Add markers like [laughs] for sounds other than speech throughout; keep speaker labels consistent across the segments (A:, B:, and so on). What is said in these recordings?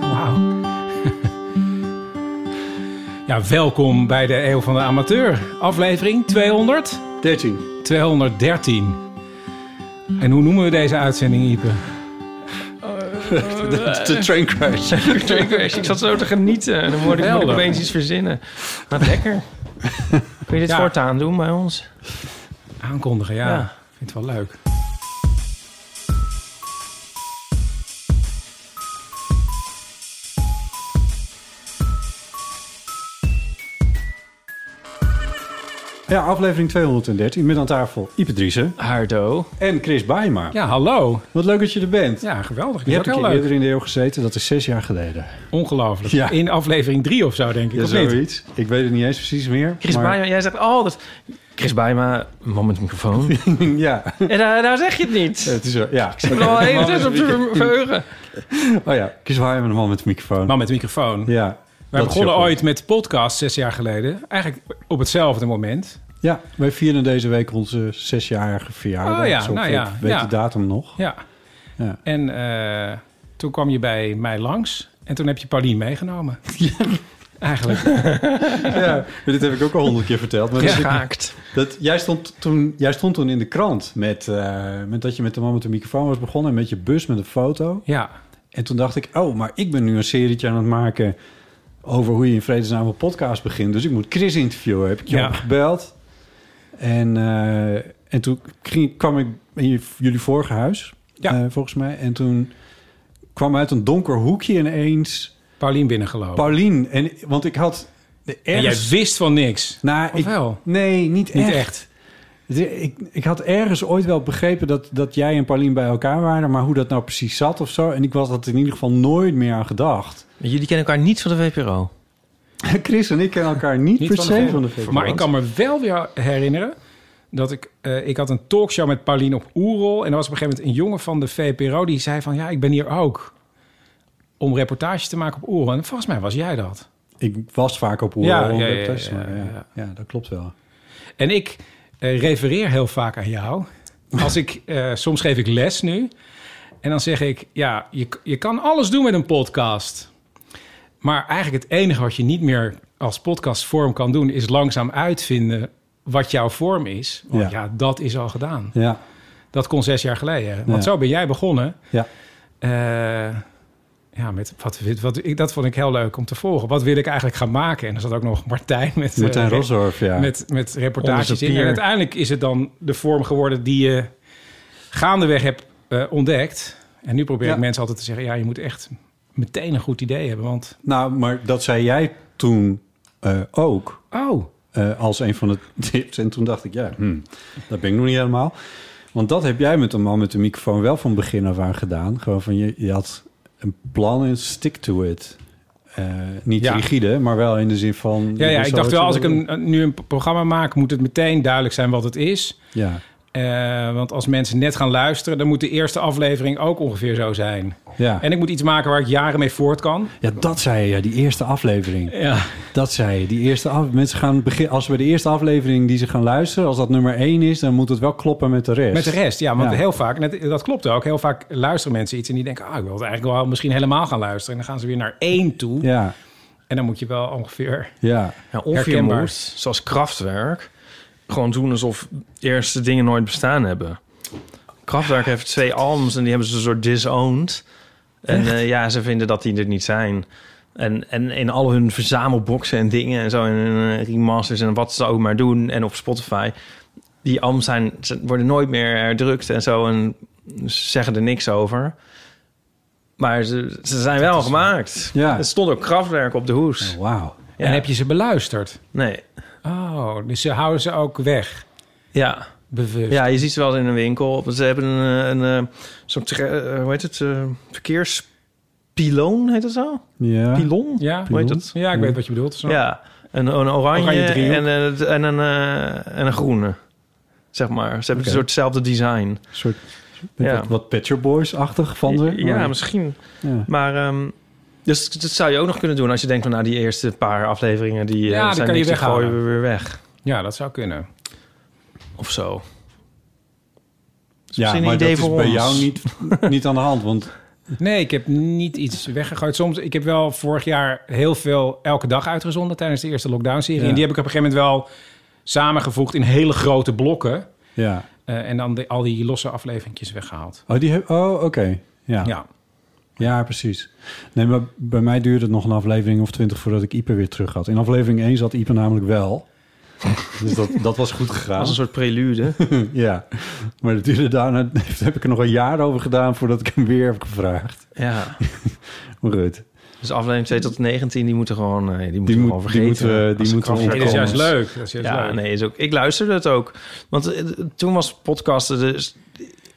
A: Wauw. Ja, welkom bij de Eeuw van de Amateur, aflevering 200.
B: 13.
A: 213. En hoe noemen we deze uitzending, Ipe?
B: De, de train crash.
C: Train crash. Ik zat zo te genieten. En dan moet ik, moet ik
A: Geweldig.
C: opeens iets verzinnen. Wat lekker. Kun je dit
A: Ja.
C: voortaan doen bij ons?
A: Aankondigen, ja.
C: Ja.
A: Ik vind het wel leuk.
B: Ja, aflevering 213 met aan tafel Ipe Driessen
C: Hardo.
B: en Chris Baaema.
A: Ja, hallo.
B: Wat leuk dat je er bent.
A: Ja, geweldig.
B: je
A: Dat
B: hebt een keer
A: is ook heel leuk.
B: eerder in de eeuw gezeten, dat is zes jaar geleden.
A: Ongelooflijk.
B: Ja.
A: In aflevering 3 of zo, denk ik.
B: Ja,
A: of niet?
B: zoiets. Ik weet het niet eens precies meer.
C: Chris
B: maar-
C: Baaema, jij zegt altijd... Chris Baaima, man met een microfoon.
B: [laughs]
C: [laughs]
B: Ja,
C: en daar, daar zeg je het niet. [laughs]
B: het is er. Ja.
C: Ik ben al even dus op te verheugen.
B: Oh ja, Chris Baaema, de man met de microfoon.
A: Man met de microfoon.
B: Ja.
A: Wij
B: dat is
A: begonnen
B: heel goed.
A: ooit met podcast zes jaar geleden. Eigenlijk op hetzelfde moment.
B: Ja, wij vieren deze week onze zesjarige verjaardag.
A: Oh ja,
B: Zo
A: nou ja,
B: weet- Weet
A: ja.
B: de datum
A: [laughs]
B: nog?
A: Ja.
B: Ja.
A: En eh, toen kwam je bij mij langs. En toen heb je Paulien meegenomen. Eigenlijk.
B: Ja, dit heb ik ook al honderd keer verteld. Maar dat is-
C: Geschaakt.
B: dat, jij, stond toen, jij stond toen in de krant met, eh, met dat je met de man met de microfoon was begonnen... en met je bus met een foto.
A: Ja.
B: En toen dacht ik, oh, maar ik ben nu een serietje aan het maken... over hoe je in vredesnaam een podcast begint. Dus ik moet Chris interviewen. Heb ik je
A: Ja.
B: gebeld. En, eh, en toen ging, kwam ik in je- jullie vorige huis,
A: Ja.
B: eh, volgens mij. En toen kwam uit een donker hoekje ineens...
A: Paulien binnengelopen.
B: Paulien, en, want ik had de
A: en jij
B: ergens...
A: wist van niks.
B: nou,
A: Of
B: ik,
A: wel?
B: Nee, niet,
A: Niet
B: echt.
A: echt.
B: Het- Ik, ik had ergens ooit wel begrepen dat, dat jij en Paulien bij elkaar waren... maar hoe dat nou precies zat of zo. En ik was dat in ieder geval nooit meer aan gedacht.
C: Jullie kennen elkaar niet van de VPRO.
B: [laughs] Chris en ik kennen elkaar niet,
A: Niet
B: per
A: van
B: se
A: de
B: van de,
A: VPRO.
B: VPRO.
A: Maar ik kan me wel weer herinneren dat ik... eh, ik had een talkshow met Paulien op Oerol. En er was op een gegeven moment een jongen van de VPRO... die zei van, ja, ik ben hier ook. Om reportages te maken op Oerol. En volgens mij was jij dat.
B: Ik was vaak op hoe
A: Ja,
B: om
A: ja,
B: de
A: ja,
B: test,
A: ja,
B: maar ja,
A: ja.
B: ja, dat klopt wel.
A: En ik eh, refereer heel vaak aan jou. Als ik, eh, soms geef ik les nu. En dan zeg ik, ja, je, je kan alles doen met een podcast. Maar eigenlijk het enige wat je niet meer als podcastvorm kan doen... is langzaam uitvinden wat jouw vorm is. Want
B: Ja.
A: ja, dat is al gedaan.
B: Ja,
A: Dat kon zes jaar geleden. Want
B: Ja.
A: zo ben jij begonnen.
B: ja.
A: Eh, ja, met wat, wat, ik, dat vond ik heel leuk om te volgen. Wat wil ik eigenlijk gaan maken? En er zat ook nog Martijn met... eh,
B: Martijn Rosdorf, ja.
A: met, met
C: Onder
A: reportages
C: de
A: in.
C: pier.
A: En uiteindelijk is het dan de vorm geworden die je gaandeweg hebt eh, ontdekt. En nu probeer
B: Ja.
A: ik mensen altijd te zeggen... ja, je moet echt meteen een goed idee hebben. Want,
B: Nou, maar dat zei jij toen eh, ook...
A: oh,
B: eh, als een van de [laughs] tips. En toen dacht ik, ja, hmm, dat ben ik nog niet helemaal. Want dat heb jij met een man met de microfoon wel van begin af aan gedaan. Gewoon van, je, je had een plan en stick to it. Eh, niet
A: Ja.
B: rigide, maar wel in de zin van...
A: ja,
B: je
A: ja,
B: wist
A: ik dacht
B: wat
A: wel, als
B: je
A: ik
B: wilde.
A: een, een- nu een programma maak... moet het meteen duidelijk zijn wat het is.
B: Ja,
A: Eh, want als mensen net gaan luisteren... dan moet de eerste aflevering ook ongeveer zo zijn.
B: ja.
A: En ik moet iets maken waar ik jaren mee voort kan.
B: ja, dat zei je, ja, die eerste aflevering.
A: Ja.
B: Dat zei je, die eerste af... Mensen gaan begin... Als we de eerste aflevering die ze gaan luisteren... als dat nummer één is, dan moet het wel kloppen met de rest.
A: Met de rest, ja. Want
B: Ja.
A: heel vaak, net, dat klopt ook, heel vaak luisteren mensen iets... en die denken, ah, ik wil het eigenlijk wel misschien helemaal gaan luisteren. En dan gaan ze weer naar één toe.
B: Ja,
A: En dan moet je wel ongeveer...
B: ja.
C: Ja, of je
A: Herkenbaar.
C: moet, zoals krachtwerk, gewoon doen alsof de eerste dingen nooit bestaan hebben. Kraftwerk heeft twee albums en die hebben ze een soort disowned. En eh, ja, ze vinden dat die er niet zijn. En, en in al hun verzamelboxen en dingen en zo. En eh, remasters en wat ze ook maar doen. En op Spotify. Die am zijn, ze worden nooit meer herdrukt en zo. En ze zeggen er niks over. Maar ze, ze zijn wel gemaakt.
B: Ja.
C: Er stond ook kraftwerk op de hoes.
B: Wauw.
C: Ja.
A: Oh. En heb je ze beluisterd?
C: Nee.
A: Oh, dus ze houden ze ook weg,
C: Ja.
A: bewust.
C: ja, je ziet ze wel eens in een winkel. Ze hebben een, eh, een, eh, soort, tre- eh, hoe heet het, eh, verkeerspiloon heet dat zo?
B: Ja.
C: Pilon?
A: Ja,
C: Hoe heet dat? Hm.
A: ja ik
B: Ja.
A: weet wat je bedoelt. Zo.
C: Ja, een, een oranje,
A: Oranje driehoek.
C: en, een, en, een, eh, en een groene. Zeg maar. Ze hebben
A: Oké.
C: een soort hetzelfde design.
B: Een soort met
C: Ja.
B: wat, wat Pet Shop Boys-achtig van ze.
A: Oh,
C: Ja,
B: Maar-
C: misschien.
B: ja.
C: Maar ehm, dus dat zou je ook nog kunnen doen als je denkt van nou die eerste paar afleveringen die eh,
A: Ja, die
C: zijn
A: kan je
C: niks, die
A: weghalen.
C: gooien we weer weg
A: Ja, dat zou kunnen.
C: of
B: Ja,
C: zo. misschien een
B: maar
C: idee
B: dat is
C: voor
B: bij
C: ons.
B: jou
C: [laughs]
B: niet, niet aan de hand. Want
A: Nee, ik heb niet iets weggegooid. Soms, ik heb wel vorig jaar heel veel elke dag uitgezonden tijdens de eerste lockdown-serie.
B: Ja.
A: En die heb ik op een gegeven moment wel samengevoegd in hele grote blokken.
B: ja.
A: Eh, en dan de- al die losse afleveringjes weggehaald.
B: Oh, die heb, oh oké. Ja.
A: Ja.
B: Ja. precies. Nee, maar bij mij duurde het nog een aflevering of twintig voordat ik Ipe weer terug had. In aflevering 1 zat Ipe namelijk wel. [laughs] dus dat, dat was goed gegaan.
C: Als een soort
A: [laughs]
C: prelude.
B: Ja, maar dat duurde daarna, [laughs] heb ik er nog een jaar over gedaan voordat ik hem weer heb gevraagd.
C: ja.
B: Maar goed,
C: Dus aflevering 2 tot 19 die moeten gewoon eh, die moeten we
B: moet-
C: gewoon
B: die
C: vergeten.
B: moeten we- die
C: Als een
B: moeten we
A: Nee, dat
C: krachtwerk
A: is
B: Kom
A: juist
C: komen.
A: leuk. Dat is juist
C: Ja,
A: leuk.
C: nee, is ook, ik luisterde het ook. Want eh, toen was podcasten dus...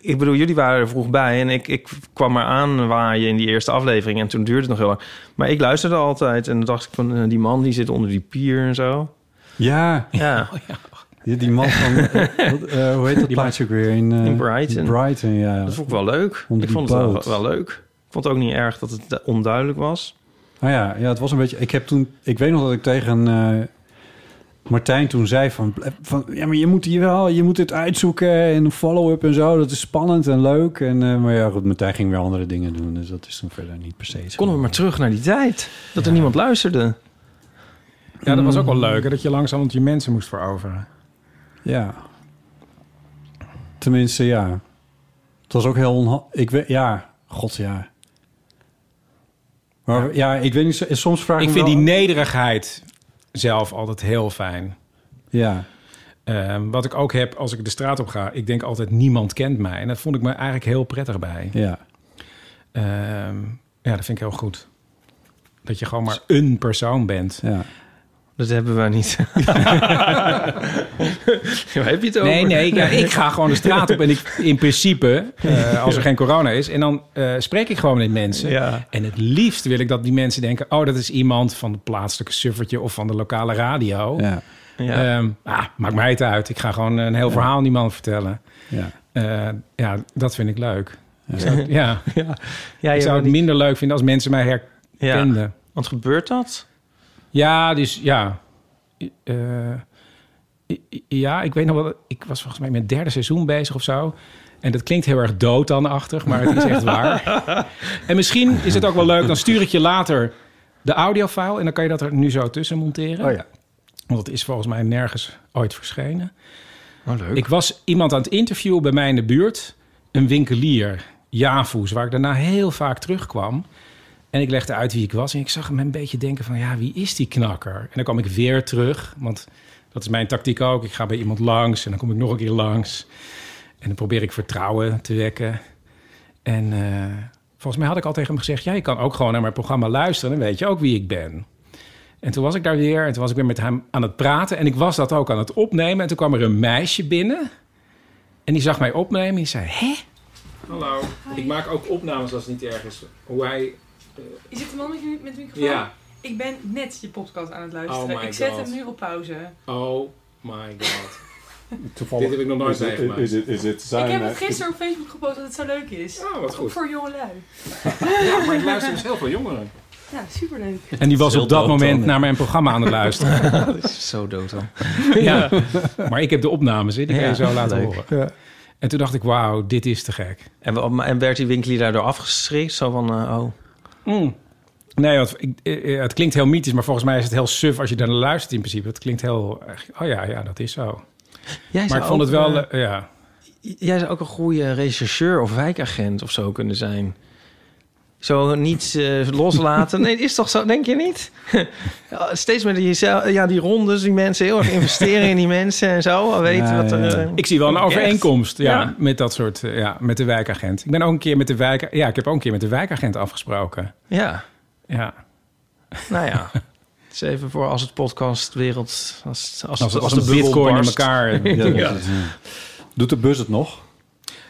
C: Ik bedoel, jullie waren er vroeg bij en ik, ik kwam maar aan waaien in die eerste aflevering. En toen duurde het nog heel lang. Maar ik luisterde altijd en dan dacht ik van, eh, die man die zit onder die pier en zo.
B: ja,
C: Ja,
B: die, die man [laughs] van, eh, wat, eh, hoe heet dat plaatsje ook weer? In, eh,
C: In Brighton.
B: Brighton, ja.
C: dat vond ik wel leuk.
B: Onder
C: Ik
B: die
C: vond het wel,
B: boot.
C: wel leuk. Ik vond het ook niet erg dat het onduidelijk was.
B: Nou ja, ja, het was een beetje. Ik heb toen. Ik weet nog dat ik tegen eh, Martijn toen zei van, van. Ja, maar je moet hier wel. Je moet dit uitzoeken en follow-up en zo. Dat is spannend en leuk. En, eh, maar ja, goed. Martijn ging weer andere dingen doen. Dus dat is dan verder niet per se. zo.
C: Konden we maar terug naar die tijd. Dat er niemand luisterde.
A: Ja, dat was ook wel leuk. hè, Dat je langzaam je mensen moest veroveren.
B: Ja. Tenminste, ja. Het was ook heel onha- Ik weet. Ja, god ja. Maar ja, ik weet niet. Soms vraag
A: Ik
B: me
A: vind
B: wel-
A: die nederigheid zelf altijd heel fijn.
B: Ja.
A: Ehm, wat ik ook heb als ik de straat op ga, ik denk altijd niemand kent mij. En dat vond ik me eigenlijk heel prettig bij.
B: Ja.
A: Ehm, ja, dat vind ik heel goed. Dat je gewoon maar een persoon bent.
B: Ja.
C: Dat hebben we
A: [laughs]
C: niet. Waar heb je het over?
A: Nee, nee, ja, ik ga gewoon de straat op en ik, in principe, eh, als er geen corona is, en dan eh, spreek ik gewoon met mensen.
C: Ja.
A: En het liefst wil ik dat die mensen denken, oh, dat is iemand van de plaatselijke suffertje of van de lokale radio.
B: Ja.
C: Ja.
A: Ehm, ah, maakt mij het uit. Ik ga gewoon eh, een heel verhaal aan die man vertellen.
B: Ja.
A: Eh, ja, dat vind ik leuk. Ik zou, het- ja,
C: ja. ja,
A: ik zou
C: je bent
A: het
C: niet-
A: minder leuk vinden als mensen mij herkenden. Ja,
C: Want gebeurt dat?
A: dus ja. Eh, i- i- ja, ik weet nog wel... Ik was volgens mij met het derde seizoen bezig of zo. En dat klinkt heel erg dood achtig, maar het is echt waar. En misschien is het ook wel leuk, dan stuur ik je later de audiofile... en dan kan je dat er nu zo tussen monteren.
B: Oh ja.
A: Want dat is volgens mij nergens ooit verschenen.
C: Oh, leuk.
A: Ik was iemand aan het interviewen bij mij in de buurt. Een winkelier, Javoes, waar ik daarna heel vaak terugkwam. En ik legde uit wie ik was. En ik zag hem een beetje denken van, ja, wie is die knakker? En dan kwam ik weer terug, want dat is mijn tactiek ook. Ik ga bij iemand langs en dan kom ik nog een keer langs. En dan probeer ik vertrouwen te wekken. En eh, volgens mij had ik al tegen hem gezegd... ja, je kan ook gewoon naar mijn programma luisteren... dan weet je ook wie ik ben. En toen was ik daar weer en toen was ik weer met hem aan het praten... en ik was dat ook aan het opnemen. En toen kwam er een meisje binnen... en die zag mij opnemen en die zei... hè? Hallo, ik maak ook opnames als het niet erg is. Hoe hij...
D: Je zit een man met je- met de microfoon? Ik ben net je podcast aan het luisteren.
A: Oh my
D: ik zet
A: God.
D: hem nu op pauze.
A: oh my [laughs] god.
E: Toevallig.
A: Dit heb ik nog nooit
E: is het-
A: meegemaakt.
E: Is het, is het zijn,
D: ik heb het
E: eh,
D: gisteren op Facebook gepost dat het zo leuk is.
A: Oh, wat
D: Ook voor jongelui.
A: Ja, maar ik luister dus heel veel jongeren.
D: Ja, superleuk.
A: En die was
C: Heel
A: op dat
C: dood
A: moment
C: dan.
A: naar mijn programma
C: [laughs]
A: aan het luisteren.
C: Zo dood al.
A: ja. Maar ik heb de opnames, hè, die kan je
C: Ja,
A: zo laten
C: leuk.
A: horen. En toen dacht ik, wauw, dit is te gek.
C: En, we- maar- en werd die winkelier daardoor afgeschrikt? Zo van, eh, oh.
A: Mm. Nee, want ik, eh, eh, het klinkt heel mythisch, maar volgens mij is het heel suf als je daarnaar luistert in principe. Het klinkt heel, erg, oh ja, ja, dat is zo.
C: Jij
A: Maar
C: zou
A: ik vond
C: ook,
A: het wel,
C: eh,
A: eh, ja.
C: jij zou ook een goede rechercheur of wijkagent of zo kunnen zijn. Zo niets eh, loslaten. Nee, is toch zo, denk je niet? [laughs] Ja, Steeds met jezelf, ja, die rondes, die mensen heel erg investeren in die mensen en zo. Weten
B: Ja,
C: wat er.
B: ja, ja.
C: eh,
A: Ik zie wel een
C: Echt?
A: overeenkomst ja,
C: Ja.
A: met dat soort, eh, ja, met de wijkagent. Ik ben ook een keer met de wijk, ja, ik heb ook een keer met de wijkagent afgesproken.
C: Ja,
A: Ja,
C: nou [laughs] ja. Het is even voor als het podcastwereld. Als, als,
A: als,
C: als,
A: als,
C: de
A: een
C: bubbel
A: bitcoin in
C: barst. [laughs]
A: elkaar.
B: Ja, dat is, eh, Doet de bus het nog?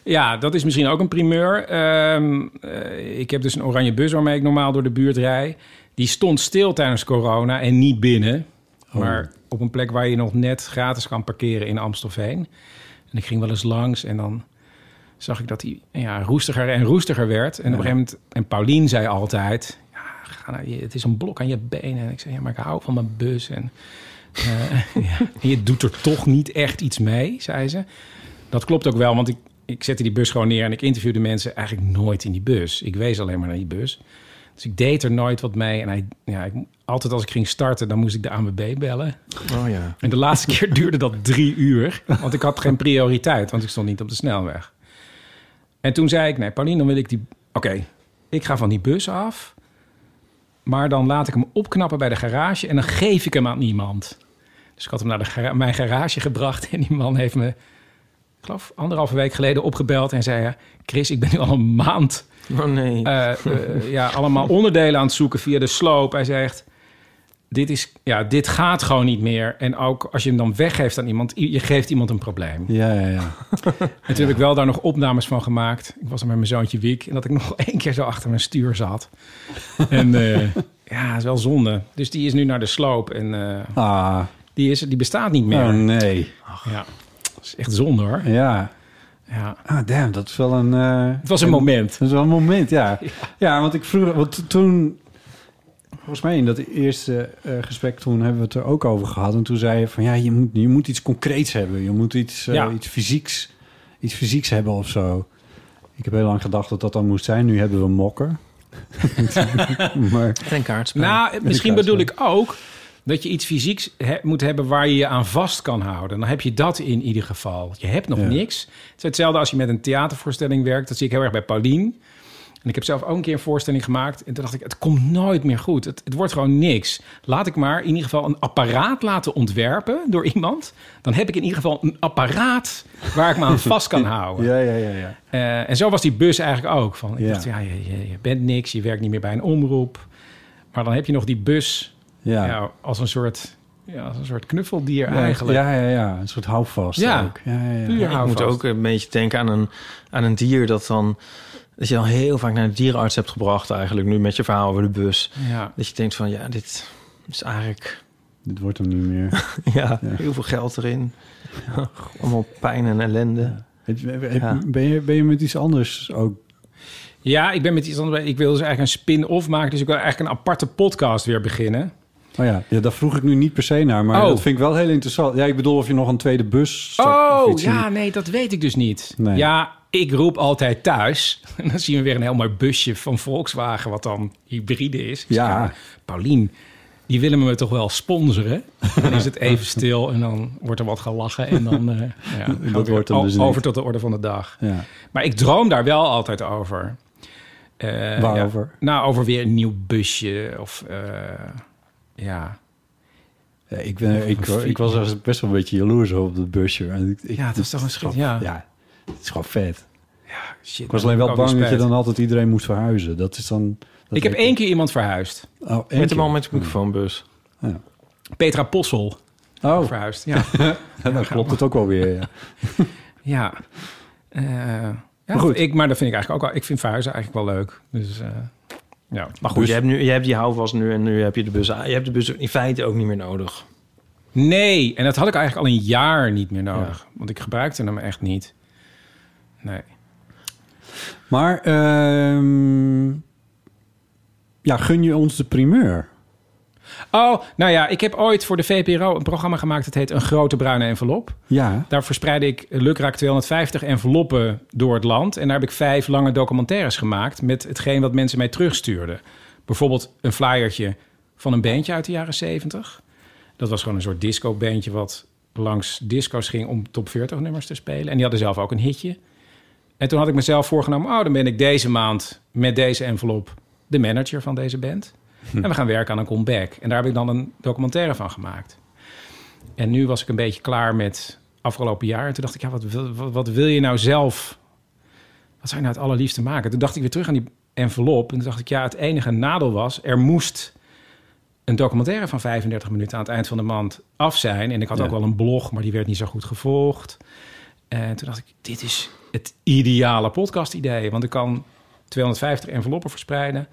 A: Ja, dat is misschien ook een primeur. Ehm, eh, ik heb dus een oranje bus waarmee ik normaal door de buurt rij. Die stond stil tijdens corona en niet binnen. Maar op een plek waar je nog net gratis kan parkeren in Amstelveen. En ik ging wel eens langs en dan zag ik dat hij ja, roestiger en roestiger werd. En op een gegeven moment, en Paulien zei altijd... Ja, ga naar je- het is een blok aan je benen. En ik zei, ja, maar ik hou van mijn bus. En, eh, [laughs] ja, en je doet er toch niet echt iets mee, zei ze. Dat klopt ook wel, want ik, ik zette die bus gewoon neer... en ik interviewde mensen eigenlijk nooit in die bus. Ik wees alleen maar naar die bus. Dus ik deed er nooit wat mee. En hij, ja, ik, altijd als ik ging starten, dan moest ik de ANWB bellen.
C: Oh ja.
A: En de laatste keer [laughs] duurde dat drie uur. Want ik had geen prioriteit, want ik stond niet op de snelweg. En toen zei ik, nee, Pauline, dan wil ik die... Oké, ik ga van die bus af. Maar dan laat ik hem opknappen bij de garage en dan geef ik hem aan iemand. Dus ik had hem naar de gara- mijn garage gebracht en die man heeft me... Ik geloof anderhalve week geleden opgebeld en zei... Chris, ik ben nu al een maand
C: Oh nee.
A: eh, eh, ja, allemaal onderdelen aan het zoeken via de sloop. Hij zegt, dit, is, ja, dit gaat gewoon niet meer. En ook als je hem dan weggeeft aan iemand, i- je geeft iemand een probleem.
B: Ja, ja, ja.
A: En toen heb ik wel daar nog opnames van gemaakt. Ik was er met mijn zoontje Wiek. En dat ik nog [laughs] één keer zo achter mijn stuur zat. En eh, ja, dat is wel zonde. Dus die is nu naar de sloop. En eh,
B: Ah,
A: die, is, die bestaat niet meer.
B: oh nee.
A: Ja, dat is echt zonde hoor.
B: Ja.
A: Ja.
B: Ah, damn, dat is wel een... eh,
A: Het was een moment.
B: Dat is wel een moment,
A: [laughs]
B: ja. Ja, want ik vroeg... Want toen... Volgens mij in dat eerste eh, gesprek toen hebben we het er ook over gehad. En toen zei je van ja, je moet, je moet iets concreets hebben. Je moet iets, eh,
A: Ja.
B: iets, fysieks, iets fysieks hebben of zo. Ik heb heel lang gedacht dat dat dan moest zijn. Nu hebben we
A: [laughs]
B: mokken. maar
C: en een kaartspel.
A: Nou, misschien
B: kruis,
A: bedoel
B: ja.
A: ik ook dat je iets fysieks he- moet hebben waar je je aan vast kan houden. Dan heb je dat in ieder geval. Je hebt nog
B: Ja.
A: niks. Het is hetzelfde als je met een theatervoorstelling werkt. Dat zie ik heel erg bij Paulien. En ik heb zelf ook een keer een voorstelling gemaakt. En toen dacht ik, het komt nooit meer goed. Het, het wordt gewoon niks. Laat ik maar in ieder geval een apparaat laten ontwerpen door iemand. Dan heb ik in ieder geval een apparaat waar ik me aan vast kan houden.
B: ja, ja, ja, ja.
A: Eh, en zo was die bus eigenlijk ook. Van, ik
B: Ja.
A: dacht, ja, je, je, je bent niks, je werkt niet meer bij een omroep. Maar dan heb je nog die bus
B: Ja,
A: ja, als, een soort, ja, als een soort knuffeldier
B: ja,
A: eigenlijk.
B: ja, ja, ja. Een soort houvast
A: Ja.
B: ook. Ja, ja, ja.
A: Puur
C: Ja, ik moet
A: houvast.
C: ook een beetje denken aan een, aan een dier dat dan... Dat je al heel vaak naar de dierenarts hebt gebracht eigenlijk nu met je verhaal over de bus.
A: Ja.
C: Dat je denkt van ja, dit is eigenlijk... [laughs]
B: Dit wordt hem niet meer.
C: Ja, heel veel geld erin. Allemaal pijn en ellende.
B: Het- het-
C: Ja.
B: Ben, je, ben je met iets anders ook?
A: ja, ik ben met iets anders. bij- Ik wil dus eigenlijk een spin-off maken. Dus ik wil eigenlijk een aparte podcast weer beginnen.
B: Oh ja, ja, daar vroeg ik nu niet per se naar, maar
A: Oh.
B: dat vind ik wel heel interessant. Ja, ik bedoel of je nog een tweede bus. start of
A: Oh,
B: iets in die-
A: ja, nee, dat weet ik dus niet.
B: Nee.
A: Ja, ik roep altijd thuis. [laughs] En dan zien we weer een heel mooi busje van Volkswagen... wat dan hybride is. Ik zeg,
B: Ja.
A: Paulien, die willen me toch wel sponsoren? Dan is het even stil en dan wordt er wat gelachen. En dan eh, ja, gaan we
B: Dat
A: weer
B: wordt hem
A: o-
B: dus niet.
A: over tot de orde van de dag.
B: ja.
A: Maar ik droom daar wel altijd over. Eh,
B: Waarover?
A: ja, nou, over weer een nieuw busje of... eh, ja.
B: Ja, ik, ben, ik, ik was er best wel een beetje jaloers op op dat busje. En ik, ik-
A: Ja, dat is toch een schil,
B: gewoon-
A: ja.
B: ja, het is gewoon vet.
A: Shit,
B: Ik was alleen wel
A: dat heb ik ook
B: bang dat je
A: spijt.
B: dan altijd iedereen moest verhuizen. Dat is dan... dat
A: Ik heb
B: weet
A: één keer iemand verhuisd.
B: Oh, één
C: Met de
B: keer.
C: man met de microfoonbus.
A: Petra Possel.
B: Oh,
A: [laughs] Verhuisd, ja.
B: ja, [laughs] dan klopt het ook wel weer.
A: [laughs]
B: Ja.
A: Ja. Eh, ja maar,
B: goed.
A: goed. Ik, maar dat vind ik eigenlijk ook wel... Ik vind verhuizen eigenlijk wel leuk. Dus eh, ja. Dus
C: Maar goed, je, hebt nu, je hebt die houvast nu en nu heb je de bus. Je hebt de bus in feite ook niet meer nodig.
A: Nee, en dat had ik eigenlijk al een jaar niet meer nodig. Want ik gebruikte hem echt niet. Nee.
B: Maar ehm, ja, gun je ons de primeur?
A: Oh, nou ja, ik heb ooit voor de VPRO een programma gemaakt... dat heet Een Grote Bruine Envelop.
B: Ja.
A: Daar verspreidde ik eh, lukraak 250 enveloppen door het land. En daar heb ik vijf lange documentaires gemaakt... met hetgeen wat mensen mij terugstuurden. Bijvoorbeeld een flyertje van een bandje uit de jaren 70. Dat was gewoon een soort disco-bandje... wat langs disco's ging om top 40 nummers te spelen. En die hadden zelf ook een hitje. En toen had ik mezelf voorgenomen... oh, dan ben ik deze maand met deze envelop de manager van deze band. En we gaan werken aan een comeback. En daar heb ik dan een documentaire van gemaakt. En nu was ik een beetje klaar met afgelopen jaar. En toen dacht ik, ja, wat, wil- wat, wat wil je nou zelf? Wat zou je nou het allerliefste maken? Toen dacht ik weer terug aan die envelop. En toen dacht ik, ja, het enige nadeel was... er moest een documentaire van 35 minuten aan het eind van de maand af zijn. En ik had
B: Ja.
A: ook wel een blog, maar die werd niet zo goed gevolgd. En toen dacht ik, dit is het ideale podcast-idee. Want ik kan 250 enveloppen verspreiden.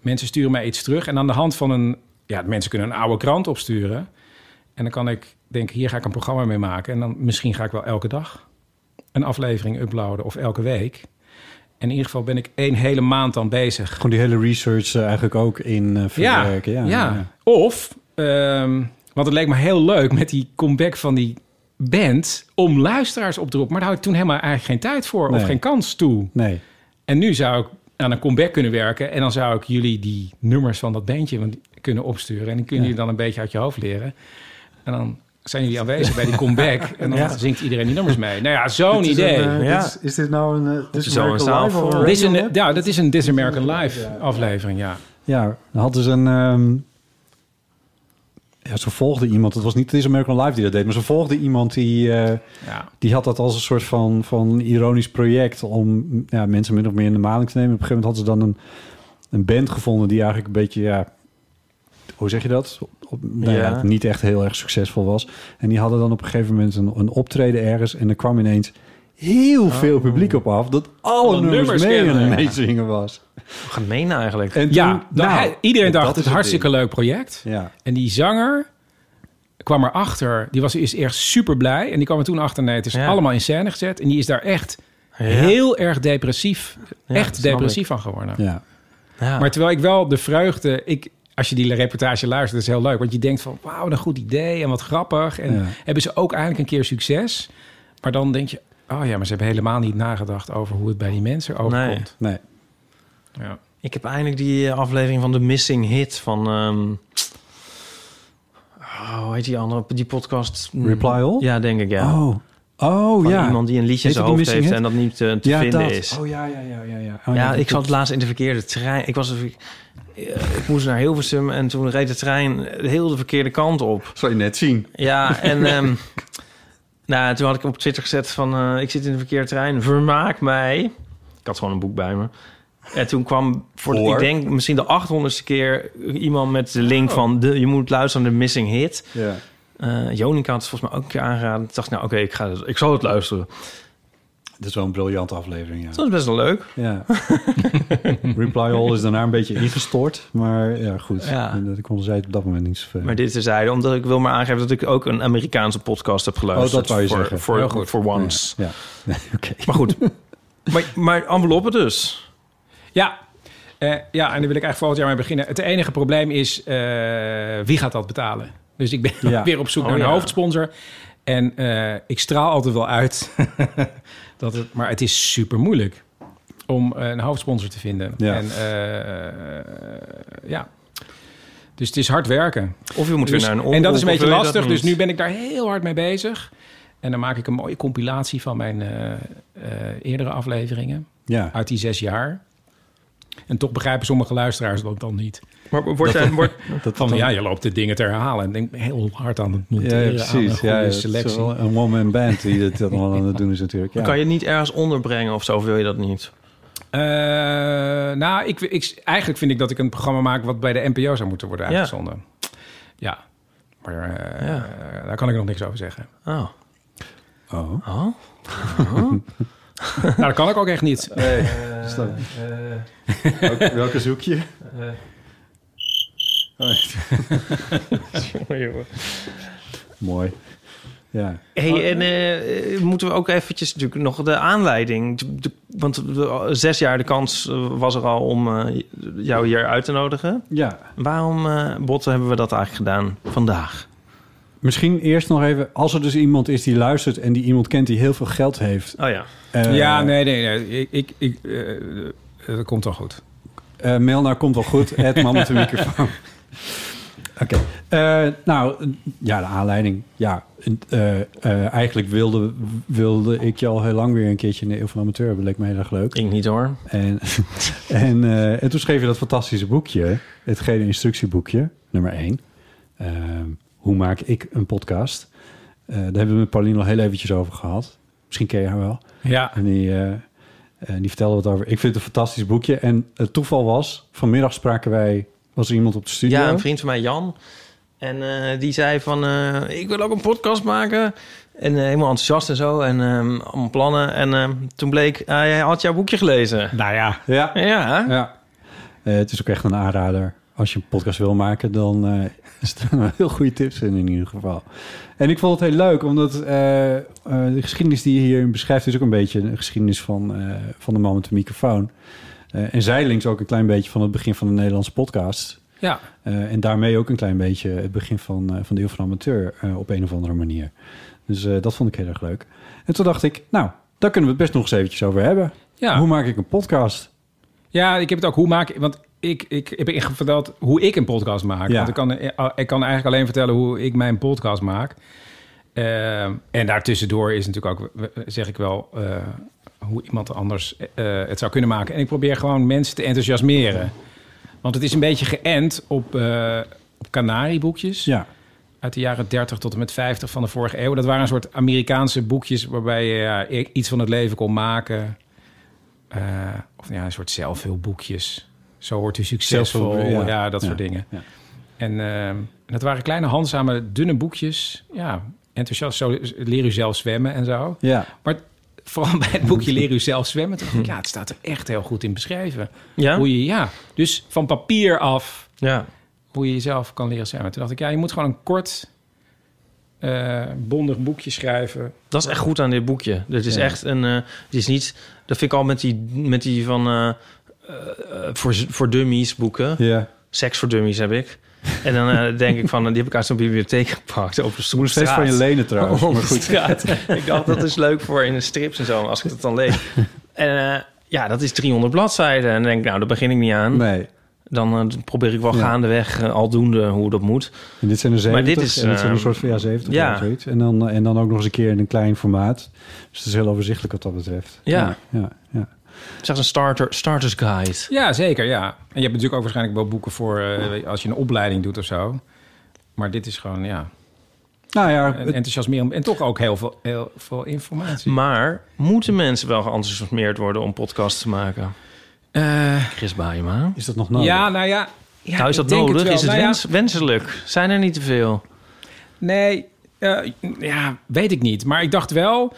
A: Mensen sturen mij iets terug. En aan de hand van een... Ja, mensen kunnen een oude krant opsturen. En dan kan ik denken, hier ga ik een programma mee maken. En dan misschien ga ik wel elke dag een aflevering uploaden of elke week. En in ieder geval ben ik één hele maand dan bezig.
B: Gewoon die hele research eh, eigenlijk ook in eh verwerken. Ja,
A: ja. Of, ehm, want het leek me heel leuk met die comeback van die band... om luisteraars op te roepen. Maar daar had ik toen helemaal eigenlijk geen tijd voor
B: Nee.
A: of geen kans toe.
B: Nee.
A: En nu zou ik aan een comeback kunnen werken. En dan zou ik jullie die nummers van dat bandje want- kunnen opsturen. En die kunnen
B: Ja.
A: jullie dan een beetje uit je hoofd leren. En dan zijn jullie aanwezig bij die
B: [laughs]
A: comeback. En dan zingt iedereen die nummers mee. Nou ja, zo'n
B: Dit is
A: idee.
B: een, eh,
C: Ja.
B: dit is, is dit nou een... eh, This
C: is wel een
B: American
C: zaal
B: Live
C: voor-
B: of
A: Dit is
B: Radio
A: een,
B: Lab?
A: ja, dat is een This American Live aflevering, ja.
B: Ja, dan hadden ze een... ehm, ja, ze volgde iemand. Het was niet This American Live die dat deed, maar ze volgde iemand die... eh,
A: ja.
B: die had dat als een soort van, van ironisch project om ja, mensen min of meer in de maling te nemen. Op een gegeven moment hadden ze dan een, een band gevonden die eigenlijk een beetje, ja, hoe zeg je dat? Op, nou ja.
C: Ja.
B: niet echt heel erg succesvol was. En die hadden dan op een gegeven moment een, een optreden ergens en er kwam ineens heel veel publiek op af dat alle
A: Alle
B: nummers,
A: nummers
B: mee aan
A: kennen.
B: het meezingen was.
C: Gemeen eigenlijk.
B: En
A: ja
B: toen-
A: dan-
B: nou,
A: hij- iedereen
B: dat
A: dacht,
B: is
A: het hartstikke
B: ding.
A: leuk project.
B: Ja,
A: En die zanger kwam erachter. Die was eerst echt super blij. En die kwam er toen achter. Nee, het is
C: Ja.
A: allemaal in scène gezet. En die is daar echt
C: Ja.
A: heel erg depressief.
C: Ja, dat
A: echt
C: snap
A: depressief van geworden.
B: ja.
C: Ja.
A: Maar terwijl ik wel de vreugde... Ik, als je die reportage luistert, is heel leuk. Want je denkt van, wauw, wat een goed idee en wat grappig. En
B: Ja.
A: hebben ze ook eindelijk een keer succes. Maar dan denk je, oh ja, maar ze hebben helemaal niet nagedacht... over hoe het bij die mensen overkomt.
B: Nee.
A: Ja.
C: Ik heb eindelijk die eh, aflevering van de Missing Hit van... ehm, oh, hoe heet die andere? Die podcast... Mm,
B: Reply All?
C: Ja, denk ik, ja.
B: Oh, oh
C: van
B: ja.
C: iemand die een liedje in
B: Heette die
C: zijn hoofd
B: Missing
C: heeft
B: Hit?
C: en dat niet eh, te
B: ja,
C: vinden
B: dat.
C: is.
B: Oh ja, ja, ja, ja. Ja,
C: ja,
B: Oh, dat
C: ik
B: klopt.
C: zat laatst in de verkeerde trein. Ik was... een ver- eh, Ik moest naar Hilversum en toen reed de trein heel de verkeerde kant op.
B: Zou je net zien.
A: [laughs]
C: Ja, en ehm, nou, toen had ik op Twitter gezet van... eh, ik zit in de verkeerde trein, vermaak mij. Ik had gewoon een boek bij me. En toen kwam, voor de-
B: Hoor.
C: ik denk misschien de 800ste keer... iemand met de link
A: Oh.
C: van... De, je moet luisteren naar de Missing Hit.
B: Ja.
C: Eh Jonica had het volgens mij ook een keer aangeraden. Toen dacht ik, nou oké, ik ga ik, ik zal het luisteren.
B: Dat is wel een briljante aflevering, ja.
C: Dat was best wel leuk.
B: ja.
A: [laughs]
B: Reply All is daarna een beetje ingestort. Maar ja, goed.
C: Ja.
B: En Dat kon zij op dat moment niet zoveel.
C: Maar dit is hij, omdat ik wil maar aangeven... dat ik ook een Amerikaanse podcast heb geluisterd.
B: Oh, dat wou je
C: voor,
B: zeggen.
C: Voor,
A: Heel goed.
C: voor once.
B: Ja. Nee, Oké.
C: Maar
A: [laughs]
C: goed. maar, maar enveloppen dus.
A: Ja. Eh, ja, en daar wil ik eigenlijk volgend jaar mee beginnen. Het enige probleem is, eh, wie gaat dat betalen? Dus ik ben
B: Ja.
A: [laughs] weer op zoek
C: Oh,
A: naar een
C: ja.
A: hoofdsponsor. En eh, ik straal altijd wel uit. [laughs] dat het, maar het is super moeilijk om eh, een hoofdsponsor te vinden.
B: Ja.
A: En, eh, ja. Dus het is hard werken.
C: Of je moet weer
A: Dus-
C: naar een
A: en dat is een
C: omroep, of
A: beetje
C: wil je dat
A: lastig. Dus
C: niet?
A: nu ben ik daar heel hard mee bezig. En dan maak ik een mooie compilatie van mijn eh, eh, eerdere afleveringen
B: Ja.
A: uit die zes jaar. En toch begrijpen sommige luisteraars dat dan niet.
C: Maar wordt jij... Wordt,
B: [laughs] Dat
A: Van
B: dat-
A: ja, je loopt de dingen te herhalen. En denk heel hard aan het
B: Ja,
A: monteren,
B: ja,
A: aan een
B: precies.
A: goede
B: Ja, ja, het is
A: selectie.
B: wel een one-man band die dat, dat allemaal aan het doen is natuurlijk. Ja.
C: Kan je het niet ergens onderbrengen of zo? Of wil je dat niet?
A: Eh, nou, ik, ik, eigenlijk vind ik dat ik een programma maak... wat bij de NPO zou moeten worden
C: Ja.
A: uitgezonden. Ja. Maar eh,
C: Ja.
A: daar kan ik nog niks over zeggen. [laughs]
C: Oh.
B: Oh.
C: oh.
A: nou, dat kan ik ook echt niet.
B: Eh.
C: Eh,
B: Snap ik. [laughs] Welke- welke zoek je? Oh, echt. [laughs]
C: Oh,
B: Mooi. Ja.
C: Hey, en eh, moeten we ook eventjes natuurlijk nog de aanleiding... de- de- want de- zes jaar de kans eh, was er al om eh, jou hier uit te nodigen.
B: Ja.
C: Waarom, eh Botte, hebben we dat eigenlijk gedaan vandaag?
B: Misschien eerst nog even, als er dus iemand is die luistert en die iemand kent die heel veel geld heeft.
C: Oh ja.
B: eh,
A: ja, nee, nee, nee. Ik, ik, ik, eh, eh, dat komt wel goed.
B: nou Eh, mail naar komt wel goed, het man met de microfoon. Oké. Eh, nou, ja, de aanleiding. Ja, eh, eh, eigenlijk wilde, wilde ik je al heel lang weer een keertje in de Eeuw van de Amateur hebben. Leek me heel erg leuk.
C: Ik niet hoor.
B: En, [laughs] en, eh, en toen schreef je dat fantastische boekje, het gele instructieboekje, nummer 1. hoe maak ik een podcast? Eh, daar hebben we met Pauline al heel eventjes over gehad. Misschien ken je haar wel.
A: Ja,
B: En die, eh, eh, die vertelde wat over. Ik vind het een fantastisch boekje. En het toeval was, vanmiddag spraken wij, was er iemand op de studio?
C: Ja, een vriend van mij, Jan. En eh, die zei van, eh, ik wil ook een podcast maken. En eh, helemaal enthousiast en zo. En ehm, allemaal plannen. En ehm, toen bleek, eh, hij had jouw boekje gelezen.
A: nou ja.
B: Ja.
C: Ja, hè?
B: Ja. Eh, het is ook echt een aanrader. Als je een podcast wil maken, dan eh, [laughs] staan er heel goede tips in in ieder geval. En ik vond het heel leuk, omdat eh, eh, de geschiedenis die je hierin beschrijft... is ook een beetje een geschiedenis van, eh, van de man met de microfoon. Eh, en zijdelings ook een klein beetje van het begin van de Nederlandse podcast.
A: Ja,
B: Eh, en daarmee ook een klein beetje het begin van, eh, van de Eeuw van de Amateur eh, op een of andere manier. Dus eh, dat vond ik heel erg leuk. En toen dacht ik, nou, daar kunnen we het best nog eens eventjes over hebben.
A: ja.
B: Hoe maak ik een podcast?
A: Ja, ik heb het ook hoe maak ik. Want ik, ik heb echt verteld hoe ik een podcast maak.
B: Ja.
A: Want ik kan, eh, ik kan eigenlijk alleen vertellen hoe ik mijn podcast maak. Ehm, en daartussendoor is natuurlijk ook, zeg ik wel, eh, hoe iemand anders eh, het zou kunnen maken. En ik probeer gewoon mensen te enthousiasmeren. Want het is een beetje geënt op, eh op kanarieboekjes
B: Ja,
A: uit de jaren 30 tot en met 50 van de vorige eeuw. Dat waren een soort Amerikaanse boekjes waarbij je ja, i- iets van het leven kon maken. Eh, of ja, een soort zelfhulpboekjes. Zo wordt u succesvol.
B: Zelfhulp,
A: ja.
B: ja.
A: dat
B: Ja,
A: soort dingen.
B: ja.
A: En ehm, dat waren kleine, handzame, dunne boekjes. Ja, enthousiast. Zo leer u zelf zwemmen en zo.
B: ja.
A: Maar vooral bij het boekje Leer u zelf zwemmen. Toen dacht ik, ja, het staat er echt heel goed in beschreven.
C: Ja?
A: Hoe je, ja, dus van papier af
C: Ja.
A: hoe je jezelf kan leren zwemmen. Toen dacht ik, ja, je moet gewoon een kort, eh, bondig boekje schrijven.
C: Dat is echt goed aan dit boekje. Dit is
A: Ja.
C: echt een. eh, het is niet. Dat vind ik al met die, met die van. eh, eh, voor, voor dummies boeken.
B: Ja.
C: Seks voor dummies heb ik. En dan eh, denk ik van. eh, Die heb ik uit zo'n bibliotheek gepakt. Op de
B: Ik moet steeds
C: straat.
B: van je lenen trouwens.
C: Op
B: Maar
C: de [laughs]
B: goed.
C: straat. ik dacht dat is leuk voor in de strips en zo. Als ik dat dan lees. [laughs] En eh, ja, dat is 300 bladzijden. En dan denk ik, nou, daar begin ik niet aan.
B: Nee.
C: Dan eh, probeer ik wel
B: Ja.
C: gaandeweg eh, aldoende hoe dat moet.
B: En dit zijn er 70.
C: Maar dit is,
B: en dit zijn een
C: ehm,
B: soort van ja, 70
C: ja.
B: of zoiets. En dan, eh, en dan ook nog eens een keer in een klein formaat. Dus het is heel overzichtelijk wat dat betreft.
C: Ja.
B: Ja, ja.
C: Zeg een starter, starters guide.
A: Ja, zeker, ja. En je hebt natuurlijk ook waarschijnlijk wel boeken voor eh, als je een opleiding doet of zo. Maar dit is gewoon, ja,
B: Nou ja,
A: en-
B: het-
A: enthousiasmerend. En toch ook heel veel, heel veel informatie.
C: Maar moeten mensen wel geenthousiasmeerd worden om podcasts te maken?
A: Eh,
C: Chris Baaema.
B: is dat nog nodig?
A: ja, nou ja. ja
C: nou, is
A: ik
C: dat
A: denk
C: nodig?
A: wel.
C: is het
A: Nou ja,
C: wens- wenselijk? Zijn er niet te veel?
A: Nee, eh, ja, weet ik niet. Maar ik dacht wel,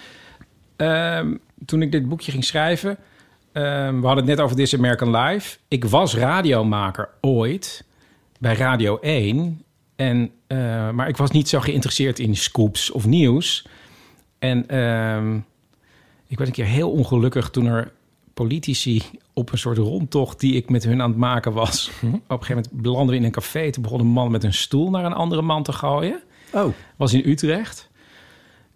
A: ehm, toen ik dit boekje ging schrijven... ehm, we hadden het net over This American Life. Ik was radiomaker ooit bij Radio 1. En, eh, maar ik was niet zo geïnteresseerd in scoops of nieuws. En ehm, ik werd een keer heel ongelukkig toen er politici op een soort rondtocht die ik met hun aan het maken was. Op een gegeven moment belanden we in een café. Toen begon een man met een stoel naar een andere man te gooien
B: Oh,
A: was in Utrecht.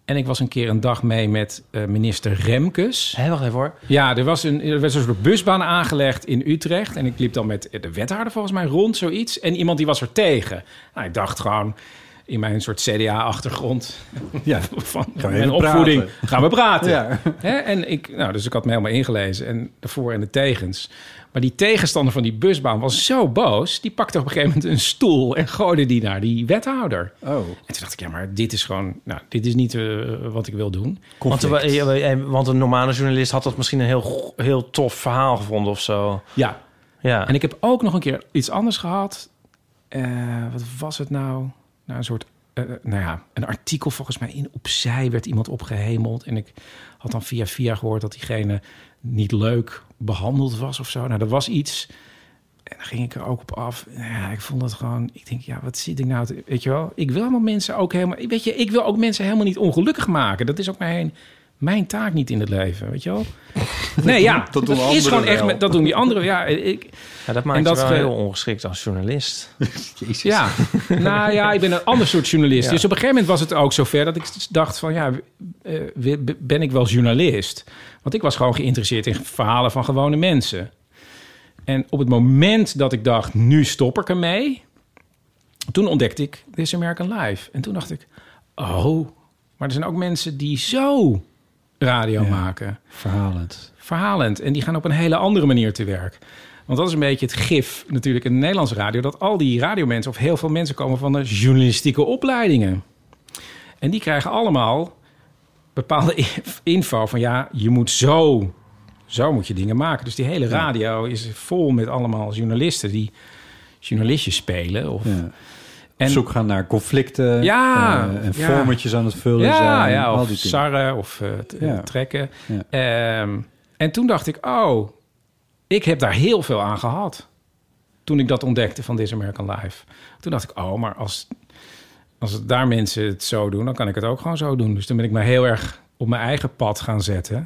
A: En ik was een keer een dag mee met eh, minister Remkes.
C: Hé, wacht even hoor.
A: Ja, er, was een, er werd een soort busbaan aangelegd in Utrecht. En ik liep dan met de wethouder volgens mij rond, zoiets. En iemand die was er tegen. Nou, ik dacht gewoon in mijn soort CDA-achtergrond
B: [laughs] ja.
A: [laughs] van
B: Gaan we
A: mijn
B: even
A: opvoeding.
B: praten.
A: Gaan we praten.
B: Ja.
A: Hè? En ik, nou, dus ik had me helemaal ingelezen. En de voor- en de tegens. Maar die tegenstander van die busbaan was zo boos. Die pakte op een gegeven moment een stoel en gooide die naar die wethouder.
B: Oh,
A: En toen dacht ik, ja, maar dit is gewoon, nou, dit is niet eh, wat ik wil doen.
C: Want,
B: conflict.
C: we- eh, we- eh, want een normale journalist had dat misschien een heel, go- heel tof verhaal gevonden of zo.
A: Ja.
C: Ja.
A: En ik heb ook nog een keer iets anders gehad. Eh, wat was het nou? Nou, een soort, eh, nou ja, een artikel volgens mij in opzij werd iemand opgehemeld. En ik had dan via via gehoord dat diegene niet leuk behandeld was of zo. Nou, er was iets. En daar ging ik er ook op af. Nou Ja, ik vond dat gewoon. Ik denk, ja, wat zit ik nou? te- weet je wel, ik wil helemaal mensen ook helemaal. Weet je, ik wil ook mensen helemaal niet ongelukkig maken. Dat is ook mijn, mijn taak niet in het leven. Weet je
B: [laughs]
A: wel? Nee, ja, dat,
B: doen
A: is gewoon
B: anderen
A: echt.
B: wel.
A: met- Dat doen die anderen. Ja, ik,
C: ja, dat maakt
A: en dat
C: je wel
A: ge-
C: heel ongeschikt als journalist.
A: ja, nou ja, ik ben een ander soort journalist. Dus op een gegeven moment was het ook zover dat ik s- dacht van... ja, eh, we- be- ben ik wel journalist? Want ik was gewoon geïnteresseerd in verhalen van gewone mensen. En op het moment dat ik dacht, nu stop ik ermee... toen ontdekte ik This American Life. En toen dacht ik, oh, maar er zijn ook mensen die zo radio
B: Ja.
A: maken.
B: Verhalend.
A: Verhalend. En die gaan op een hele andere manier te werk. Want dat is een beetje het gif natuurlijk in de Nederlandse radio. Dat al die radiomensen of heel veel mensen komen van de journalistieke opleidingen. En die krijgen allemaal bepaalde [laughs] i- info van ja, je moet zo, zo moet je dingen maken. Dus die hele radio is vol met allemaal journalisten die journalistjes spelen. Of,
B: Ja.
A: en,
B: Op zoek gaan naar conflicten.
A: Ja,
B: eh, en
A: ja.
B: formertjes aan het vullen
A: ja,
B: zijn.
A: ja,
B: al
A: of
B: die dingen.
A: sarren of eh, t-
B: Ja.
A: trekken.
B: Ja.
A: Ehm, en toen dacht ik, oh, ik heb daar heel veel aan gehad. Toen ik dat ontdekte van This American Life. Toen dacht ik, oh, maar als, als het daar mensen het zo doen, dan kan ik het ook gewoon zo doen. Dus toen ben ik me heel erg op mijn eigen pad gaan zetten.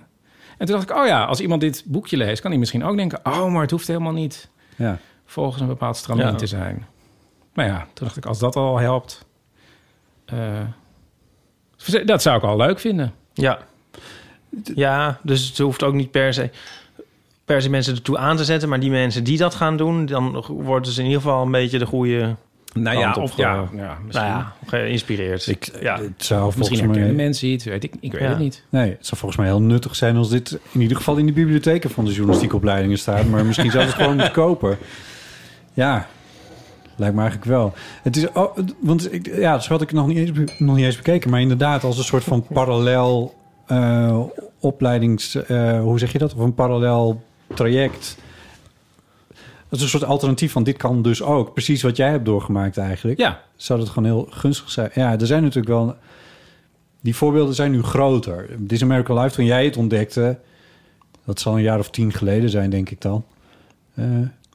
A: En toen dacht ik, oh ja, als iemand dit boekje leest, kan hij misschien ook denken, oh, maar het hoeft helemaal niet
B: Ja.
A: volgens een bepaald stramien
C: Ja.
A: te zijn. Maar ja, toen dacht ik, als dat al helpt, eh, dus dat zou ik al leuk vinden.
C: Ja. ja, dus het hoeft ook niet per se, per se mensen ertoe aan te zetten. Maar die mensen die dat gaan doen, dan worden ze in ieder geval een beetje de goede...
A: Nou
C: ja, of- ja,
A: misschien.
C: Nou ja, geïnspireerd.
B: Ik, eh,
C: ja.
B: Het zou
A: misschien
B: volgens
A: herkennen
B: mij...
A: mensen iets, weet ik, ik weet
C: Ja.
A: het niet.
B: Nee, het zou volgens mij heel nuttig zijn als dit in ieder geval in de bibliotheken van de journalistieke opleidingen staat. Maar misschien zou je het gewoon moeten kopen. Ja, lijkt me eigenlijk wel. Het is, oh, het- want ik, ja, dat had ik nog niet, eens, be- nog niet eens bekeken. Maar inderdaad, als een soort van parallel eh, opleidings... eh, hoe zeg je dat? Of een parallel traject. Dat is een soort alternatief van dit kan dus ook. Precies wat jij hebt doorgemaakt eigenlijk
A: Ja,
B: zou dat gewoon heel gunstig zijn. Ja, er zijn natuurlijk wel... Die voorbeelden zijn nu groter. This American Life, toen jij het ontdekte... dat zal een jaar of tien geleden zijn, denk ik dan. Eh,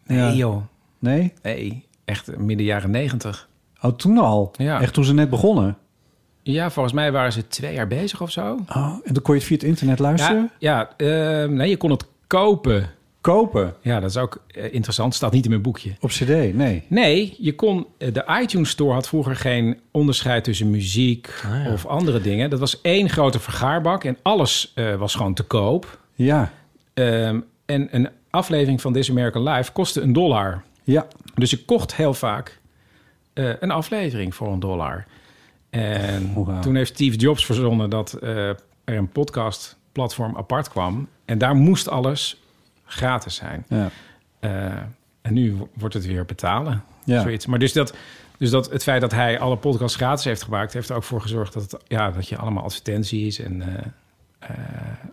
A: nee
B: ja.
A: joh.
B: Nee?
A: Nee, echt eh, midden jaren negentig.
B: Oh, toen al?
A: Ja.
B: Echt toen ze net begonnen?
A: Ja, volgens mij waren ze twee jaar bezig of zo.
B: Oh, en dan kon je het via het internet luisteren?
A: Ja, ja ehm, nee, je kon het kopen.
B: Kopen?
A: Ja, dat is ook eh, interessant. Staat niet in mijn boekje.
B: Op cd? Nee.
A: Nee, je kon, eh, de iTunes Store had vroeger geen onderscheid tussen muziek of andere dingen. Dat was één grote vergaarbak en alles eh, was gewoon te koop.
B: Ja.
A: Ehm, en een aflevering van This American Life kostte een dollar.
B: Ja.
A: Dus ik kocht heel vaak eh, een aflevering voor een dollar. En
B: Wauw.
A: toen heeft Steve Jobs verzonnen dat eh, er een podcastplatform apart kwam. En daar moest alles gratis zijn.
B: Ja.
A: Eh, en nu wo- wordt het weer betalen.
B: Ja.
A: Zoiets. Maar dus, dat, dus dat het feit dat hij alle podcasts gratis heeft gemaakt... heeft er ook voor gezorgd dat, het, ja, dat je allemaal advertenties en eh, eh,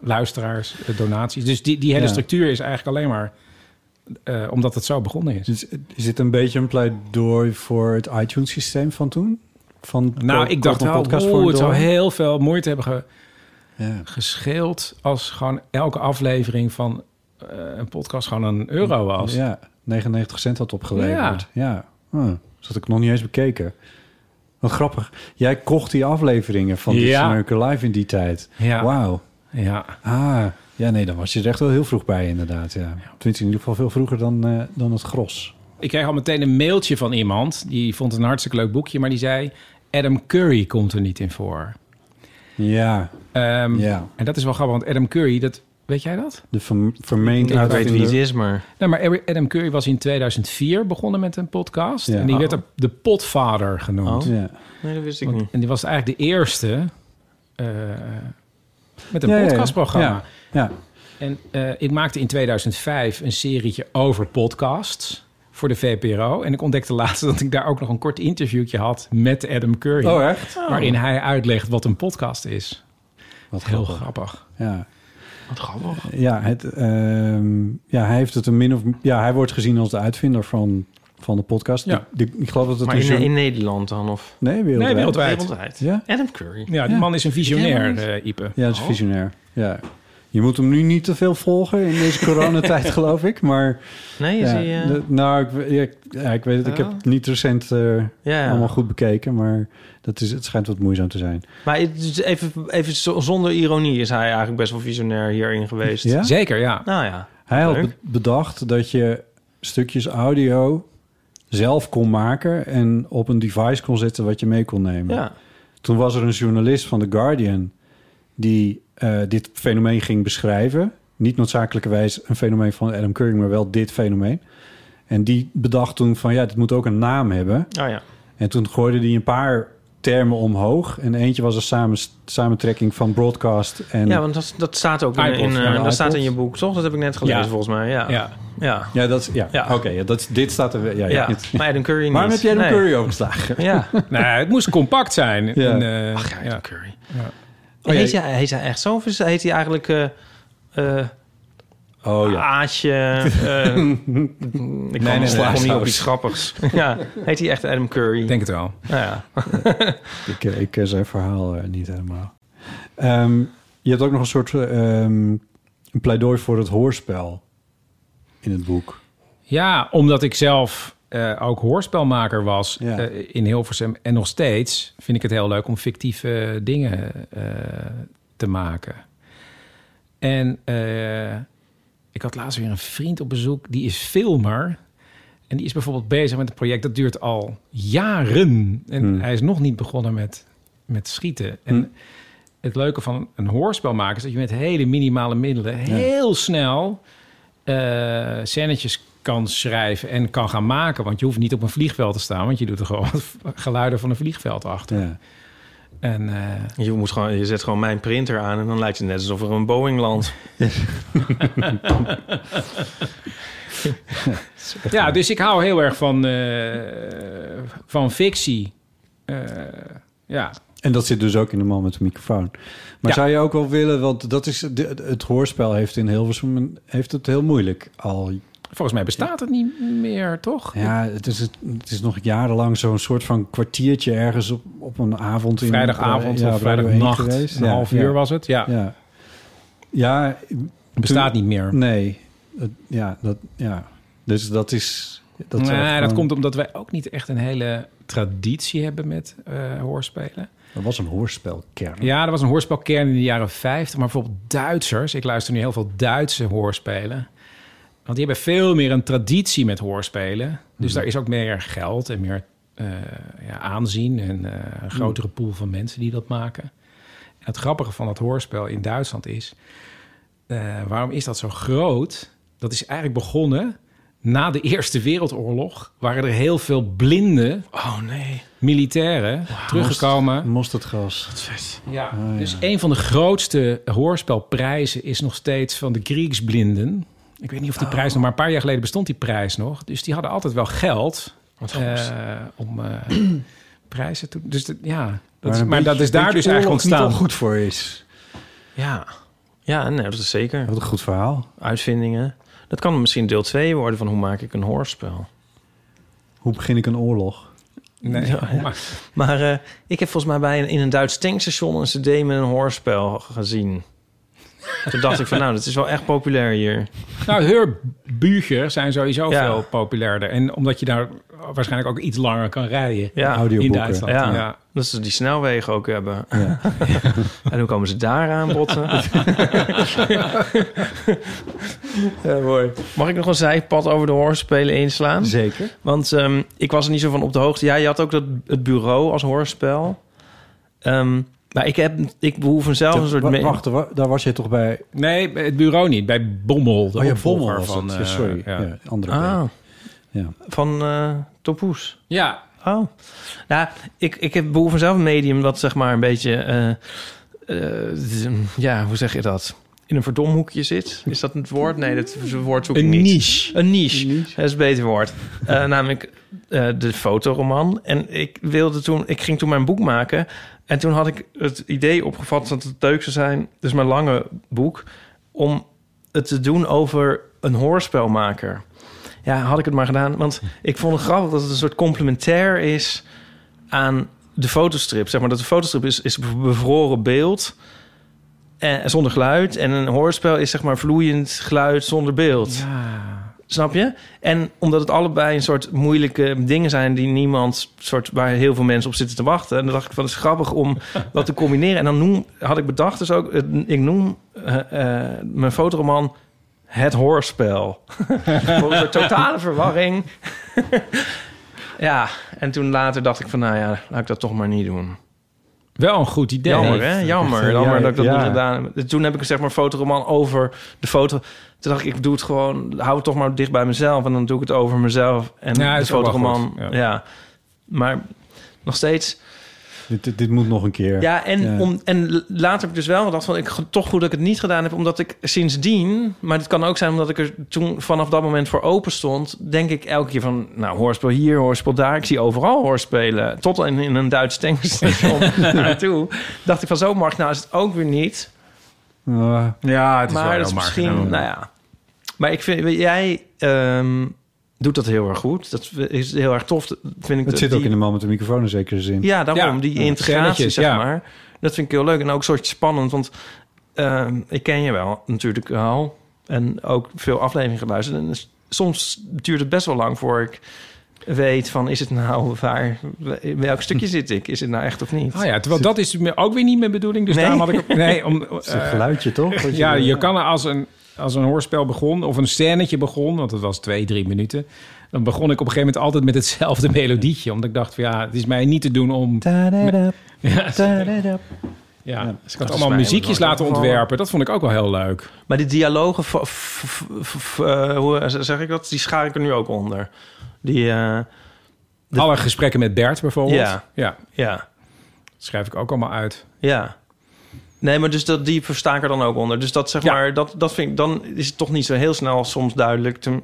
A: luisteraars, eh, donaties... Dus die, die hele
B: Ja.
A: structuur is eigenlijk alleen maar eh, omdat het zo begonnen is.
B: Dus is dit een beetje een pleidooi voor het iTunes-systeem van toen? Van
A: Nou,
B: ko-
A: ik dacht
B: koop een
A: wel,
B: podcast voor
A: oeh,
B: een
A: het zou
B: dollar?
A: heel veel moeite hebben ge-
B: Ja.
A: gescheeld... als gewoon elke aflevering van eh, een podcast gewoon een euro was.
B: Ja, 99 cent had opgeleverd. Ja. Hm, dat had ik nog niet eens bekeken. Wat grappig. Jij kocht die afleveringen van This
A: Ja.
B: American Live in die tijd.
A: Ja.
B: Wauw.
A: ja.
B: Ah, ja nee, dan was je er echt wel heel vroeg bij inderdaad. Ja. Tenminste, in ieder geval veel vroeger dan, eh, dan het gros.
A: Ik kreeg al meteen een mailtje van iemand. Die vond het een hartstikke leuk boekje, maar die zei... Adam Curry komt er niet in voor.
B: Ja,
A: Ehm,
B: ja.
A: En dat is wel grappig, want Adam Curry, dat, weet jij dat?
B: De verm- vermeend
C: ik weet wie het
B: uitvinder.
C: is, maar...
A: Nou, maar Adam Curry was in 2004 begonnen met een podcast.
B: Ja.
A: En die werd
C: Oh.
A: de, de potvader genoemd.
C: Oh.
B: Ja.
C: Nee, dat wist ik
A: Want-
C: niet.
A: en die was eigenlijk de eerste eh, met een
B: Ja, ja, ja.
A: podcastprogramma.
B: Ja. Ja.
A: En eh, ik maakte in 2005 een serietje over podcasts voor de VPRO. En ik ontdekte laatst dat ik daar ook nog een kort interviewtje had met Adam Curry.
B: Oh, echt?
A: Waarin hij uitlegt wat een podcast is.
B: Wat
A: Heel grappig.
B: Ja.
C: Wat grappig.
B: Ja, het, ehm, ja, hij heeft het een min of ja, hij wordt gezien als de uitvinder van, van de podcast.
A: Ja.
B: Die- die- ik geloof dat het dus
C: Maar
B: een
C: in,
B: jour-
C: in Nederland dan, of...
B: nee, wereldwijd.
A: Nee, wereldwijd.
C: Wereldwijd.
B: Ja?
C: Adam Curry.
A: Ja, die
B: Ja.
A: man is een visionair,
C: helemaal
A: eh, Ipe.
B: Ja, dat is visionair. Ja. Je moet hem nu niet te veel volgen in deze coronatijd, geloof ik. Maar
C: Nee, is
B: ja,
C: hij... eh,
B: de- nou, ik, we- ja, ik, ja, ik weet het. Ik heb het niet recent eh,
C: Oh. ja, ja.
B: allemaal goed bekeken, maar dat is, het schijnt wat moeizaam te zijn.
C: Maar het is even, even zo- zonder ironie is hij eigenlijk best wel visionair hierin geweest.
B: Ja?
A: Zeker, ja.
C: Nou ja.
B: Hij had
C: Leuk.
B: be- bedacht dat je stukjes audio zelf kon maken en op een device kon zetten wat je mee kon nemen.
C: Ja.
B: Toen was er een journalist van The Guardian die eh, dit fenomeen ging beschrijven. Niet noodzakelijkerwijs een fenomeen van Adam Curry, maar wel dit fenomeen. En die bedacht toen van ja, dit moet ook een naam hebben.
C: Oh ja.
B: En toen gooide hij een paar termen omhoog. En eentje was een samen, samentrekking van broadcast en...
C: Ja, want dat, dat staat ook in,
A: iPod,
C: in, eh,
A: ja,
C: dat
B: iPod.
C: staat in je boek, toch? Dat heb ik net gelezen,
A: Ja.
C: volgens mij. Ja. Ja.
A: Ja.
C: ja.
B: Ja, dat is... Ja,
C: Ja.
B: oké. ja, dat is- dit staat er... Ja, ja. Dit-
C: Maar Adam Curry niet.
B: Waarom heb jij de
C: Nee.
B: curry
C: [laughs]
B: overgeslagen?
C: Ja.
A: Nee, Nou, het moest compact zijn.
B: Ja.
A: En, eh,
C: Ach, ja, Adam
A: ja.
C: Curry.
B: Oh,
C: heet,
B: ja.
C: hij, heet hij echt zo? Of is- heet hij eigenlijk... eh eh,
B: Oh ja. [laughs]
C: Aasje. eh, ik
B: nee,
C: kan
B: nee,
C: nee, nee, niet
B: saus.
C: op iets grappigs. ja, heet hij echt Adam Curry?
A: Ik denk het wel.
C: Nou ja.
B: Ik, eh, ik ken zijn verhaal eh, niet helemaal. Ehm, je hebt ook nog een soort eh, ehm, een pleidooi voor het hoorspel in het boek.
A: Ja, omdat ik zelf eh, ook hoorspelmaker was
B: Ja.
A: eh, in Hilversum. En nog steeds vind ik het heel leuk om fictieve dingen eh, te maken. En eh, ik had laatst weer een vriend op bezoek, die is filmer. En die is bijvoorbeeld bezig met een project dat duurt al jaren. En
B: Hmm.
A: hij is nog niet begonnen met, met schieten. En
B: Hmm.
A: het leuke van een hoorspel maken is dat je met hele minimale middelen heel snel eh scènetjes kan schrijven en kan gaan maken. Want je hoeft niet op een vliegveld te staan, want je doet er gewoon wat [laughs] geluiden van een vliegveld achter.
B: Ja.
A: En eh,
C: Je, moet gewoon, je zet gewoon mijn printer aan en dan lijkt het net alsof er een Boeing landt.
A: Ja, dus ik hou heel erg van, eh, van fictie. Eh, ja.
B: En dat zit dus ook in de man met de microfoon. Maar
A: Ja.
B: zou je ook wel willen, want dat is, de- het hoorspel heeft in Hilversum een- heeft het heel moeilijk al.
A: Volgens mij bestaat het niet meer, toch?
B: Ja, het is, het is nog jarenlang zo'n soort van kwartiertje ergens op, op een avond. In,
A: Vrijdagavond
B: eh, ja,
A: of
B: Radio 1
A: vrijdagnacht.
B: geweest.
A: Een
B: Ja,
A: half
B: ja,
A: uur was het. Ja,
B: Ja, ja
A: het bestaat niet meer.
B: Nee. Dat- ja, dat, ja, dus dat is... Dat zou
A: nee, dat
B: gewoon-
A: komt omdat wij ook niet echt een hele traditie hebben met eh, hoorspelen.
B: Dat was een hoorspelkern.
A: Ja, er was een hoorspelkern in de jaren 50. Maar bijvoorbeeld Duitsers. Ik luister nu heel veel Duitse hoorspelen. Want die hebben veel meer een traditie met hoorspelen. Dus daar is ook meer geld en meer eh, ja, aanzien. En eh, een grotere pool van mensen die dat maken. En het grappige van dat hoorspel in Duitsland is... eh, waarom is dat zo groot? Dat is eigenlijk begonnen na de Eerste Wereldoorlog. Waren er heel veel blinde
C: Oh nee.
A: militairen teruggekomen.
B: Mosterdgas.
A: Ja,
B: Ah,
A: dus
B: ja.
A: een van de grootste hoorspelprijzen is nog steeds van de Grieksblinden. Ik weet niet of die
B: Oh.
A: prijs nog, maar een paar jaar geleden bestond die prijs nog. Dus die hadden altijd wel geld eh, om eh,
B: [clears throat]
A: prijzen te... Dus dat- ja, dat is,
B: een
A: maar dat
B: beetje-
A: is daar
B: beetje
A: dus
B: oorlog
A: eigenlijk
B: niet
A: ontstaan.
B: al goed voor is.
C: Ja. Ja, nee, dat is zeker.
B: Wat een goed verhaal.
C: Uitvindingen. Dat kan misschien deel 2 worden van hoe maak ik een hoorspel.
B: Hoe begin ik een oorlog?
A: Nee,
C: Ja, ja.
A: maar-
C: Maar eh, ik heb volgens mij bij een, in een Duits tankstation een cd met een hoorspel gezien. Toen dacht ik van, nou, dat is wel echt populair hier.
A: Nou, heurbugen zijn sowieso
C: Ja.
A: veel populairder. En omdat je daar waarschijnlijk ook iets langer kan rijden
C: Ja,
B: Audioboeken.
A: in Duitsland.
C: Ja.
A: ja.
C: dat ze die snelwegen ook hebben.
B: Ja.
C: [laughs] En hoe komen ze daar aan botten? ja, mooi. Mag ik nog een zijpad over de hoorspelen inslaan?
B: Zeker.
C: Want ehm, ik was er niet zo van op de hoogte. Ja, je had ook dat, het bureau als hoorspel. Ehm, maar ik, heb, ik behoef mezelf een soort...
B: Wa-
C: me-
B: Wacht, wa- daar was je toch bij...
A: Nee, bij het bureau niet. Bij Bommel, de
B: Oh ja,
A: opvolger
B: Bommel was
A: van...
B: het.
A: eh,
B: Sorry,
A: ja.
B: ja. andere
C: Ah,
B: band. Ja.
C: van eh Topoes.
A: ja,
C: Oh. Nou, ik, ik heb behoefte zelf een medium dat zeg maar een beetje... eh, eh, z- ja, hoe zeg je dat? In een verdomhoekje zit. Is dat het woord? Nee, dat woord zoek ik
A: een
C: niet.
A: niche.
C: Een niche. Dat is een beter woord. Eh, namelijk eh, de fotoroman. En ik wilde toen, ik ging toen mijn boek maken. En toen had ik het idee opgevat dat het leuk zou zijn, dus mijn lange boek, om het te doen over een hoorspelmaker. Ja, had ik het maar gedaan. Want ik vond het grappig dat het een soort complementair is aan de fotostrip. Zeg maar dat de fotostrip is, is bevroren beeld. En, zonder geluid. En een hoorspel is zeg maar vloeiend geluid zonder beeld.
A: Ja.
C: Snap je? En omdat het allebei een soort moeilijke dingen zijn die niemand, soort waar heel veel mensen op zitten te wachten. En dan dacht ik van, het is grappig om dat te combineren. En dan noem, had ik bedacht dus ook, eh, ik noem eh, eh, mijn fotoroman het hoorspel. [laughs] Voor een soort totale verwarring. [laughs] ja, en toen later dacht ik van, nou ja, laat ik dat toch maar niet doen.
A: Wel een goed idee.
C: Jammer, hè? Jammer,
B: Ja,
C: jammer dat ik dat
B: ja.
C: niet gedaan heb. Dus Toen heb ik zeg maar een fotoroman over de foto. Toen dacht ik, ik doe het gewoon, hou het toch maar dicht bij mezelf. En dan doe ik het over mezelf en
A: Ja,
C: de
A: is ook wel
C: fotoroman.
A: goed,
C: Ja.
A: ja.
C: Maar nog steeds.
B: Dit, dit, dit moet nog een keer.
C: Ja, en,
B: Ja.
C: Om, en l- later heb ik dus wel gedacht van... ik ge- toch goed dat ik het niet gedaan heb, omdat ik sindsdien... maar het kan ook zijn omdat ik er toen vanaf dat moment voor open stond... denk ik elke keer van, nou, hoorspel hier, hoorspel daar. Ik zie overal hoorspelen. Tot en in een
B: [laughs]
C: Duits tankstation [laughs] naartoe. Dacht ik van, zo mag ik nou is het ook weer niet.
B: Eh,
E: Ja, het is wel
C: maar
E: heel
C: dat is misschien,
E: marginaal.
C: nou ja. Maar ik vind, jij ehm, doet dat heel erg goed. Dat is heel erg tof, dat vind ik.
B: het
C: de-
B: zit ook
C: die-
B: in de man met de microfoon in zekere zin.
C: ja, daarom.
A: Ja,
C: die
A: ja,
C: integratie,
A: scènetjes,
C: zeg
A: ja.
C: maar. Dat vind ik heel leuk. En ook een soort spannend, want ehm, ik ken je wel natuurlijk al. En ook veel afleveringen geluisterd. En s- soms duurt het best wel lang voor ik weet van... is het nou [laughs] waar? In Welk stukje zit ik? Is het nou echt of niet?
A: Ah Hm. ja, terwijl dat is me- ook weer niet mijn bedoeling. Dus
C: Nee?
A: daarom had ik... Nee,
C: [laughs]
A: om,
B: Het is een
A: eh,
B: geluidje,
A: [laughs]
B: toch? Wat
A: ja,
B: doet.
A: je kan er als een, als een hoorspel begon... of een scènetje begon, want het was twee, drie minuten... dan begon ik op een gegeven moment altijd met hetzelfde [laughs] melodietje. Omdat ik dacht van ja, het is mij niet te doen om...
B: Tadadap,
A: Ja,
B: tadadap.
A: ja.
B: Ja,
A: Dus ik had
C: dat is
A: allemaal
C: mij
A: muziekjes
C: nooit
A: laten
C: opgevallen.
A: ontwerpen. Dat vond ik ook wel heel leuk.
C: Maar die dialogen... v- v- v- v- eh, hoe zeg ik dat? Die schaar ik er nu ook onder. Die... eh, De-
A: Alle gesprekken met Bert bijvoorbeeld.
C: Ja.
A: ja.
C: ja.
A: Schrijf ik ook allemaal uit.
C: Ja. Nee, maar dus dat, die versta ik er dan ook onder. Dus dat zeg
A: Ja.
C: maar, dat, dat vind ik, dan is het toch niet zo heel snel soms duidelijk te,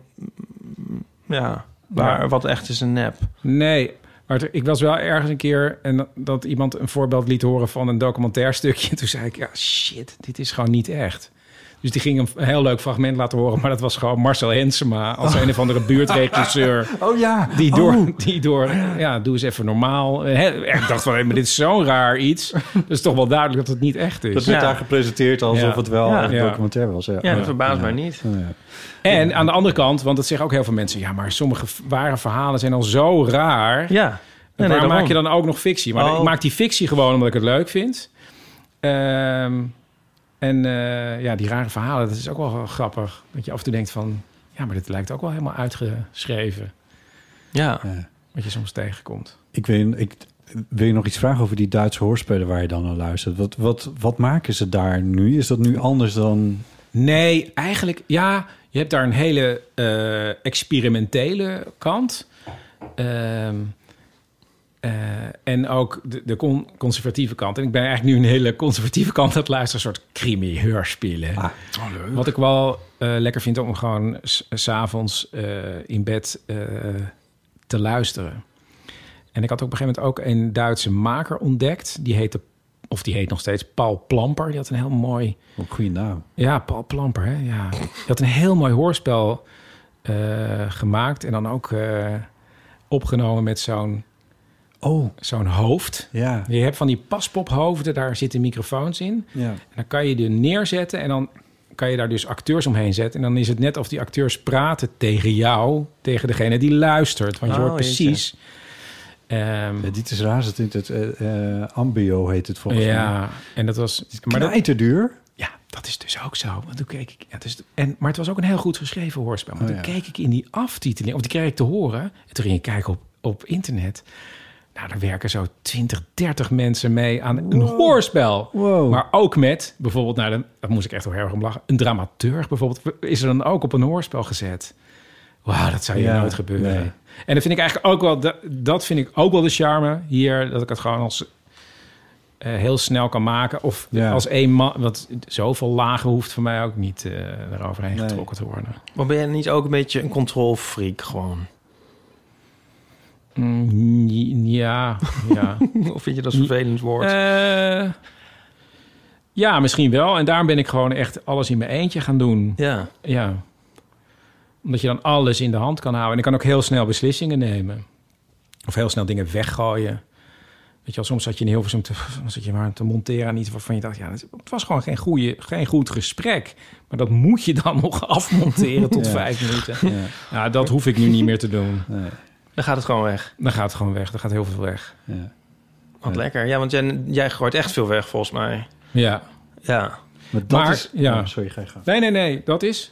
C: mm, ja, waar,
A: Ja.
C: wat echt is een nep.
A: Nee, maar er- ik was wel ergens een keer... en dat- dat iemand een voorbeeld liet horen van een documentair stukje. [laughs] En toen zei ik, ja shit, dit is gewoon niet echt. Dus die ging een f- heel leuk fragment laten horen... maar dat was gewoon Marcel Hensema als een of andere buurtregisseur...
B: [laughs] Oh ja,
A: Die door, die door, ja, doe eens even normaal. Hè, Ik dacht van, hé, maar dit is zo'n raar
B: [laughs]
A: iets. Dus is toch wel duidelijk dat het niet echt is.
B: dat werd
C: Ja.
B: daar gepresenteerd alsof
A: Ja.
B: het wel
C: Ja.
B: echt
A: Ja.
B: documentair was. Ja,
C: Ja, dat verbaast mij niet.
B: Oh, Ja, ja.
A: En aan de andere kant, want dat zeggen ook heel veel mensen... ja, maar sommige v- ware verhalen zijn al zo raar. En
C: Ja. Nee, nee,
A: waarom
C: daarom.
A: maak je dan ook nog fictie? Maar
C: Oh.
A: ik maak die fictie gewoon omdat ik het leuk vind. Ehm, en eh, ja, die rare verhalen, dat is ook wel grappig. Dat je af en toe denkt van... ja, maar dit lijkt ook wel helemaal uitgeschreven.
C: Ja.
A: Wat je soms tegenkomt.
B: Ik, weet, ik wil je nog iets vragen over die Duitse hoorspelen waar je dan naar luistert. Wat, wat, wat maken ze daar nu? Is dat nu anders dan...
A: Nee, eigenlijk, ja, je hebt daar een hele eh, experimentele kant. Ehm, eh, en ook de, de con- conservatieve kant. En ik ben eigenlijk nu een hele conservatieve kant aan het luisteren, een soort crimi-heurspelen. Wat ik wel eh, lekker vind om gewoon s- s'avonds eh in bed eh, te luisteren. En ik had op een gegeven moment ook een Duitse maker ontdekt. Die heette, of die heet nog steeds Paul Plamper. Die had een heel mooi
B: Wat goede naam.
A: ja, Paul Plamper. Hè? Ja. Die had een heel mooi hoorspel eh, gemaakt. En dan ook eh, opgenomen met zo'n
B: Oh,
A: zo'n hoofd.
B: ja.
A: Je hebt van die paspophoofden, daar zitten microfoons in.
B: ja.
A: En dan kan je die neerzetten en dan kan je daar dus acteurs omheen zetten. En dan is het net of die acteurs praten tegen jou, tegen degene die luistert. Want je
C: Oh,
A: hoort
C: jeetje.
A: precies. Ehm,
B: Ja, Dit is raar. Het, het, het, eh, eh, ambio heet het volgens mij.
A: ja, en dat was. Nou,
B: Maar
A: Maar dat,
B: duur.
A: Ja, dat is dus ook zo. Want toen keek ik. Ja, dus, en, maar het was ook een heel goed geschreven hoorspel. Maar
B: Oh,
A: toen
B: ja.
A: keek ik in die aftiteling, of die kreeg ik te horen. En toen ging ik kijken op, op internet. Nou, daar werken zo 20, 30 mensen mee aan een hoorspel.
B: Wow.
A: Maar ook met bijvoorbeeld, nou, dan, daar moest ik echt wel heel erg om lachen. Een dramaturg bijvoorbeeld is er dan ook op een hoorspel gezet. Wauw, dat zou hier
B: Ja,
A: nooit gebeuren.
B: nee.
A: En dat vind ik eigenlijk ook wel, dat, dat vind ik ook wel de charme hier, dat ik het gewoon als eh, heel snel kan maken. Of
B: Ja.
A: als één man, want zoveel lagen hoeft voor mij ook niet eh eroverheen
B: Nee.
A: getrokken te worden.
C: Maar ben je niet ook een beetje een control freak gewoon?
A: Mm, ja,
B: [laughs]
A: ja.
C: [laughs] Of vind je dat een vervelend woord?
A: Eh, ja, misschien wel. En daarom ben ik gewoon echt alles in mijn eentje gaan doen.
C: ja.
A: Ja. Omdat je dan alles in de hand kan houden. En ik kan ook heel snel beslissingen nemen. Of heel snel dingen weggooien. Weet je wel, soms zat je in Hilversum te, dan zat je maar te monteren aan iets waarvan je dacht... ja, dat- het was gewoon geen, goede, geen goed gesprek. Maar dat moet je dan [laughs] nog afmonteren tot [laughs]
B: Ja.
A: vijf minuten.
B: Ja.
A: Ja, dat hoef ik nu niet meer te doen.
B: Nee,
C: Dan gaat het gewoon weg.
A: Dan gaat het gewoon weg. Dan gaat heel veel weg.
B: ja.
C: Wat lekker. Ja, want jij, jij gooit echt veel weg volgens mij.
A: Ja.
C: Ja.
B: Maar dat
A: Maar,
B: is...
A: ja.
B: Oh, sorry, ga je gang.
A: Nee, nee, nee. Dat is...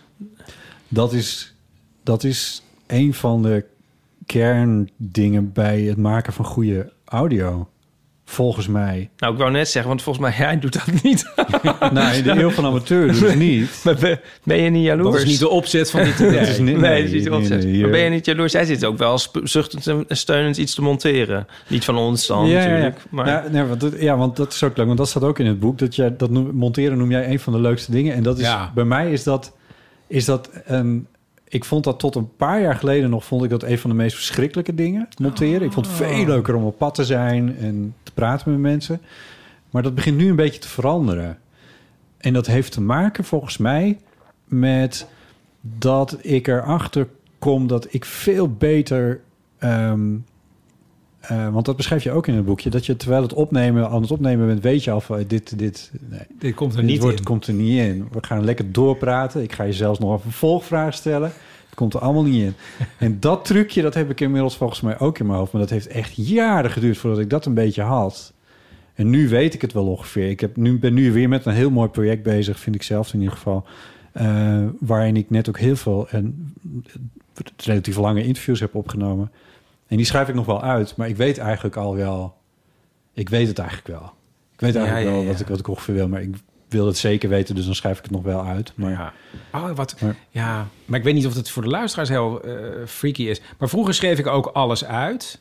B: Dat is, dat is een van de kerndingen bij het maken van goede audio. Volgens mij.
C: Nou, ik wou net zeggen, want volgens mij, [laughs] jij doet dat niet.
B: nee, Nou, de eeuw van amateur doet het niet.
C: Maar ben, ben je niet jaloers?
A: Dat is niet de opzet van dit idee.
B: Dat is niet-
C: Nee, dat is niet
B: nee,
C: wat ze-
B: nee, hier-
C: Maar ben je niet jaloers? Zij zit ook wel sp- zuchtend en steunend iets te monteren. Niet van ons dan natuurlijk. Maar
A: Nou,
B: Ja, nee, want dat, ja, want dat is ook leuk. Want dat staat ook in het boek. Dat, jij, dat noem- monteren noem jij een van de leukste dingen. En dat is,
A: Ja.
B: bij mij is dat, is dat een... Ik vond dat tot een paar jaar geleden nog... vond ik dat een van de meest verschrikkelijke dingen. Monteren. Ik vond het
C: Oh.
B: veel leuker om op pad te zijn... en te praten met mensen. Maar dat begint nu een beetje te veranderen. En dat heeft te maken volgens mij met dat ik erachter kom dat ik veel beter. ehm, eh, want dat beschrijf je ook in het boekje. Dat je terwijl het opnemen, aan het opnemen bent, weet je al van eh, dit, dit, nee,
A: [laughs] Dit komt er
B: dit
A: niet
B: woord
A: in.
B: komt er niet in. We gaan lekker doorpraten. Ik ga je zelfs nog een vervolgvraag stellen. Het komt er allemaal niet in. En dat trucje, dat heb ik inmiddels volgens mij ook in mijn hoofd. Maar dat heeft echt jaren geduurd voordat ik dat een beetje had. En nu weet ik het wel ongeveer. Ik heb nu, ben nu weer met een heel mooi project bezig, vind ik zelf in ieder geval. Eh, waarin ik net ook heel veel en eh, relatief lange interviews heb opgenomen. En die schrijf ik nog wel uit, maar ik weet eigenlijk al wel. Ik weet het eigenlijk wel. Ik weet
C: Ja,
B: eigenlijk
C: ja,
B: wel
C: ja.
B: Wat, ik, wat ik ongeveer wil, maar ik wil het zeker weten, dus dan schrijf ik het nog wel uit. Maar
A: Ja. Oh, wat,
B: Maar-
A: ja. Maar ik weet niet of het voor de luisteraars heel eh, freaky is. Maar vroeger schreef ik ook alles uit.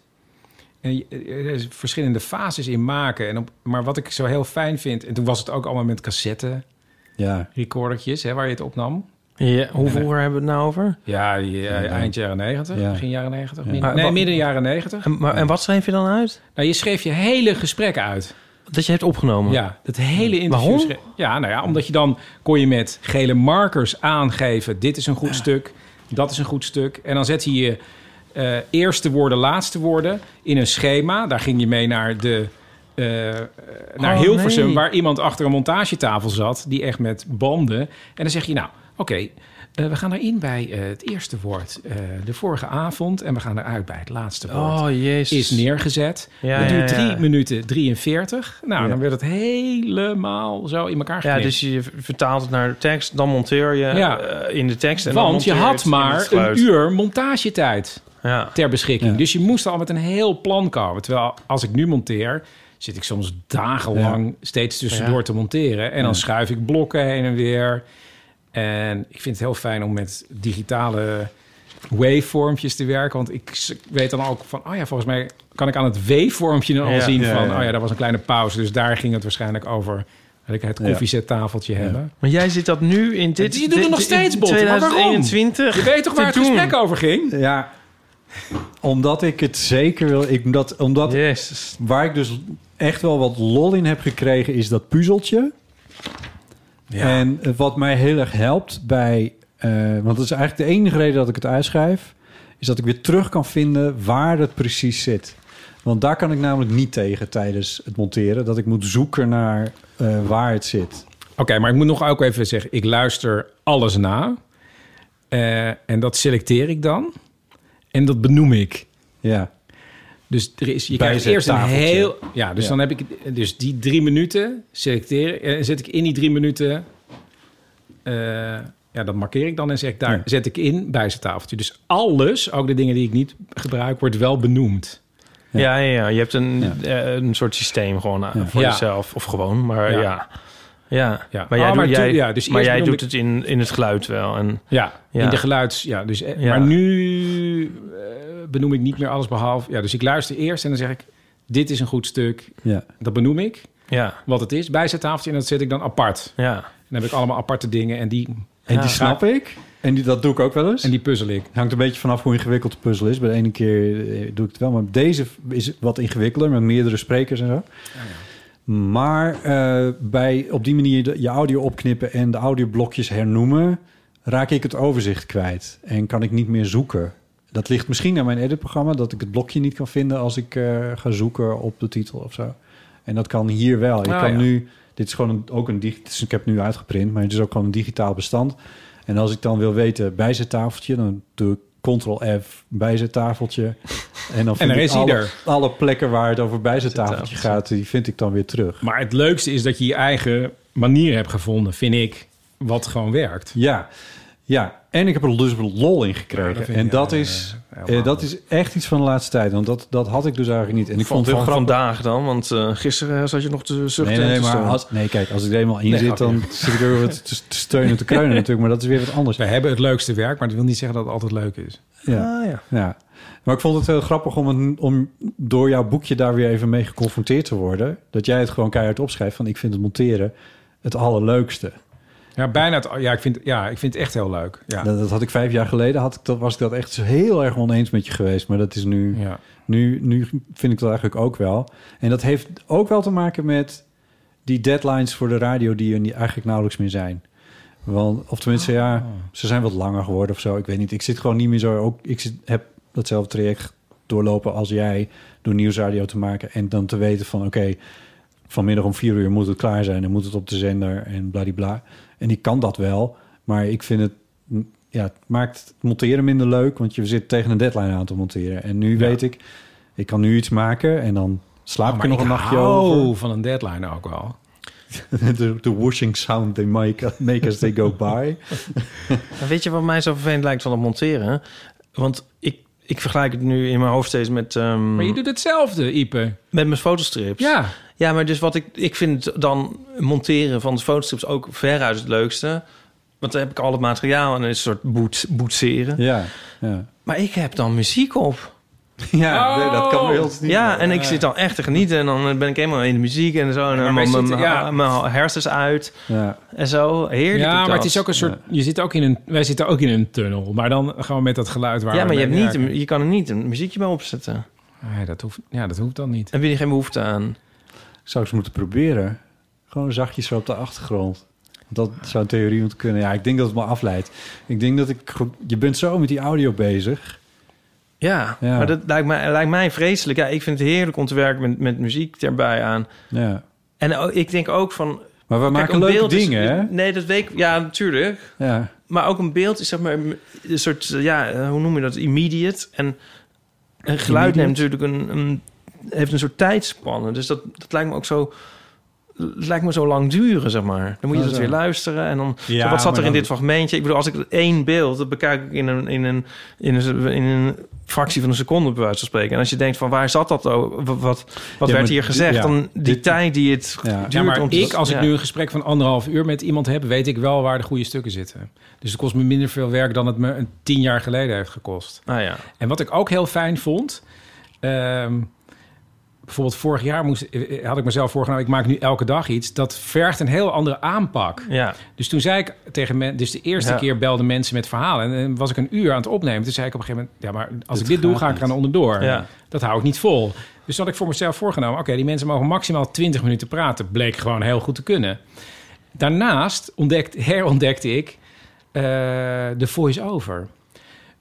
A: En je- er is verschillende fases in maken. En op, maar wat ik zo heel fijn vind... En toen was het ook allemaal met cassette
B: ja,
A: recordertjes, hè, waar je het opnam.
C: ja, hoe vroeger hebben we het nou over?
A: Ja, die, eh,
B: Ja.
A: eind jaren negentig,
B: Ja.
A: begin jaren negentig.
B: Ja.
A: midden-
C: Maar
A: Nee,
C: wat-
A: midden jaren negentig.
C: En, maar, en wat schreef je dan uit?
A: Nou, je schreef je hele gesprek uit.
C: Dat je hebt opgenomen.
A: Ja, dat hele interview.
C: Waarom?
A: schreef- Ja, nou ja, omdat je dan kon je met gele markers aangeven... dit is een goed stuk, dat is een goed stuk. En dan zette je eh, eerste woorden, laatste woorden in een schema. Daar ging je mee naar de... eh, naar
C: Oh,
A: Hilversum,
C: nee.
A: waar iemand achter een montagetafel zat, die echt met banden. En dan zeg je, nou, oké, eh, we gaan erin bij eh, het eerste woord eh, de vorige avond en we gaan eruit bij het laatste woord
C: Oh, jezus.
A: is neergezet.
C: Ja,
A: dat
C: ja,
A: duurt 3
C: ja.
A: minuten 43. Nou,
B: Ja.
A: dan werd het helemaal zo in elkaar
C: Ja,
A: geknipt.
C: dus je vertaalt het naar de tekst, dan monteer je
A: Ja.
C: eh, in de tekst. En dan
A: Want je
C: monteer
A: had
C: het in het
A: maar
C: geluid.
A: een uur montagetijd
C: Ja.
A: ter beschikking.
B: Ja.
A: Dus je moest al met een heel plan komen. Terwijl als ik nu monteer, zit ik soms dagenlang steeds tussendoor
C: Ja.
A: te monteren. En dan schuif ik blokken heen en weer. En ik vind het heel fijn om met digitale wavevormpjes te werken. Want ik s- weet dan ook van, oh ja, volgens mij kan ik aan het wavevormpje dan al
C: Ja.
A: zien
B: Ja,
A: van,
B: ja.
A: oh ja, daar was een kleine pauze. Dus daar ging het waarschijnlijk over. Dat ik het
B: Ja.
A: koffiezettafeltje hebben.
C: Maar jij zit dat nu in dit...
A: Je doet het
C: dit-
A: nog steeds,
C: in
A: Bot. Maar waarom?
C: 2021.
A: Je weet toch waar het
C: doen.
A: gesprek over ging?
B: ja omdat ik het zeker wil. Ik, omdat, omdat
C: Jezus.
B: Waar ik dus echt wel wat lol in heb gekregen, is dat puzzeltje. En eh, wat mij heel erg helpt bij. eh, want dat is eigenlijk de enige reden dat ik het uitschrijf. Is dat ik weer terug kan vinden waar het precies zit. Want daar kan ik namelijk niet tegen tijdens het monteren. Dat ik moet zoeken naar eh, waar het zit.
A: Oké, maar ik moet nog ook even zeggen, ik luister alles na. Eh, en dat selecteer ik dan. En dat benoem ik.
B: Ja,
A: Dus er is, je
B: Bij
A: krijgt
B: het
A: eerst een
B: tafeltje.
A: heel... Ja, dus
B: Ja.
A: dan heb ik dus die drie minuten selecteren. En zet ik in die drie minuten... eh, ja, dat markeer ik dan en zeg ik daar
B: Ja.
A: zet ik in bij zijn tafeltje. Dus alles, ook de dingen die ik niet gebruik, wordt wel benoemd.
C: Ja, ja, ja. Je hebt een,
B: Ja.
C: eh, een soort systeem gewoon eh,
B: Ja.
C: voor
A: Ja.
C: jezelf. Of gewoon, maar
A: Ja.
C: ja. Ja.
A: Ja.
C: maar jij,
A: Oh, maar
C: doet,
A: toen-
C: jij,
A: ja, dus
C: maar
A: eerst
C: jij
A: bedoel
C: doet
A: ik-
C: het in, in het geluid wel. En,
A: Ja,
C: Ja.
A: in de geluids... Ja, dus, eh,
C: Ja.
A: Maar nu eh, benoem ik niet meer alles behalve... Ja, dus ik luister eerst en dan zeg ik... Dit is een goed stuk.
B: ja.
A: Dat benoem ik,
C: ja,
A: wat het is, bij zijn tafeltje. En dat zet ik dan apart.
C: ja.
A: Dan heb ik allemaal aparte dingen en die,
B: En
C: Ja.
B: die snap ik. En die, dat doe ik ook wel eens.
A: en die puzzel ik.
B: Het hangt een beetje vanaf hoe ingewikkeld de puzzel is. Bij de ene keer eh, doe ik het wel, maar deze is wat ingewikkelder met meerdere sprekers en zo. Maar eh, bij, op die manier de- je audio opknippen en de audioblokjes hernoemen, raak ik het overzicht kwijt en kan ik niet meer zoeken. Dat ligt misschien aan mijn editprogramma, dat ik het blokje niet kan vinden als ik eh, ga zoeken op de titel of zo. En dat kan hier wel. Ik
A: Ah,
B: kan
A: ja.
B: nu, dit is gewoon een, ook een digi- het is- ik heb het nu uitgeprint, maar het is ook gewoon een digitaal bestand. En als ik dan wil weten bij zijn tafeltje, dan doe ik Ctrl-F bij zijn tafeltje. En dan vind
A: er
B: ik
A: is hij
B: alle,
A: er.
B: alle plekken waar het over bij zijn tafeltje
C: Tafeltje.
B: gaat, die vind ik dan weer terug.
A: Maar het leukste is dat je je eigen manier hebt gevonden, vind ik, wat gewoon werkt.
B: Ja, ja. En ik heb er dus lol in gekregen.
A: Ja, dat vind
B: en
A: ik,
B: dat,
A: eh,
B: is,
A: helemaal
B: eh, dat is echt iets van de laatste tijd. Want dat, dat had ik dus eigenlijk niet. En ik
C: van,
B: vond het heel
C: van
B: grappig.
C: vandaag dan, want eh, gisteren zat je nog te zuchten.
B: Nee, nee,
C: en te
B: maar
C: stomen.
B: als, nee, kijk, als ik er eenmaal in
A: Nee,
B: zit,
A: grapje.
B: dan zit ik er weer wat te, te steunen en te kreunen [laughs] natuurlijk. Maar dat is weer wat anders.
A: We hebben het leukste werk, maar dat wil niet zeggen dat het altijd leuk is.
B: Ja.
C: Ah, ja.
B: Ja. Maar ik vond het heel grappig om, een, om door jouw boekje daar weer even mee geconfronteerd te worden. Dat jij het gewoon keihard opschrijft van ik vind het monteren het allerleukste.
A: Ja, bijna. Het, ja, ik vind, ja, ik vind het echt heel leuk. Ja.
B: Dat, dat had ik vijf jaar geleden, had ik, dat, was ik dat echt heel erg oneens met je geweest. Maar dat is nu,
A: ja.
B: nu, nu vind ik dat eigenlijk ook wel. En dat heeft ook wel te maken met die deadlines voor de radio die er niet- eigenlijk nauwelijks meer zijn. Want, of tenminste,
A: Ah.
B: ja, ze zijn wat langer geworden of zo. Ik weet niet. Ik zit gewoon niet meer zo. Ook, ik zit, heb datzelfde traject doorlopen als jij door nieuwsradio te maken. En dan te weten van oké, vanmiddag om vier uur moet het klaar zijn en moet het op de zender en bladibla. En ik kan dat wel, maar ik vind het, m, ja, het maakt het monteren minder leuk, want je zit tegen een deadline aan te monteren. En nu weet ik, ik kan nu iets maken en dan slaap
A: Oh,
B: ik
A: maar
B: er nog
A: ik
B: een nachtje
A: hou
B: over.
A: van een deadline ook wel.
B: [laughs] de, de whooshing sound they make, make as they go by.
C: Maar Weet je wat mij zo vervelend lijkt van het monteren? Want ik, ik vergelijk het nu in mijn hoofd steeds met, ehm,
B: Mm.
A: Maar je doet hetzelfde, Ipe.
C: met mijn fotostrips.
A: Ja.
C: Ja, maar dus wat ik, ik vind dan monteren van de fotostrips ook veruit het leukste. Want dan heb ik al het materiaal en een soort boet, boetseren.
B: [laughs] Ja, ja.
C: Maar ik heb dan muziek op. Oh.
B: ja
A: nee, dat kan wel.
C: Ja, en ik zit dan echt te genieten. En dan ben ik helemaal in de muziek en zo. En dan
A: maar je
C: mijn,
A: zit- ja.
C: mijn hersens uit
B: Ja,
C: en zo. Heerlijk.
A: Ja,
C: is
A: maar het
C: dat.
A: is ook een soort. Je zit ook in een. Wij zitten ook in een tunnel, maar dan gewoon met dat geluid waar.
C: Ja,
A: we
C: maar je, hebt
A: mee
C: niet,
A: werken.
C: een- je kan er niet een muziekje bij opzetten.
A: Nee, dat hoeft. Ja, dat hoeft dan niet.
C: Heb je er geen behoefte aan?
B: ik zou eens moeten proberen. Gewoon zachtjes zo op de achtergrond. Dat zou in theorie moeten kunnen. Ja, ik denk dat het me afleidt. Ik denk dat ik... ge- Je bent zo met die audio bezig.
C: Ja,
B: Ja.
C: maar dat lijkt mij, lijkt mij vreselijk. Ja, ik vind het heerlijk om te werken met, met muziek erbij aan.
B: Ja.
C: En ook- ik denk ook van...
B: Maar we
C: kijk,
B: maken
C: een
B: leuke
C: beeld is-
B: dingen, hè?
C: Nee, dat weet ik... Ja, natuurlijk.
B: Ja.
C: Maar ook een beeld is zeg maar een soort... eh, Ja, eh, hoe noem je dat? Immediate. En een geluid neemt natuurlijk een, een... Heeft een soort tijdspanne. Dus dat, dat lijkt me ook zo... Het lijkt me zo lang duren, zeg maar. Dan moet je
B: Oh,
C: dat
B: zo.
C: weer luisteren en dan...
B: Ja,
C: zo, wat zat
B: maar
C: er in
B: dan-
C: dit fragmentje? Ik bedoel, als ik één beeld... dat bekijk ik in een, in een, in een, in een fractie van een seconde, bij wijze van spreken. En als je denkt van, waar zat dat? over? Wat, wat
B: maar
C: werd hier
B: di-
C: gezegd?
B: ja,
C: dan die
B: dit-
C: tijd die het
B: Ja.
C: duurt
A: Ja,
C: om
A: maar
C: te-
A: ik, als ik
C: ja.
A: nu een gesprek van anderhalf uur met iemand heb, weet ik wel waar de goede stukken zitten. Dus het kost me minder veel werk dan het me een tien jaar geleden heeft gekost.
C: Ah ja.
A: En wat ik ook heel fijn vond. ehm, bijvoorbeeld vorig jaar moest, eh, had ik mezelf voorgenomen... ik maak nu elke dag iets. Dat vergt een heel andere aanpak.
C: Ja,
A: Dus toen zei ik tegen mensen... dus de eerste
C: Ja.
A: keer belden mensen met verhalen... en, en was ik een uur aan het opnemen. Toen zei ik op een gegeven moment... ja, maar als ik dit doe, ga ik eraan onderdoor.
C: Ja.
A: Dat hou ik niet vol. Dus had ik voor mezelf voorgenomen... oké, die mensen mogen maximaal 20 minuten praten. Bleek gewoon heel goed te kunnen. Daarnaast ontdekt, herontdekte ik eh, de voice-over.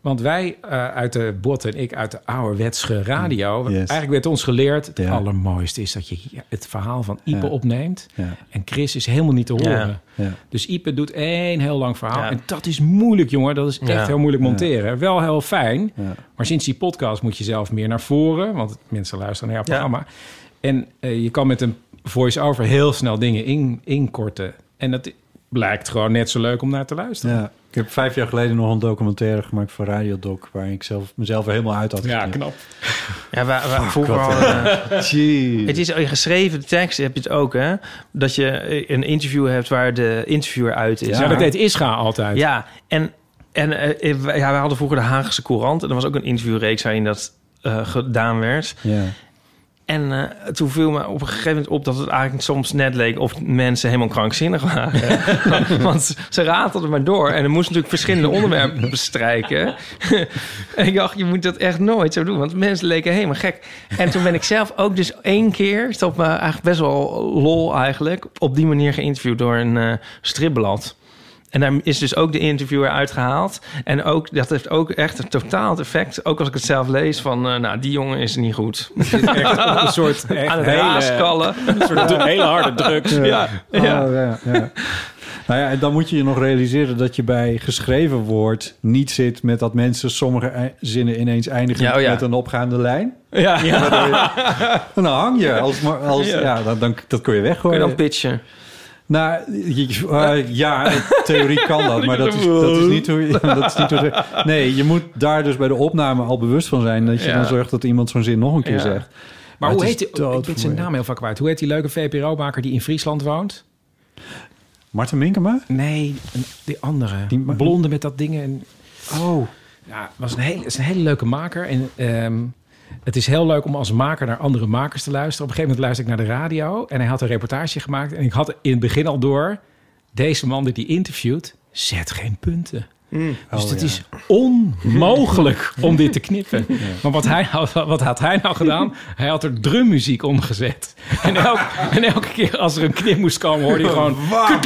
A: Want wij eh, uit de bot en ik uit de ouderwetse radio...
B: Yes.
A: eigenlijk werd ons geleerd... het
B: Ja.
A: allermooiste is dat je het verhaal van Ipe
B: Ja.
A: opneemt...
B: Ja.
A: en Chris is helemaal niet te horen.
C: Ja.
B: Ja.
A: Dus Ipe doet één heel lang verhaal.
C: Ja.
A: En dat is moeilijk, jongen. Dat is echt
C: Ja.
A: heel moeilijk monteren. Wel heel fijn.
B: Ja.
A: Maar sinds die podcast moet je zelf meer naar voren. Want mensen luisteren naar jouw
C: Ja.
A: programma. En eh, je kan met een voice-over heel snel dingen in, inkorten. En dat blijkt gewoon net zo leuk om naar te luisteren.
B: Ja. Ik heb vijf jaar geleden nog een documentaire gemaakt voor Radiodoc... waar ik zelf, mezelf er helemaal uit had
A: Ja,
C: [laughs]
B: geknipt.
A: knap.
C: ja waar, waar, vroeger
B: Oh, God,
C: hadden-
B: Jeez.
C: Het is in geschreven tekst, heb je het ook, hè? Dat je eh, een interview hebt waar de interviewer uit is.
A: Ja, dat deed Ischa altijd.
C: Ja, en, en eh, wij- ja, wij hadden vroeger de Haagse Courant. En er was ook een interviewreeks waarin dat eh, gedaan werd.
B: Ja.
C: En eh, toen viel me op een gegeven moment op dat het eigenlijk soms net leek of mensen helemaal krankzinnig waren. [laughs] Want ze ratelden maar door en er moesten natuurlijk verschillende onderwerpen bestrijken. [laughs] en ik dacht, je moet dat echt nooit zo doen, want mensen leken helemaal gek. En toen ben ik zelf ook dus één keer, is dat me eigenlijk best wel lol eigenlijk, op die manier geïnterviewd door een eh, stripblad. En daar is dus ook de interviewer uitgehaald. En ook, dat heeft ook echt een totaal effect. Ook als ik het zelf lees van... eh, nou, die jongen is niet goed
A: Echt op een soort echt
C: [laughs] aan het
A: hele,
C: raaskallen.
A: een
B: [laughs]
A: soort hele harde drugs.
C: Ja.
B: Oh,
C: Ja.
B: ja. ja, [laughs] nou ja, en dan moet je je nog realiseren dat je bij geschreven woord niet zit met dat mensen sommige ei- zinnen ineens eindigen
C: Ja, oh ja.
B: met een opgaande lijn.
C: Ja. Kun
B: En dan hang je. Als, maar als, ja.
C: Ja.
B: dan, dan, dat kun je
C: je
B: weggooien.
C: dan pitchen?
B: Nou, je- je- eh, ja, in theorie kan dat, maar dat is, dat is niet hoe je... [laughs] Dat is niet hoe het- nee, je moet daar dus bij de opname al bewust van zijn... dat je
C: Ja.
B: dan zorgt dat iemand zo'n zin nog een keer
C: Ja.
B: zegt.
A: Maar
B: het
A: hoe
B: is
A: heet die, ik ben zijn
B: doodvermoeiend.
A: naam heel vaak kwijt. Hoe heet die leuke VPRO-maker die in Friesland woont?
B: Martin Minkema?
A: Nee, een- die andere.
B: Die
A: Die
B: ma-
A: blonde met dat ding. En,
B: Oh.
A: ja, was een hele, is een hele leuke maker. En ehm, het is heel leuk om als maker naar andere makers te luisteren. Op een gegeven moment luisterde ik naar de radio en hij had een reportage gemaakt. En ik had in het begin al door, deze man die die interviewt, zet geen punten. Dus
B: Oh,
A: het
B: ja.
A: is
B: [laughs]
A: onmogelijk om dit te knippen. Maar wat, hij, nou- wat had hij nou gedaan? Hij had er drummuziek omgezet. En, elk, en elke keer als er een knip moest komen, hoorde je
B: [laughs]
A: gewoon... Ah. [laughs]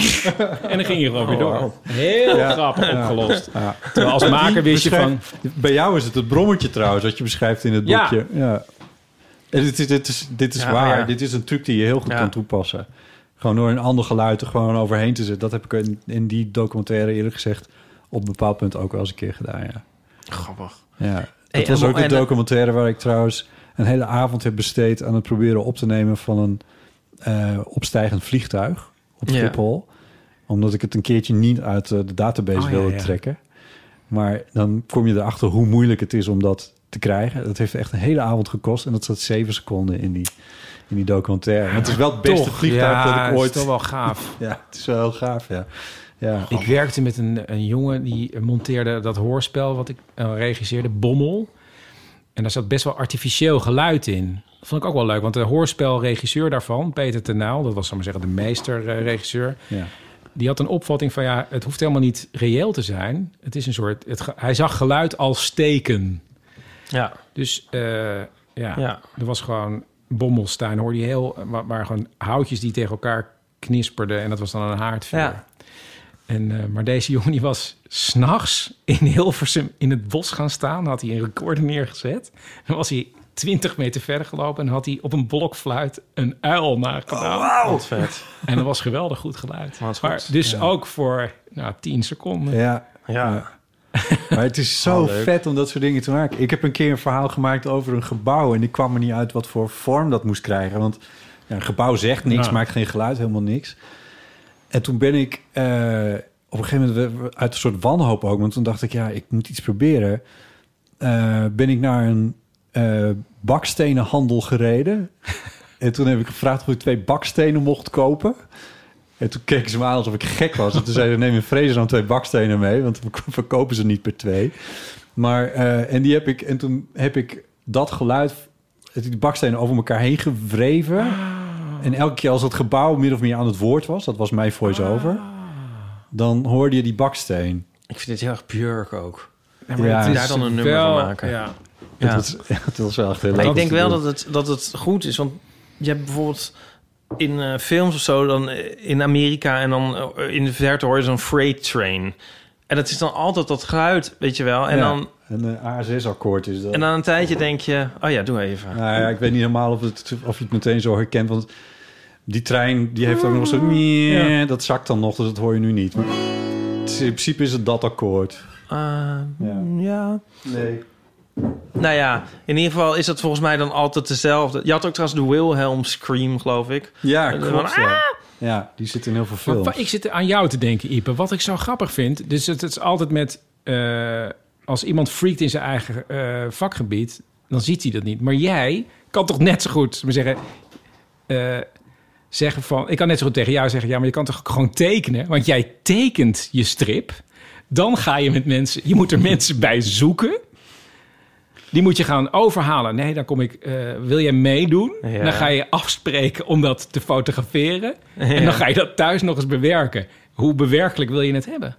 A: En dan ging je gewoon weer door. Heel grappig opgelost. Terwijl als maker wist je van...
B: Bij jou is het het brommetje trouwens, wat je beschrijft in het
A: Ja.
B: boekje. Ja. En dit is, dit is, dit is
C: Ja,
B: waar.
C: ja.
B: Dit is een truc die je heel goed
C: Ja.
B: kan toepassen. Gewoon door een ander geluid er gewoon overheen te zetten. Dat heb ik in, in die documentaire eerlijk gezegd op een bepaald punt ook wel eens een keer gedaan, ja.
C: Grappig.
B: Ja, dat
C: Hey,
B: was
C: en-
B: ook de
C: en-
B: documentaire waar ik trouwens een hele avond heb besteed aan het proberen op te nemen van een eh, opstijgend vliegtuig op
C: Ja.
B: Schiphol. Omdat ik het een keertje niet uit eh, de database
A: Oh, ja,
B: wilde
A: ja.
B: trekken. Maar dan kom je erachter hoe moeilijk het is om dat te krijgen. Dat heeft echt een hele avond gekost en dat zat zeven seconden in die, in die documentaire. Maar het is wel het beste vliegtuig dat ik
A: is
B: ooit...
A: toch wel gaaf.
B: Ja, het is wel heel gaaf, ja. ja.
A: Ik werkte met een, een jongen die monteerde dat hoorspel wat ik eh, regisseerde, Bommel. En daar zat best wel artificieel geluid in. Dat vond ik ook wel leuk, want de hoorspelregisseur daarvan, Peter Tenaal, dat was zal ik maar zeggen de meesterregisseur,
B: ja.
A: die had een opvatting van ja, het hoeft helemaal niet reëel te zijn. Het is een soort, het, ge- hij zag geluid als steken.
C: Ja,
A: Dus eh, ja,
C: Ja.
A: er was gewoon bommelstein, hoorde je heel, maar, maar gewoon houtjes die tegen elkaar knisperden en dat was dan een haardvuur.
C: Ja.
A: En, eh, maar deze [laughs] jongen die was s'nachts in Hilversum in het bos gaan staan, had hij een recorder neergezet. Dan was hij 20 meter verder gelopen en had hij op een blokfluit een uil nagedaan.
C: wat vet.
A: En dat was geweldig goed geluid.
C: Wat
A: Maar
C: goed.
A: dus ook voor nou, 10 seconden.
B: ja.
C: Ja. [laughs]
B: Maar het is zo
C: Oh, leuk.
B: vet om dat soort dingen te maken. Ik heb een keer een verhaal gemaakt over een gebouw... en ik kwam er niet uit wat voor vorm dat moest krijgen. Want ja, een gebouw zegt niks,
A: Ja.
B: maakt geen geluid, helemaal niks. En toen ben ik eh, op een gegeven moment we- we- uit een soort wanhoop ook... want toen dacht ik, ja, ik moet iets proberen. Eh, ben ik naar een eh, bakstenenhandel
C: [laughs]
B: gereden. en toen heb ik gevraagd of ik twee bakstenen mocht kopen... En toen keken ze me aan alsof ik gek was. En toen zeiden ze, neem in Vreesland twee bakstenen mee... want we [laughs] verkopen ze niet per twee. Maar, eh, en, die heb ik, en toen heb ik dat geluid, die bakstenen over elkaar heen gewreven. En elke keer als het gebouw min of meer aan het woord was... dat was mijn voice-over... dan hoorde je die baksteen.
C: Ik vind dit heel erg Björk ook.
A: Ja,
B: Ja.
A: het is
C: Daar dan een nummer
A: wel-
C: van maken.
A: Ja.
B: [laughs] Dat,
C: Ja.
B: was, dat was wel echt heel
C: Maar
B: leuk
C: ik denk
B: om te
C: wel
B: doen.
C: dat het, dat het goed is. Want je hebt bijvoorbeeld in eh, films of zo, dan eh, in Amerika en dan eh, in de verte hoor je zo'n freight train. En dat is dan altijd dat geluid, weet je wel. En,
B: Ja,
C: dan,
B: Een eh, ASS-akkoord is dat.
C: en dan een tijdje denk je, oh ja, doe even.
B: Nou ja, ik weet niet helemaal of, het, of je het meteen zo herkent. Want die trein die heeft ook nog
C: Mm,
B: zo'n...
A: Ja.
B: Dat zakt dan nog, dus dat hoor je nu niet. Maar het is- in principe is het dat akkoord.
C: Ah,
B: Ja.
C: ja.
B: Nee.
C: Nou ja, in ieder geval is dat volgens mij dan altijd dezelfde. Je had ook trouwens de Wilhelm Scream, geloof ik.
B: Ja,
C: En dan Ah!
B: klopt.
C: van,
B: Ja. ja, die zit in heel veel
A: Maar
B: films.
A: wa- ik zit aan jou te denken, Ipe. Wat ik zo grappig vind, dus het, het is altijd met... eh, als iemand freakt in zijn eigen eh, vakgebied, dan ziet hij dat niet. Maar jij kan toch net zo goed maar zeggen... eh, zeggen van... Ik kan net zo goed tegen jou zeggen... Ja, maar je kan toch gewoon tekenen? Want jij tekent je strip. Dan ga je met mensen... Je moet er mensen bij zoeken. Die moet je gaan overhalen. Nee, dan kom ik... eh, wil jij meedoen?
C: Ja.
A: Dan ga je afspreken om dat te fotograferen. En dan ga je dat thuis nog eens bewerken. Hoe bewerkelijk wil je het hebben?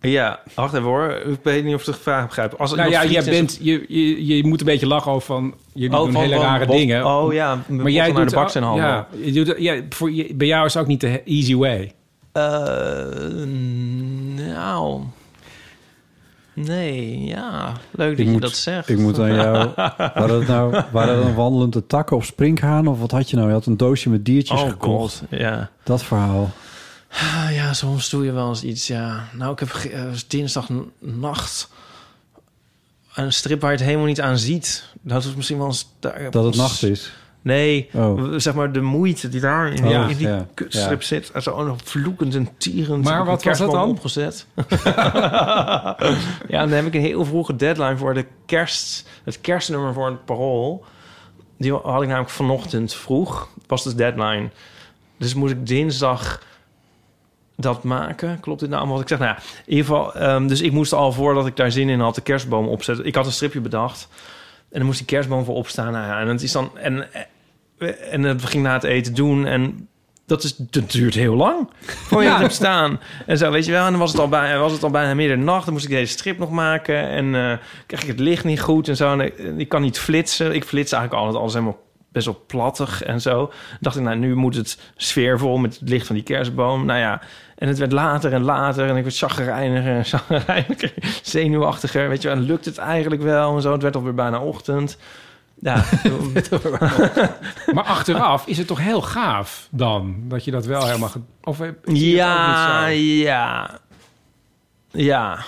C: Ja, wacht even hoor. Ik weet niet of ik de vraag begrijp. Als
A: Nou
C: iemand
A: ja, jij
C: friet is-
A: bent, je, je, je moet een beetje lachen over van... Jullie
C: Oh,
A: doen
C: van-
A: hele
C: van
A: rare
C: bot-
A: dingen.
C: Oh ja,
A: maar jij doet
C: naar de bak zijn handen.
A: Ja, je doet, ja, voor, je, bij jou is het ook niet de easy
C: [laughs]
A: way.
C: Eh, nou. Nee, ja. Leuk dat je dat zegt.
B: Ik moet aan jou... Waren dat nou waren dat een wandelende takken of sprinkhanen? Of wat had je nou? Je had een doosje met diertjes
C: oh
B: gekocht.
C: god, ja.
B: Dat verhaal.
C: Ah, ja, soms doe je wel eens iets, ja. Nou, ik heb ge- eh, dinsdagnacht een strip waar je het helemaal niet aan ziet. Dat is misschien wel eens... daar-
B: Dat het nacht is.
C: Nee,
B: Oh.
C: w- zeg maar de moeite die daar in,
A: Ja,
C: in die
B: ja,
C: kutstrip
B: ja.
C: zit. En zo oh, nog vloekend en tierend.
A: Maar
C: op een
A: wat was dat
C: kerstboom
A: dan?
C: Opgezet. [laughs] ja, dan heb ik een heel vroege deadline voor de kerst, het kerstnummer voor het parool. Die had ik namelijk vanochtend vroeg, was de deadline. Dus moest ik dinsdag dat maken. Klopt dit nou allemaal wat ik zeg? Nou ja, in ieder geval, ehm, dus ik moest al voordat ik daar zin in had de kerstboom opzetten. Ik had een stripje bedacht en dan moest die kerstboom voor opstaan. Nou ja, en het is dan en eh, en dat ging na het eten doen en dat, is, dat duurt heel lang. Voor je
A: Ja.
C: het hebt staan. En zo, weet je wel. En dan was het al bijna, was het al bijna middernacht. Dan moest ik deze strip nog maken. En eh kreeg ik het licht niet goed en zo. En ik, en ik kan niet flitsen. Ik flits eigenlijk altijd alles helemaal best wel plattig en zo. Dan dacht ik, nou, nu moet het sfeervol met het licht van die kerstboom. Nou ja, en het werd later en later. En ik werd chagrijniger en [laughs] chagrijniger. Zenuwachtiger, weet je wel. En lukt het eigenlijk wel en zo. Het werd alweer bijna ochtend. Ja,
A: Maar achteraf is het toch heel gaaf dan dat je dat wel helemaal. ge- Of heb- is het ook
C: Ja,
A: niet zo?
C: ja. Ja.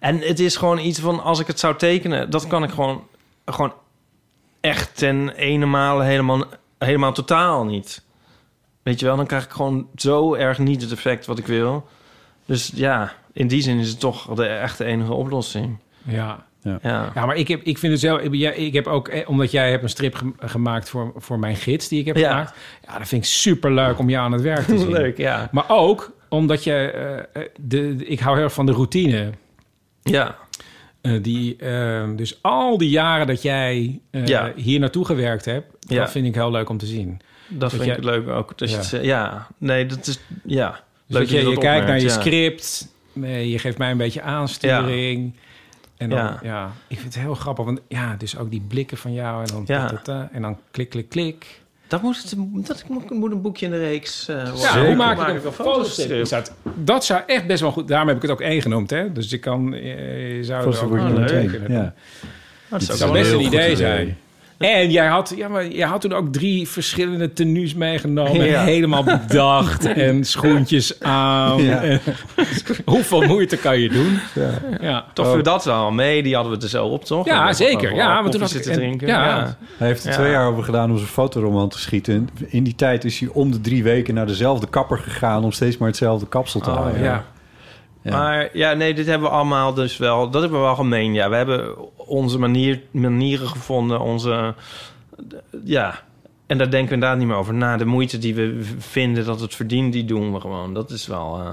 C: En het is gewoon iets van, als ik het zou tekenen, dat kan ik gewoon, gewoon echt ten ene male helemaal, helemaal totaal niet. Weet je wel, dan krijg ik gewoon zo erg niet het effect wat ik wil. Dus ja, in die zin is het toch de echte enige oplossing.
A: Ja.
C: Ja.
A: Ja, maar ik, heb, ik vind het zelf... Ik, ja, ik heb ook... eh, Omdat jij hebt een strip ge- gemaakt voor, voor mijn gids die ik heb
C: Ja.
A: gemaakt. Ja, dat vind ik super leuk om je aan het werk
C: [laughs]
A: te zien.
C: Leuk, ja.
A: Maar ook omdat je... eh, eh, de, de- ik hou heel erg van de routine.
C: Ja,
A: Eh, die, eh, dus al die jaren dat jij eh,
C: Ja.
A: hier naartoe gewerkt hebt...
C: Ja.
A: dat vind ik heel leuk om te zien. Dus
C: dat vind
A: jij-
C: ik leuk ook. Dus
A: Ja.
C: ja. ja, nee, dat is, ja.
A: Dus dat je, je
C: dat
A: kijkt naar je
C: opmerkt, ja.
A: script. eh, je geeft mij een beetje aansturing. En dan, ja.
C: Ja.
A: ik vind het heel grappig. Want ja, dus ook die blikken van jou. En dan,
C: Ja.
A: ta-ta-ta, en dan klik, klik, klik.
C: Dat moet, het, dat moet- moet een boekje in de reeks eh, worden.
A: Ja, hoe maak ik
C: Maak
A: een fotostrip? Is dat, dat zou echt best wel goed... Daarom heb ik het ook één genoemd, hè? Dus ik kan... eh, je zou er ook
B: Fotostrip
A: wel
B: wordt
A: een
B: meteen.
A: tekenen.
B: Ja.
C: Nou, Dat
A: Het
C: is
A: zou
C: ook
B: wel
A: best
B: een
A: een
B: heel
A: idee
B: goed
A: zijn.
B: idee.
A: En jij had, ja, maar jij had toen ook drie verschillende tenues meegenomen.
C: Ja.
A: En helemaal bedacht. en schoentjes aan.
B: Ja.
A: En [laughs] hoeveel moeite kan je doen? Ja, ja.
C: Toch viel dat wel mee, die hadden we er zo op, toch?
A: Oh. Ja,
C: En we
A: zeker.
C: hebben
A: Ja,
C: wel
A: want toen
C: koffie
A: had ik-
C: zitten
A: en-
C: drinken.
A: ja.
C: Ja.
B: Hij heeft er
C: Ja.
B: twee jaar over gedaan om zijn fotoroman te schieten. En In die tijd is hij om de drie weken naar dezelfde kapper gegaan... om steeds maar hetzelfde kapsel te
C: Oh,
B: houden.
A: ja.
B: Ja.
C: Maar ja, nee, dit hebben we allemaal dus wel... Dat hebben we wel gemeen, ja. We hebben onze manier, manieren gevonden, onze... Ja, en daar denken we inderdaad niet meer over na. De moeite die we v- vinden dat het verdient, die doen we gewoon. Dat is wel... eh,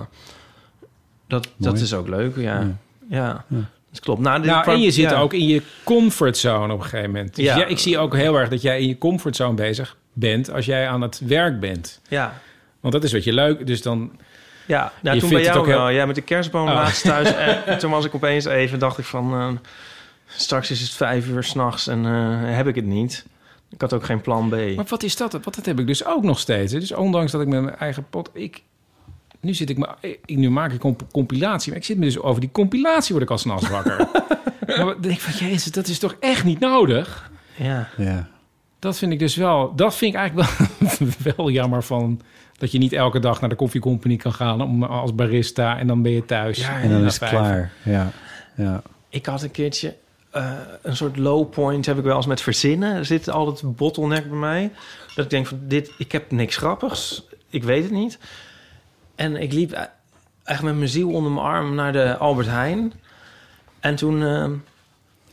C: dat, dat
B: Mooi.
C: is ook leuk, ja. Ja,
B: Ja.
C: dat klopt. Nou, dit
A: Nou,
C: kwam-
A: en je zit
C: ja.
A: ook in je comfortzone op een gegeven moment. Dus ja.
C: Ja.
A: ik zie ook heel erg dat jij in je comfortzone bezig bent... als jij aan het werk bent.
C: Ja,
A: Want dat is wat je leuk... Dus dan,
C: Ja, nou,
A: Je vindt
C: toen bij
A: het
C: jou
A: ook heel-
C: wel. Ja, met de kerstboom
A: Oh.
C: laatst thuis.
A: [laughs]
C: en toen was ik opeens even, dacht ik van... eh, straks is het vijf uur s'nachts en eh, heb ik het niet. Ik had ook geen plan B.
A: Maar wat is dat? Wat dat heb ik dus ook nog steeds. hè. Dus ondanks dat ik met mijn eigen pot... Ik, nu, zit ik me, ik, nu maak ik een compilatie. Maar ik zit me dus over die compilatie word ik al s'nachts
C: [laughs]
A: wakker. maar dan denk ik van, jezus, dat is toch echt niet nodig?
C: Ja.
B: Ja.
A: Dat vind ik dus wel... Dat vind ik eigenlijk wel, [laughs] wel jammer van... dat je niet elke dag naar de koffiecompany kan gaan om, als barista... en dan ben je thuis.
C: Ja,
B: En dan
A: Na
B: is het
A: vijf.
B: klaar. Ja. Ja.
C: Ik had een keertje eh, een soort low point heb ik wel eens met verzinnen. Er zit altijd een bottleneck bij mij. Dat ik denk van dit, ik heb niks grappigs. Ik weet het niet. En ik liep e- echt met mijn ziel onder mijn arm naar de Albert Heijn. En toen eh,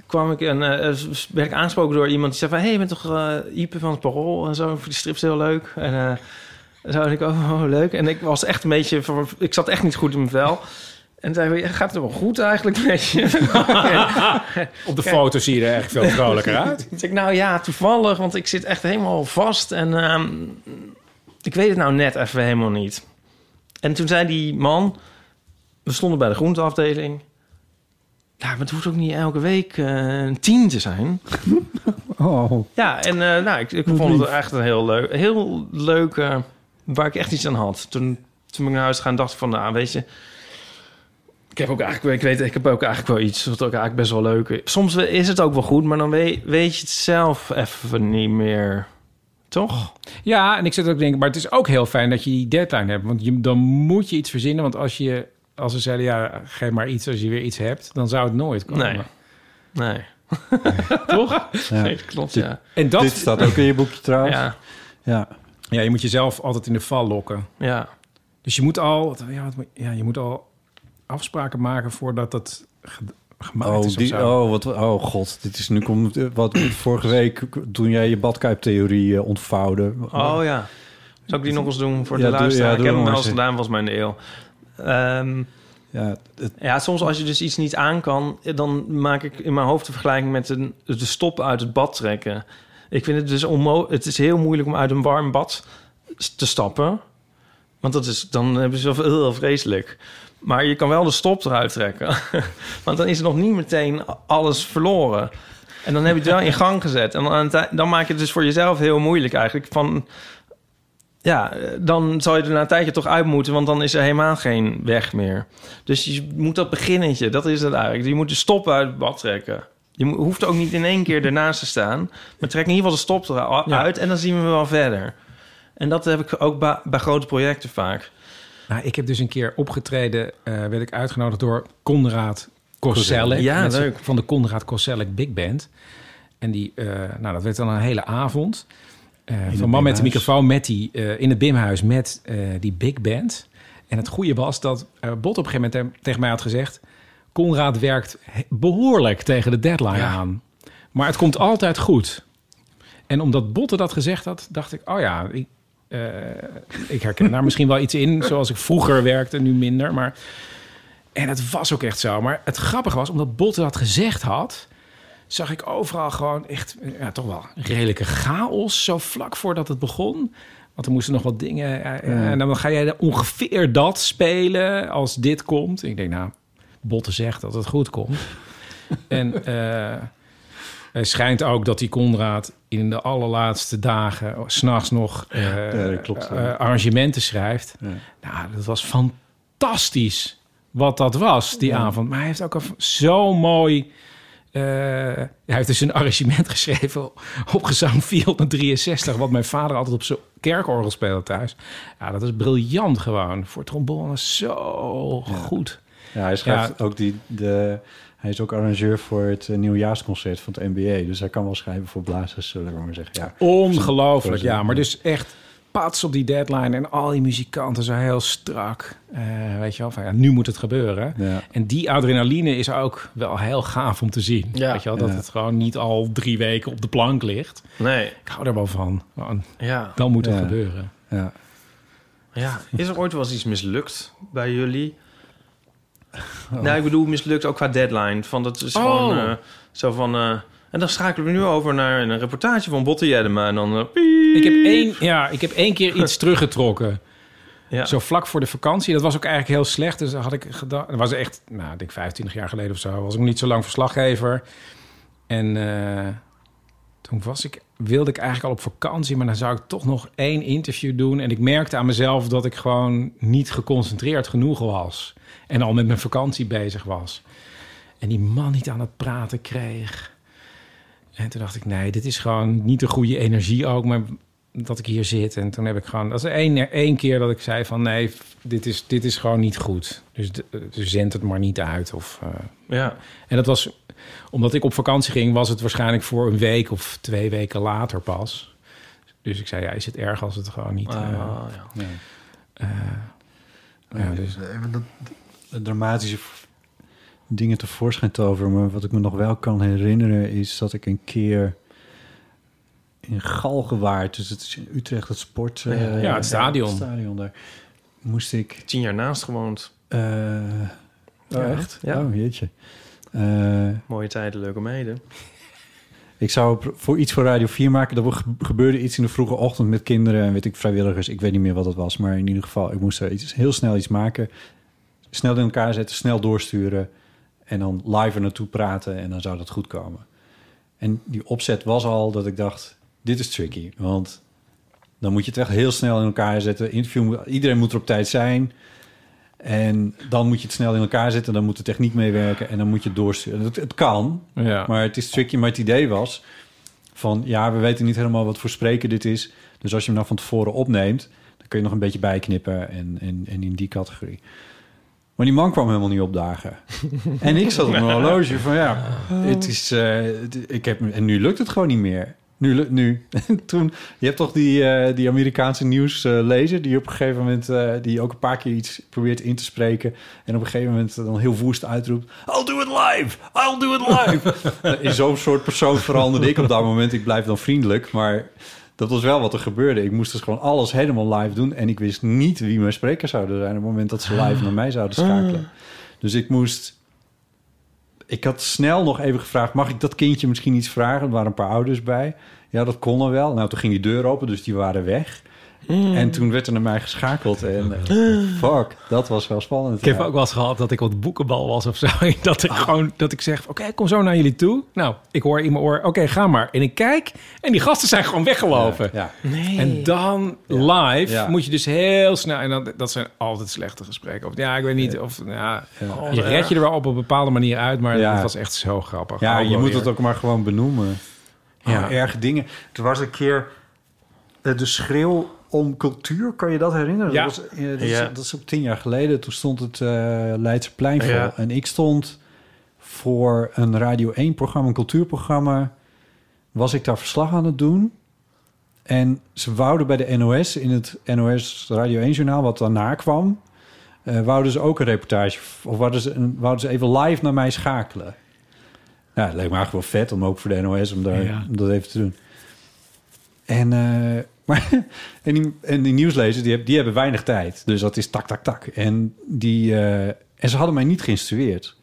C: kwam ik en eh, s- werd ik aangesproken door iemand die zei van... hey, je bent toch eh Ipe van het Parool en zo. Voor die strips heel leuk. En eh, zo en ik, oh, [laughs] oh, leuk. En ik was echt een beetje... ver- Ik zat echt niet goed in mijn vel. En toen zei ik, gaat het wel goed eigenlijk met je?
A: Op de foto zie je er echt veel vrolijker uit.
C: Toen zei ik, nou ja, toevallig, want ik zit echt helemaal vast en ehm, ik weet het nou net even helemaal niet. En toen zei die man, we stonden bij de groenteafdeling. Ja, maar het hoeft ook niet elke week eh, een tien te zijn.
B: Oh.
C: Ja, en eh, nou, ik, ik
B: Wat
C: vond het
B: lief.
C: echt een heel leuk, heel leuk eh, waar ik echt iets aan had. Toen, toen ik naar huis ging, dacht ik van, nou, weet je... Ik heb, ook eigenlijk, ik, weet, ik heb ook eigenlijk wel iets wat ook eigenlijk best wel leuk is. Soms we- is het ook wel goed, maar dan weet, weet je het zelf even niet meer. Toch?
A: Ja, en ik zit ook te denken, maar het is ook heel fijn dat je die deadline hebt. Want je, dan moet je iets verzinnen. Want als,
B: Oh,
A: je, als ze zeiden, ja, geef maar iets als je weer iets hebt, dan zou het nooit komen.
C: Nee. Nee. Toch?
B: Ja.
C: Nee, klopt, ja.
A: En dat,
B: Dit staat ook in je boekje trouwens. Ja.
C: Ja,
A: ja, je moet jezelf altijd in de val lokken.
C: ja.
A: Dus je moet al, wat- ja, wat moet- ja, je moet al afspraken maken voordat dat ge- gemaakt
B: Oh,
A: is. of
B: die,
A: zo.
B: oh, wat, oh god, dit is nu komt wat vorige week toen jij je badkuiptheorie eh, ontvouwde.
C: Oh ja. Zal ik die nog eens doen voor
B: Ja,
C: de
B: doe-
C: luisteraar?
B: ja,
C: ik
B: doe
C: heb
B: hem
C: hem wel
B: maar
C: eens
B: eens.
C: gedaan, volgens mij in de eeuw. Ehm,
B: ja, het,
C: ja, soms als je dus iets niet aan kan... eh, dan maak ik in mijn hoofd de vergelijking met een, de stop uit het bad trekken. Ik vind het dus onmo Het is heel moeilijk om uit een warm bad s- te stappen. Want dat is, dan hebben ze wel heel vreselijk. Maar je kan wel de stop eruit trekken. [laughs] Want dan is er nog niet meteen alles verloren. En dan heb je het wel in gang gezet. En dan, aan het ei- dan maak je het dus voor jezelf heel moeilijk eigenlijk. Van, ja, eh, dan zal je er na een tijdje toch uit moeten... want dan is er helemaal geen weg meer. Dus je moet dat beginnetje, dat is het eigenlijk. Je moet de stop uit het bad trekken. Je mo- hoeft ook niet in één keer ernaast te staan. Maar trek in ieder geval de stop eruit
A: Ja.
C: uit en dan zien we wel verder. En dat heb ik ook ba- bij grote projecten vaak.
A: Nou, ik heb dus een keer opgetreden, eh, werd ik uitgenodigd door Conrad Koselleck.
C: Ja,
A: met z'n-
C: leuk.
A: Van de Conrad Koselleck Big Band. En die, eh, nou, dat werd dan een hele avond. Eh, van man met
B: Bimhuis.
A: de microfoon met die, eh, in het Bimhuis met eh, die Big Band. En het goede was dat eh, Bot op een gegeven moment hem- tegen mij had gezegd... Conrad werkt he- behoorlijk tegen de deadline aan. Maar het komt altijd goed. En omdat Botte dat gezegd had, dacht ik... oh ja, ik, eh, ik herken daar misschien wel iets in... zoals ik vroeger werkte, nu minder. Maar... En het was ook echt zo. Maar het grappige was, omdat Botte dat gezegd had... zag ik overal gewoon echt eh, ja, toch wel redelijke chaos... zo vlak voordat het begon... Want er moesten nog wat dingen. eh, eh, En dan ga jij ongeveer dat spelen als dit komt. Ik denk, nou, Botte zegt dat het goed
B: [laughs]
A: komt. en eh, er schijnt ook dat die Conrad in de allerlaatste dagen... oh, s'nachts nog eh,
B: Ja, dat klopt,
A: eh,
B: ja.
A: arrangementen schrijft. Nou, dat was fantastisch wat dat was, die avond. Maar hij heeft ook een- zo mooi... eh, hij heeft dus een arrangement [laughs] geschreven op gezang 463... wat mijn vader altijd op zijn kerkorgel speelde thuis. Ja, dat is briljant gewoon. Voor trombone zo goed.
B: ja, hij schrijft ook die, de, hij is ook arrangeur voor het eh, nieuwjaarsconcert van het NBA, dus hij kan wel schrijven voor blazers, zullen we maar zeggen. Ja.
A: Ongelooflijk,
B: Voorzien.
A: ja. Maar dus echt pats op die deadline en al die muzikanten zo heel strak. Eh, weet je wel, van ja, nu moet het gebeuren.
B: Ja.
A: En die adrenaline is ook wel heel gaaf om te zien.
C: Ja.
A: Weet je wel, dat
B: Ja.
A: het gewoon niet al drie weken op de plank ligt.
C: Nee,
A: Ik hou er wel van. Gewoon,
C: ja.
A: Dan moet het
B: Ja.
A: gebeuren.
B: Ja.
C: ja. Is er ooit wel eens iets mislukt bij jullie? [laughs] Nou, ik bedoel mislukt ook qua deadline. Van dat is gewoon
A: Oh.
C: eh, zo van... eh, en dan schakelen we nu over naar een reportage van Botte Jedema. En dan... eh, piep.
A: Ik heb één, ja, ik heb één keer [laughs] iets teruggetrokken.
C: Ja.
A: Zo vlak voor de vakantie. Dat was ook eigenlijk heel slecht. Dus dan had ik gedacht. Dat was echt, nou, ik denk 25 jaar geleden of zo. Was ik nog niet zo lang verslaggever. En eh, toen was ik, wilde ik eigenlijk al op vakantie. Maar dan zou ik toch nog één interview doen. En ik merkte aan mezelf dat ik gewoon niet geconcentreerd genoeg was. En al met mijn vakantie bezig was. En die man niet aan het praten kreeg. En toen dacht ik, nee, dit is gewoon niet de goede energie ook. Maar dat ik hier zit. En toen heb ik gewoon... Dat is één, één keer dat ik zei van... Nee, f- dit is, dit is gewoon niet goed. Dus, de- dus zend het maar niet uit. Of, eh.
C: ja.
A: En dat was... Omdat ik op vakantie ging... was het waarschijnlijk voor een week of twee weken later pas. Dus ik zei, ja, is het erg als het gewoon niet... eh,
C: Ah, ja.
A: eh, ja, dus,
B: Even dat- de dramatische v- dingen tevoorschijn te over. Maar wat ik me nog wel kan herinneren is dat ik een keer in Galgenwaard, dus het is in Utrecht, het sport... eh,
A: Ja, het stadion.
B: stadion daar, moest ik...
C: Tien jaar naast gewoond.
B: eh,
C: Ja,
B: oh, echt?
C: ja.
B: Oh, jeetje. Eh,
C: Mooie tijden, leuke meiden.
B: ik zou pr- voor iets voor Radio 4 maken. Er ge- gebeurde iets in de vroege ochtend met kinderen en weet ik, vrijwilligers. Ik weet niet meer wat het was, maar in ieder geval, ik moest er iets, heel snel iets maken. Snel in elkaar zetten, snel doorsturen en dan live er naartoe praten en dan zou dat goed komen. En die opzet was al dat ik dacht, dit is tricky, want dan moet je het echt heel snel in elkaar zetten. Interview, moet- iedereen moet er op tijd zijn. En dan moet je het snel in elkaar zetten, dan moet de techniek meewerken en dan moet je het doorsturen. Het, het kan,
A: ja.
B: maar het is tricky. Maar het idee was van, ja, we weten niet helemaal wat voor spreker dit is. Dus als je hem nou van tevoren opneemt, dan kun je nog een beetje bijknippen en, en, en in die categorie. Maar die man kwam helemaal niet opdagen. en ik zat op mijn horloge van ja, het is, eh, het- ik heb, en nu lukt het gewoon niet meer. Nu, lu- nu. [laughs] En toen, je hebt toch die, eh, die Amerikaanse nieuwslezer die op een gegeven moment, eh, die ook een paar keer iets probeert in te spreken. En op een gegeven moment dan heel woest uitroept, I'll do it live, I'll do it live. Nou, [laughs] in zo'n soort persoon veranderde ik op dat moment. Ik blijf dan vriendelijk, maar dat was wel wat er gebeurde. Ik moest dus gewoon alles helemaal live doen. En ik wist niet wie mijn sprekers zouden zijn... op het moment dat ze live naar mij zouden schakelen. Dus ik moest... Ik had snel nog even gevraagd... mag ik dat kindje misschien iets vragen? Er waren een paar ouders bij. Ja, dat kon er wel. Nou, toen ging die deur open, dus die waren weg. En toen werd er naar mij geschakeld. En eh, fuck, dat was wel spannend.
A: Ik heb
B: Ja.
A: ook wel eens gehad dat ik op de boekenbal was of zo. [laughs] En Dat ik gewoon, dat ik zeg, oké, ik kom zo naar jullie toe. Nou, ik hoor in mijn oor, oké, ga maar. En ik kijk en die gasten zijn gewoon weggelopen.
B: Ja,
C: Nee.
A: En dan live
B: Ja.
A: moet je dus heel snel... En dat, dat zijn altijd slechte gesprekken. Of, ja, ik weet niet of... Ja,
B: ja.
A: je red je er wel op een bepaalde manier uit, maar
B: Ja.
A: het was echt zo grappig.
B: Ja,
A: Ook
B: je
A: wel
B: moet
A: weer.
B: het ook maar gewoon benoemen.
A: Ja.
B: Ja. erge dingen. Er was een keer eh, de schreeuw om cultuur. Kan je dat herinneren?
A: Ja.
B: Dat, was, eh, dat,
C: Ja.
B: Is, dat is op tien jaar geleden. Toen stond het eh Leidseplein vol.
C: Ja.
B: En ik stond voor een Radio 1-programma, een cultuurprogramma. Was ik daar verslag aan het doen. En ze wouden bij de NOS, in het NOS Radio 1-journaal, wat daarna kwam... eh, wouden ze ook een reportage, of wouden ze, een- wouden ze even live naar mij schakelen. Nou, het leek me eigenlijk wel vet om ook voor de NOS om, daar,
A: Ja.
B: om dat even te doen. En, eh, [laughs] maar, en, die, en die nieuwslezers, die, heb- die hebben weinig tijd. Dus dat is tak, tak, tak. En, die, eh, en ze hadden mij niet geïnstrueerd.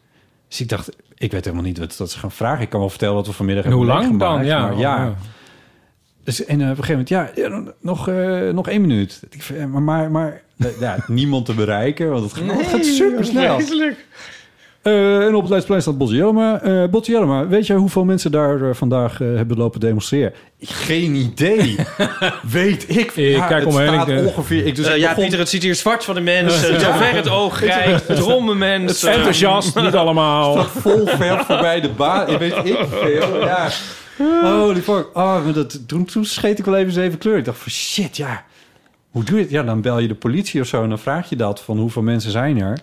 B: Dus ik dacht, ik weet helemaal niet wat dat ze gaan vragen. Ik kan wel vertellen wat we vanmiddag
A: En hoe
B: hebben
A: lang dan?
B: meegemaakt,
A: Ja,
B: maar ja. Dus, en eh, op een gegeven moment, ja, ja, dan- nog, eh, nog één minuut. Ik vind, eh, maar, maar, maar ja, niemand te bereiken, want het gaat, het gaat super snel. Eh, en op het Leidseplein staat Bottiarma. Eh Bottiarma, weet jij hoeveel mensen daar eh, vandaag eh, hebben lopen demonstreren? Geen idee. [laughs] weet ik.
A: Ik kijk
B: het
A: om me heen,
B: staat
A: ik, eh,
B: ongeveer. Ik, dus
C: Eh,
B: ik
C: ja,
B: begon-
C: Pieter, het ziet hier zwart van de mensen. Zover het oog reikt. Dromme mensen.
A: Enthousiast, niet allemaal.
B: staat vol ver voorbij de baan. Ik weet ik veel. Ja. Holy fuck. Oh, maar dat, toen, toen scheet ik wel even zeven kleur. Ik dacht van shit, ja. Hoe doe je het? Ja, dan bel je de politie of zo en dan vraag je dat van hoeveel mensen zijn er.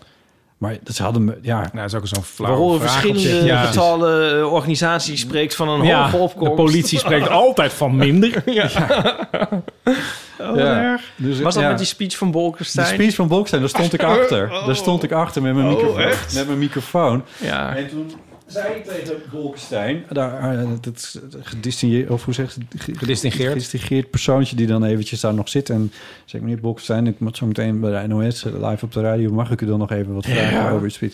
B: Maar dat ze hadden me, ja.
A: Nou, dat is ook zo'n flauwe
C: Waarom
A: vraag op zich.
C: verschillende
A: Ja.
C: getallen eh, organisaties spreekt van een
A: Ja,
C: hoge
A: de
C: opkomst.
A: politie
B: [laughs]
A: spreekt altijd van minder.
B: ja. Dus,
C: Oh, Was dat
B: ja.
C: met die speech van
B: De
C: Bolkestein?
B: speech van Bolkestein, daar stond ik achter. Daar stond ik achter met mijn, microfoon, met mijn microfoon.
C: Ja.
B: En toen zei ik tegen Bolkestein, daar, eh, dat gedistingeerd, of hoe zeg je het? Ge-
A: Gedistingeerd.
B: [laughs] gedistingeerd persoontje die dan eventjes daar nog zit. En zei ik, meneer Bolkestein, ik moet zo meteen bij de NOS eh, live op de radio. Mag ik u dan nog even wat vragen over het speech?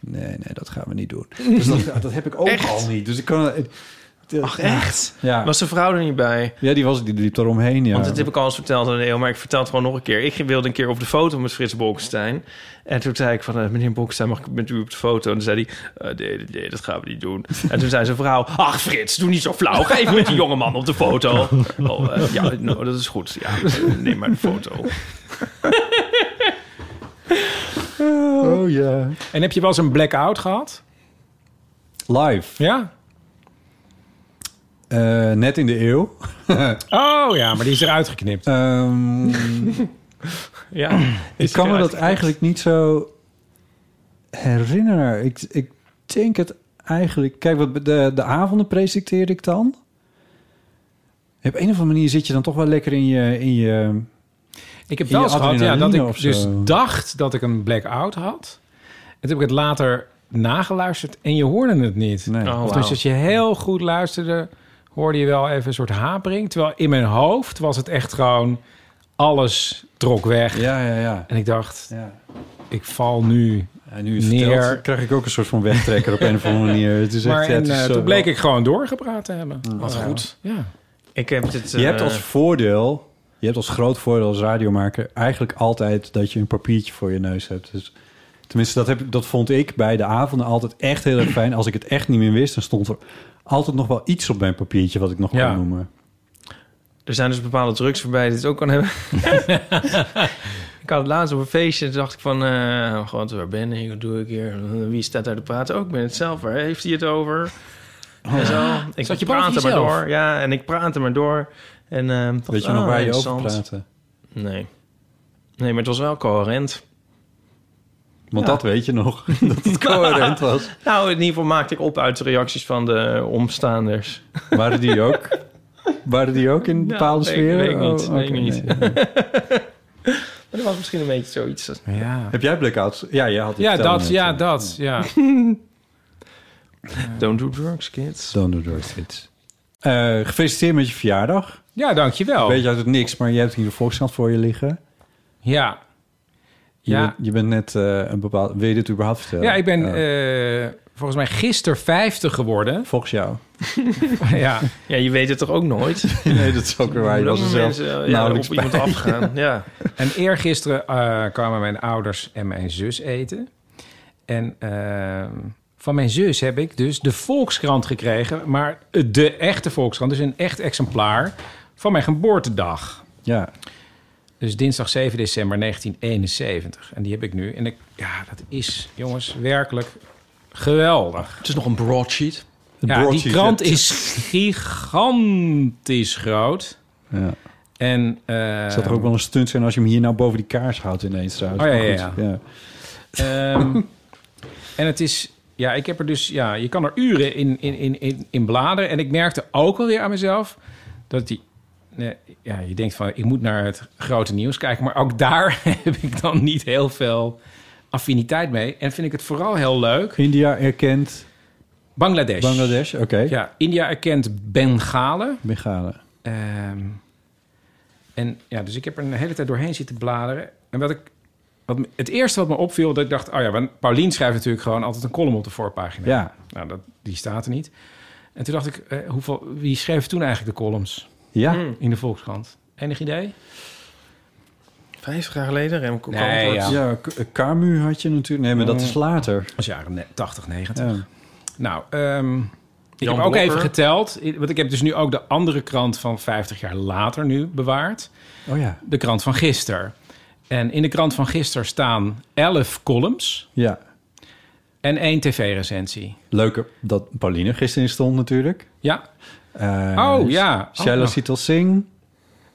B: Nee, nee, dat gaan we niet
C: [laughs]
B: doen. Dus dat, dat heb ik ook al niet. Dus ik kan... Ach,
C: Echt?
B: Ja,
C: Was de vrouw er niet bij?
B: ja die, was, die liep daaromheen, ja.
C: Want dat heb ik al eens verteld aan Leo, maar ik vertel het gewoon nog een keer. Ik wilde een keer op de foto met Frits Bolkestein. En toen zei ik van, eh, meneer Bolkestein, mag ik met u op de foto? En toen zei hij, eh, nee, nee, nee, dat gaan we niet doen. En toen zei zijn vrouw, ach Frits, doe niet zo flauw. Ga even met die jongeman op de [laughs] foto. Oh, eh, ja, nou, dat is goed. Ja, eh, neem maar de foto.
B: Oh ja.
A: En heb je wel eens een blackout gehad?
B: Live.
A: Ja?
B: Eh, net in de eeuw.
A: Oh ja, maar die is eruit geknipt.
B: Ehm,
C: [laughs] Ja,
B: ik kan me dat eigenlijk niet zo herinneren. Ik, ik denk het eigenlijk... Kijk, wat de, de avonden presenteerde ik dan. Op een of andere manier zit je dan toch wel lekker in je... In je
A: Ik heb
B: In
A: wel
B: je
A: eens gehad ja, dat
B: adrenaline of
A: ik dus
B: zo.
A: dacht dat ik een blackout had. En toen heb ik het later nageluisterd en je hoorde het niet.
B: nee.
C: Oh,
A: Of
C: wauw.
A: dus als je heel goed luisterde, hoorde je wel even een soort hapering. Terwijl in mijn hoofd was het echt gewoon, alles trok weg.
B: Ja, ja, ja.
A: En ik dacht,
B: ja.
A: ik val nu.
B: En nu
A: Neer.
B: verteld, krijg ik ook een soort van wegtrekker op een of andere manier. Het is echt,
A: maar
B: ja,
A: en,
B: het is,
A: eh,
B: eh,
A: toen
B: wel- Mm.
A: bleek ik gewoon doorgepraat te hebben.
C: Wat goed.
A: Ja.
C: Ik heb dit...
B: Je hebt
C: eh,
B: als voordeel, je hebt als groot voordeel als radiomaker eigenlijk altijd dat je een papiertje voor je neus hebt. Dus, tenminste, dat, heb, ik- dat vond ik bij de avonden altijd echt heel erg fijn. Als ik het echt niet meer wist, dan stond er altijd nog wel iets op mijn papiertje wat ik nog
A: Ja.
B: kon noemen.
C: Er zijn dus bepaalde drugs waarbij je dit ook kan
B: [laughs]
C: hebben. ik had het laatst op een feestje. Toen dacht ik van, eh, oh god, waar ben ik? Wat doe ik hier? Wie staat daar te praten? Ook ben het zelf. Waar heeft hij het over?
B: Oh.
C: En zo. Ik
A: Zat je boven
C: praatte maar
A: jezelf?
C: door. Ja, en ik praatte maar door. En, eh, dacht,
B: Weet je
C: ah,
B: nog waar je over
C: interessant.
B: praatte?
C: Nee. Nee, maar het was wel coherent.
B: Want
C: Ja.
B: dat weet je nog, [laughs] dat het coherent was.
C: Nou, in ieder geval maakte ik op uit de reacties van de omstaanders.
B: Waren die ook, waren die ook in bepaalde
C: weet ik-
B: sferen? Oh,
C: weet ik niet, weet ik
B: oké,
C: niet.
B: nee, nee.
C: Maar dat was misschien een beetje zoiets.
A: Ja,
B: Heb jij blackouts? Ja, jij had het
A: ja
B: verteld
A: dat,
B: net,
A: ja,
B: eh.
A: dat, ja.
C: Don't do drugs, kids.
B: Don't do drugs, kids. Eh, gefeliciteerd met je verjaardag.
A: Ja, dankjewel.
B: Weet je uit het niks, maar je hebt hier de Volkskrant voor je liggen.
A: Ja.
B: Je,
A: Ja.
B: bent, je bent net eh, een bepaald... Wil je dit überhaupt vertellen?
A: Ja, ik ben
B: Eh,
A: eh, volgens mij gisteren 50 geworden. [laughs]
B: Volgens jou. [laughs]
A: ja.
C: Ja, je weet het toch ook nooit?
B: nee, dat is ook weer waar. Je
C: Hoe
B: was er
A: Mm,
C: lang
B: zelf
C: mensen eh, ja, op
B: nauwelijks
C: iemand
B: bij.
C: afgaan. Ja.
A: En eergisteren eh kwamen mijn ouders en mijn zus eten. En eh, van mijn zus heb ik dus de Volkskrant gekregen. Maar de echte Volkskrant, dus een echt exemplaar van mijn geboortedag.
B: Ja,
A: Dus dinsdag 7 december 1971. En die heb ik nu. En ik, ja, dat is, jongens, werkelijk geweldig.
C: Het is nog een broadsheet.
B: Het
A: Ja, die
B: broadsheet,
A: krant
B: ja.
A: is gigantisch groot.
B: ja.
A: En, eh,
B: Zou er ook wel een stunt zijn als je hem hier nou boven die kaars houdt ineens trouwens.
A: Oh, ja,
B: Maar
A: ja,
B: goed,
A: ehm, [laughs] en het is... Ja, ik heb er dus... Ja, je kan er uren in, in, in, in, in bladeren. En ik merkte ook alweer aan mezelf... dat die... nee, ja, je denkt van... ik moet naar het grote nieuws kijken. Maar ook daar [laughs] heb ik dan niet heel veel affiniteit mee. En vind ik het vooral heel leuk.
B: India erkent
A: Bangladesh.
B: Bangladesh. Oké,
A: Ja, India erkent Bengalen.
B: Bengalen.
A: Ehm, en ja, dus ik heb er een hele tijd doorheen zitten bladeren. En wat ik, wat, me- het eerste wat me opviel, dat ik dacht, oh ja, want Paulien schrijft natuurlijk gewoon altijd een column op de voorpagina.
B: Ja.
A: Nou, dat, die staat er niet. En toen dacht ik, eh, hoeveel, wie schreef toen eigenlijk de columns
B: Ja,
A: in de Volkskrant? Enig idee?
C: Vijftig jaar geleden, Remco
A: Nee,
C: Kampert.
A: ja.
B: ja. K- Karmu had je natuurlijk. Nee, maar dat is
A: Mm.
B: later.
A: Dat was jaren ne- 80, 90.
B: Ja.
A: Nou, ehm, ik
C: Jan
A: heb ook
C: Blokker.
A: even geteld. i- Want ik heb dus nu ook de andere krant van 50 jaar later nu bewaard.
B: Oh ja.
A: De krant van gisteren. En in de krant van gisteren staan 11 columns
B: Ja.
A: en één tv-recensie.
B: Leuke dat Pauline gisteren in stond natuurlijk.
A: Ja.
B: Eh,
A: Oh, ja. Ook
B: Shaila
A: nog.
B: Sital Singh.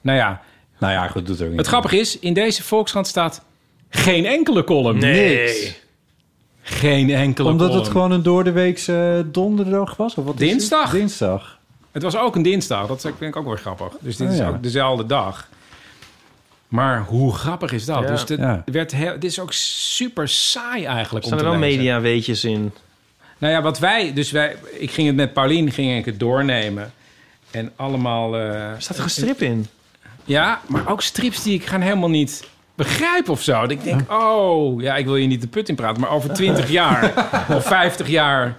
A: Nou ja,
B: Nou ja, goed, doet ook niet.
A: het grappige is, in deze Volkskrant staat geen enkele column.
C: Nee.
A: Niks. Geen enkele
B: Omdat
A: column.
B: het gewoon een doordeweekse eh, donderdag was? Of wat is het?
A: Dinsdag?
B: Dinsdag.
A: Het was ook een dinsdag. Dat vind ik ook wel grappig. Dus dit
B: Oh,
A: is
B: ja.
A: ook dezelfde dag. Maar hoe grappig is dat?
C: Ja.
A: Dus dit,
B: Ja.
A: werd heel, dit is ook super saai eigenlijk. om
C: Staan er
A: te
C: wel
A: lezen.
C: mediaweetjes in?
A: Nou ja, wat wij... Dus wij, ik ging het met Paulien ging ik het doornemen. En allemaal... eh,
C: Er staat er een strip in.
A: Ja, maar ook strips die ik gaan helemaal niet begrijpen of zo. Dat ik denk, oh, ja, ik wil je niet de put in praten, maar over
B: [laughs]
A: 20 jaar of 50 jaar.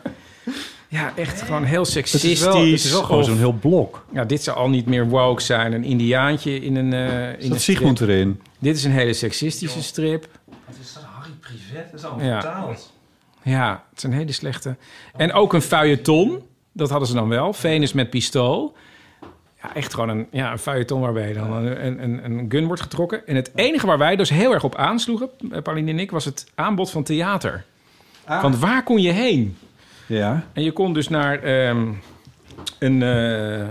A: Ja, echt gewoon heel
B: Het
A: seksistisch.
B: is wel, het is wel gewoon
A: Of-
B: zo'n heel blok.
A: ja, dit zou al niet meer woke zijn. Een indiaantje in een... eh, in een
B: Dat Sigmund
A: strip.
B: erin.
A: Dit is een hele seksistische strip.
C: Dat is allemaal
A: Ja. vertaald. Ja, het is een hele slechte. En ook een feuilleton. Dat hadden ze dan wel. Venus met pistool. Ja, echt gewoon een, ja, een feuilleton waarbij dan een, een- een, een gun wordt getrokken. En het enige waar wij dus heel erg op aansloegen, eh, Pauline en ik, was het aanbod van theater.
C: Ah.
A: Want waar kon je heen?
B: Ja.
A: En je kon dus naar ehm, een, eh,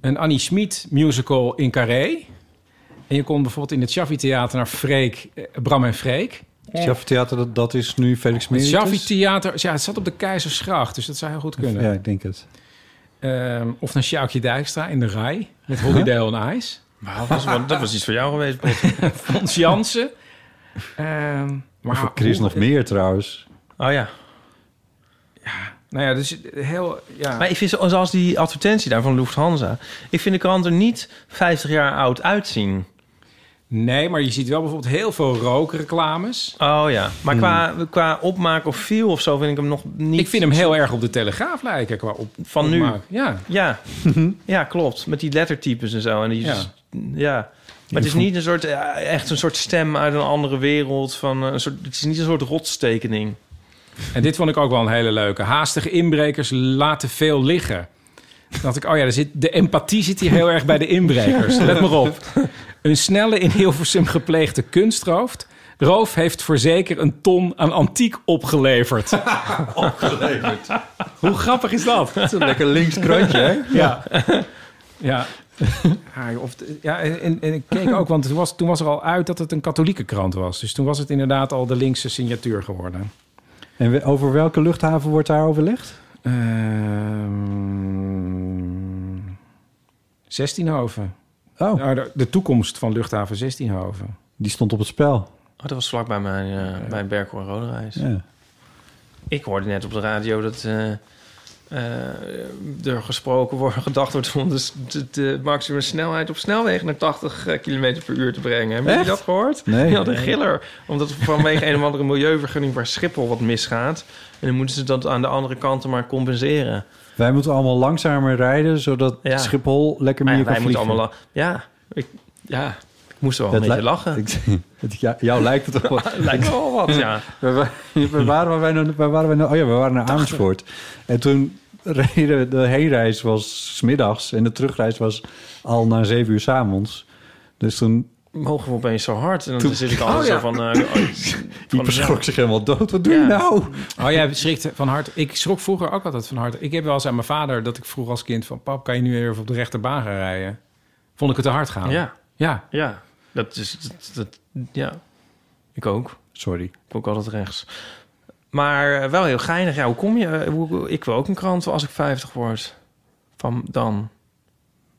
A: een Annie Schmid musical in Carré. En je kon bijvoorbeeld in het Chaffee Theater naar Freek, eh, Bram en Freek.
B: Jaffa Theater, dat, dat is nu Felix
A: Het
B: Meritus.
A: Chaffee Theater, ja, het zat op de Keizersgracht, dus dat zou heel goed kunnen.
B: dus? Ja, ik denk het.
A: Ehm, of naar Sjoukje Dijkstra in de rij met
B: [laughs]
A: Holiday on Ice.
C: Oh, Dat was, wel- dat was iets voor jou geweest, Bot.
A: Ons Jansen. Ehm, maar
B: Voor Chris
A: hoe-
B: nog meer trouwens.
C: [laughs] Oh ja.
A: Nou ja, dus heel... Ja.
C: Maar ik vind, zo- zoals die advertentie daar van Lufthansa... ik vind de krant er niet 50 jaar oud uitzien.
A: Nee, maar je ziet wel bijvoorbeeld heel veel rookreclames.
C: Oh ja. Maar qua, qua opmaak of feel of zo vind ik hem nog niet...
A: Ik vind hem heel erg op de Telegraaf lijken qua op,
C: Van nu.
A: opmaak. Ja.
C: Ja.
A: [laughs]
C: ja, klopt. Met die lettertypes en zo. En die,
A: Ja.
C: ja. Maar het is niet een soort, eh, echt een soort stem uit een andere wereld. Van eh, een soort, het is niet een soort rotstekening.
A: En dit vond ik ook wel een hele leuke. Haastige inbrekers laten veel liggen. Dan dacht ik, oh ja, er zit, de empathie zit hier heel erg bij de inbrekers. Let maar op. Een snelle in Hilversum gepleegde kunstroof... Roof heeft voor zeker een ton aan antiek opgeleverd. opgeleverd. Hoe grappig is dat?
B: Lekker links krantje, hè?
A: Ja. ja. Ah, of, ja, en, en ik keek ook, want toen was, toen was er al uit dat het een katholieke krant was. Dus toen was het inderdaad al de linkse signatuur geworden.
B: En we- over welke luchthaven wordt daar overlegd?
A: Ehm, Zestienhoven.
B: Oh,
A: Nou, de, de toekomst van luchthaven Zestienhoven.
B: die stond op het spel.
C: Oh, dat was vlak bij mijn, eh bij Berkel en Roderijs.
B: Ja.
C: Ik hoorde net op de radio dat eh, eh, er gesproken wordt, [laughs] gedacht wordt om de, de, de maximum snelheid op snelwegen naar 80 km per uur te brengen. Hebben jullie
B: Echt?
C: dat gehoord?
B: Nee.
C: Ja, de giller. Omdat er vanwege een of andere milieuvergunning waar Schiphol wat misgaat. En dan moeten ze dat aan de andere kanten maar compenseren.
B: Wij moeten allemaal langzamer rijden, zodat
C: Ja.
B: Schiphol lekker meer
C: Maar ja,
B: kan
C: wij moeten
B: vliegen.
C: allemaal... la- Ja, ik, ja, ik moest wel een
B: Dat
C: beetje
B: lij-
C: lachen.
B: Ik- [laughs] het- ja, jou lijkt het toch wel.
C: [laughs] Lijkt wel wat, ja.
B: We, wa- [laughs]
C: [laughs]
B: we waren, waar wij nou- waar waren we nou? Oh ja, we waren naar Amersfoort. En toen reden we- de heenreis was 's middags en de terugreis was al na zeven uur 's avonds. Dus toen
C: Mogen we opeens zo hard? En dan
B: Toen-
C: zit ik altijd
A: Oh, ja.
C: zo van... eh,
B: [laughs]
C: oh,
B: die
C: van-
B: verschrok zich helemaal dood. Wat doe
C: Ja.
B: je nou?
A: Oh, jij schrikt van hart. Ik schrok vroeger ook altijd van hart. Ik heb wel eens aan mijn vader dat ik vroeg als kind van... pap, kan je nu weer even op de rechterbaan gaan rijden? Vond ik het te hard
B: Oh.
A: gaan.
C: Ja,
A: Ja.
C: ja. Dat is... Dat, dat- ja, ik ook.
B: Sorry.
C: Ik ook altijd rechts. Maar eh, wel heel geinig. Ja, hoe kom je... eh, hoe- Ik wil ook een krant als ik 50 word. Van dan.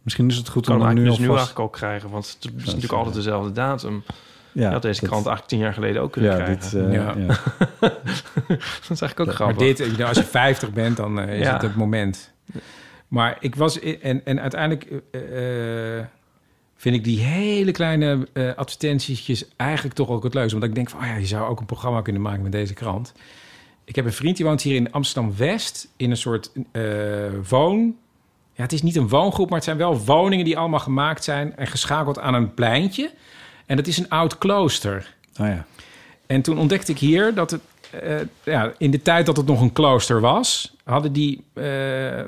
B: Misschien is het goed
C: Kan
B: om hem
C: ik
B: nu
C: nu, dus nu
B: alvast...
C: eigenlijk ook krijgen. Want het is natuurlijk
B: ja.
C: altijd dezelfde datum.
B: ja,
C: Je had deze
B: dat-
C: krant eigenlijk tien jaar geleden ook kunnen
B: Ja,
C: krijgen.
B: dit, eh,
A: Ja.
B: ja.
C: dat is eigenlijk ook
A: Maar
C: grappig.
A: dit, ik bedoel, als je 50 bent, dan eh, is
C: Ja.
A: het het moment. Maar ik was... En, en uiteindelijk eh, eh, vind ik die hele kleine eh advertentietjes eigenlijk toch ook het leukste. Want ik denk van, oh ja, je zou ook een programma kunnen maken met deze krant. Ik heb een vriend die woont hier in Amsterdam-West... in een soort eh, woon... Ja, het is niet een woongroep, maar het zijn wel woningen die allemaal gemaakt zijn... en geschakeld aan een pleintje. En dat is een oud klooster.
B: Oh ja.
A: En toen ontdekte ik hier dat het... eh, ja, in de tijd dat het nog een klooster was... hadden die eh, eh,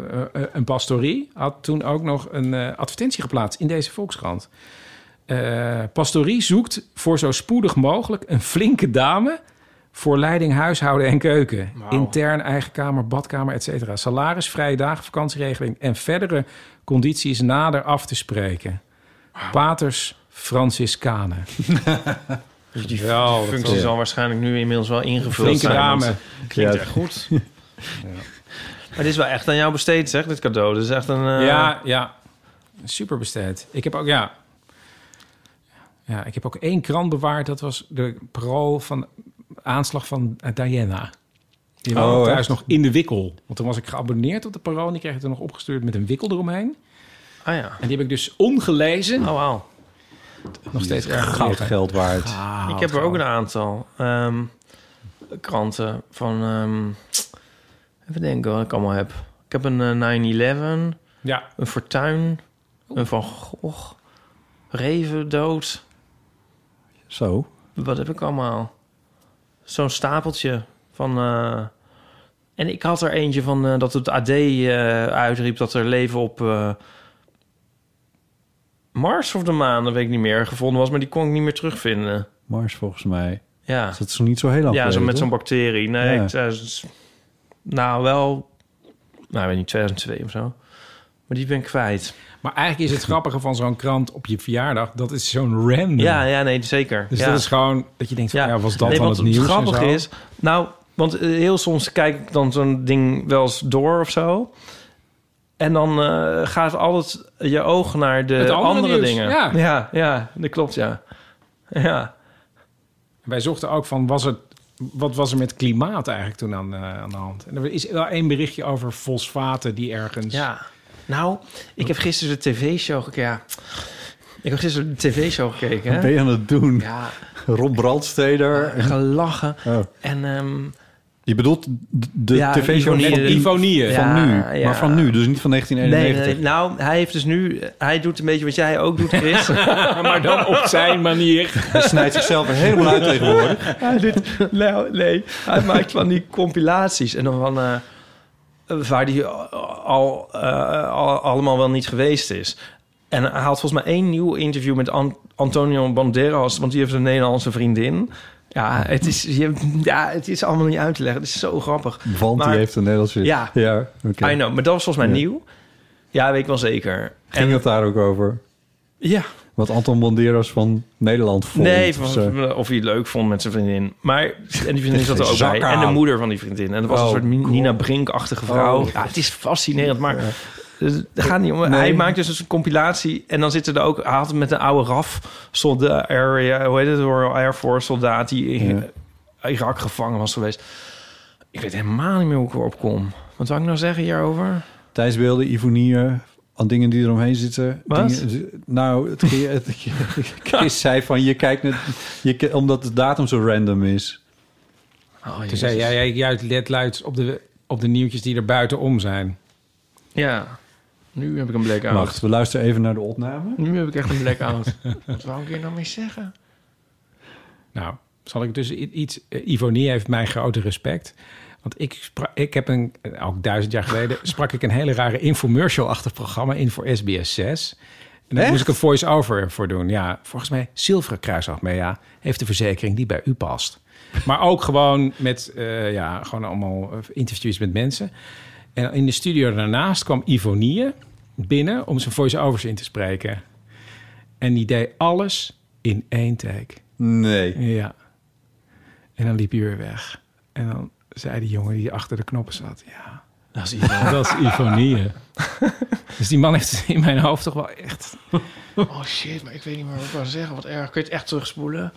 A: een pastorie... had toen ook nog een eh, advertentie geplaatst in deze Volkskrant. Eh, pastorie zoekt voor zo spoedig mogelijk een flinke dame... voor leiding huishouden en keuken. Intern, eigen kamer, badkamer, et cetera. Salaris, vrije dagen, vakantieregeling... en verdere condities nader af te spreken. Paters Franciscanen.
C: De
A: Wel,
C: functie zal waarschijnlijk nu inmiddels wel ingevuld
A: Flinke
C: zijn. want
A: dame.
C: het Klinkt
B: Ja.
C: echt goed. Maar dit is wel echt aan jou besteed, zeg, dit cadeau. Dit is echt een... eh,
A: Ja, ja. Super besteed. Ik heb ook, ja. Ja, ik heb ook één krant bewaard. Dat was de parool van aanslag van eh, Diana. Die
B: Oh,
A: was thuis
B: echt?
A: nog in de wikkel. Want toen was ik geabonneerd op de parool. En die kreeg het er nog opgestuurd met een wikkel eromheen.
C: Ah ja.
A: En die heb ik dus ongelezen.
C: Oh, wauw.
A: nog steeds erg
B: Goud
A: geleerd.
B: geld waard.
A: Ah,
C: Ik heb er ook een aantal ehm, kranten van. ehm, even denken wat ik allemaal heb. Ik heb een eh, 9-11,
A: Ja,
C: een Fortuin, een Van Gogh, Reven dood.
B: Zo.
C: Wat heb ik allemaal? Zo'n stapeltje van. eh, en ik had er eentje van eh, dat het AD eh, uitriep dat er leven op eh, Mars of de maan, dat weet ik niet meer, gevonden was, maar die kon ik niet meer terugvinden.
B: Mars volgens mij.
C: Ja.
B: Dat is nog niet zo heel lang
C: Ja, zo
B: geleden,
C: met zo'n
B: toch?
C: bacterie. Nee,
B: Ja.
C: ik, eh, s- nou wel, nou ik weet niet, 2002 of zo. Maar die ben ik kwijt.
A: maar eigenlijk is het grappige van zo'n krant op je verjaardag... dat is zo'n random.
C: Ja, ja, nee, zeker.
A: Dus
C: ja.
A: dat is gewoon dat je denkt, van, ja, was dat
C: Nee,
A: dan
C: want
A: het nieuws? en
C: grappig
A: zo?
C: is, nou, want eh, heel soms kijk ik dan zo'n ding wel eens door of zo. En dan eh, gaat altijd je oog naar de
A: Het andere
C: andere,
A: nieuws,
C: dingen.
A: ja.
C: ja, ja, dat klopt, ja. Ja.
A: Wij zochten ook van, was het, wat was er met klimaat eigenlijk toen aan, eh, aan de hand? En er is wel één berichtje over fosfaten die ergens...
C: Ja. Nou, ik heb gisteren de tv-show gekeken. Ja. Ik heb gisteren de tv-show gekeken.
B: Wat ben
C: Hè?
B: je aan het doen?
C: Ja,
B: Rob Brandsteder.
C: gelachen.
B: Oh.
C: En ehm,
B: Je bedoelt d- de
C: Ja,
B: tv-show
C: Ivonie-
B: van,
C: de-
A: Ivonieën.
C: Ja,
B: van nu.
C: ja.
B: Maar van nu, dus niet van
C: nee,
B: 1991.
C: nee, nou, hij heeft dus nu, hij doet een beetje wat jij ook doet, Chris.
A: [laughs] Maar [laughs] dan op zijn manier.
B: Hij snijdt zichzelf er helemaal uit tegenwoordig.
C: hij doet, nou, nee, hij maakt van die compilaties en dan van eh, waar die al, eh, al- allemaal wel niet geweest is. En hij haalt volgens mij één nieuw interview met An- Antonio Banderas, want die heeft een Nederlandse vriendin. Ja, het is, je, ja, het is allemaal niet uit te leggen. Het is zo
B: [laughs]
C: grappig.
B: Want
C: Maar-
B: die heeft een Nederlandse...
C: Ja.
B: ja oké.
C: I know, maar dat was volgens mij
B: Ja.
C: nieuw. Ja, weet ik wel zeker.
B: Ging het daar ook over?
C: Ja.
B: Wat Anton Bonderos van Nederland vond?
C: nee,
B: of
C: van-
B: zo?
C: of hij het leuk vond met zijn vriendin. Maar, en die vriendin zat er ook
B: Zak
C: bij.
B: aan.
C: En de moeder van die vriendin. En dat was
B: Oh,
C: een soort Mi-
B: God.
C: Nina Brink-achtige vrouw.
B: Oh.
C: ja, het is fascinerend, maar... dus het gaat niet om.
B: Nee.
C: Hij maakt dus een compilatie. En dan zitten er ook... Hij had het met een oude RAF soldaat... Area, hoe heet het? Royal Air Force soldaat... die in Irak gevangen was geweest. Ik weet helemaal niet meer hoe ik erop kom. Wat zou ik nou zeggen hierover?
B: Tijdsbeelden, ivonieën, aan dingen die eromheen zitten.
C: Wat?
B: Dingen- nou, het, het,
C: [laughs]
B: Chris zei van je kijkt naar, je, ki- omdat de datum zo random is.
C: Oh,
A: Toen
C: jezus.
A: zei jij, jij juist let luid op de, op de nieuwtjes die er buitenom zijn.
C: Ja, nu heb ik een blackout.
B: Wacht, we luisteren even naar de opname.
C: Nu heb ik echt een
B: [laughs]
C: blackout. Wat wou ik hier nou mee zeggen?
A: Nou, zal ik dus i- iets... eh, Ivonie heeft mijn grote respect. Want ik, spra- ik heb een... eh, Ook duizend jaar geleden sprak ik een hele rare infomercial-achtig programma in voor SBS6. En daar
B: Echt?
A: moest ik een voice-over voor doen. Ja, volgens mij Zilveren Kruisafmea heeft de verzekering die bij u past. Maar ook gewoon met, eh, ja, gewoon allemaal eh, interviews met mensen. En in de studio daarnaast kwam Ivonie binnen om zijn voice-overs in te spreken. En die deed alles in één take.
B: Nee.
A: Ja. En dan liep hij weer weg. En dan zei die jongen die achter de knoppen zat... Ja,
C: Dat is iemand.
A: dat is [laughs] ironie. dus die man heeft in mijn hoofd toch wel echt...
C: Oh shit, maar ik weet niet meer wat ik wou zeggen. Wat erg. Kun je het echt terugspoelen?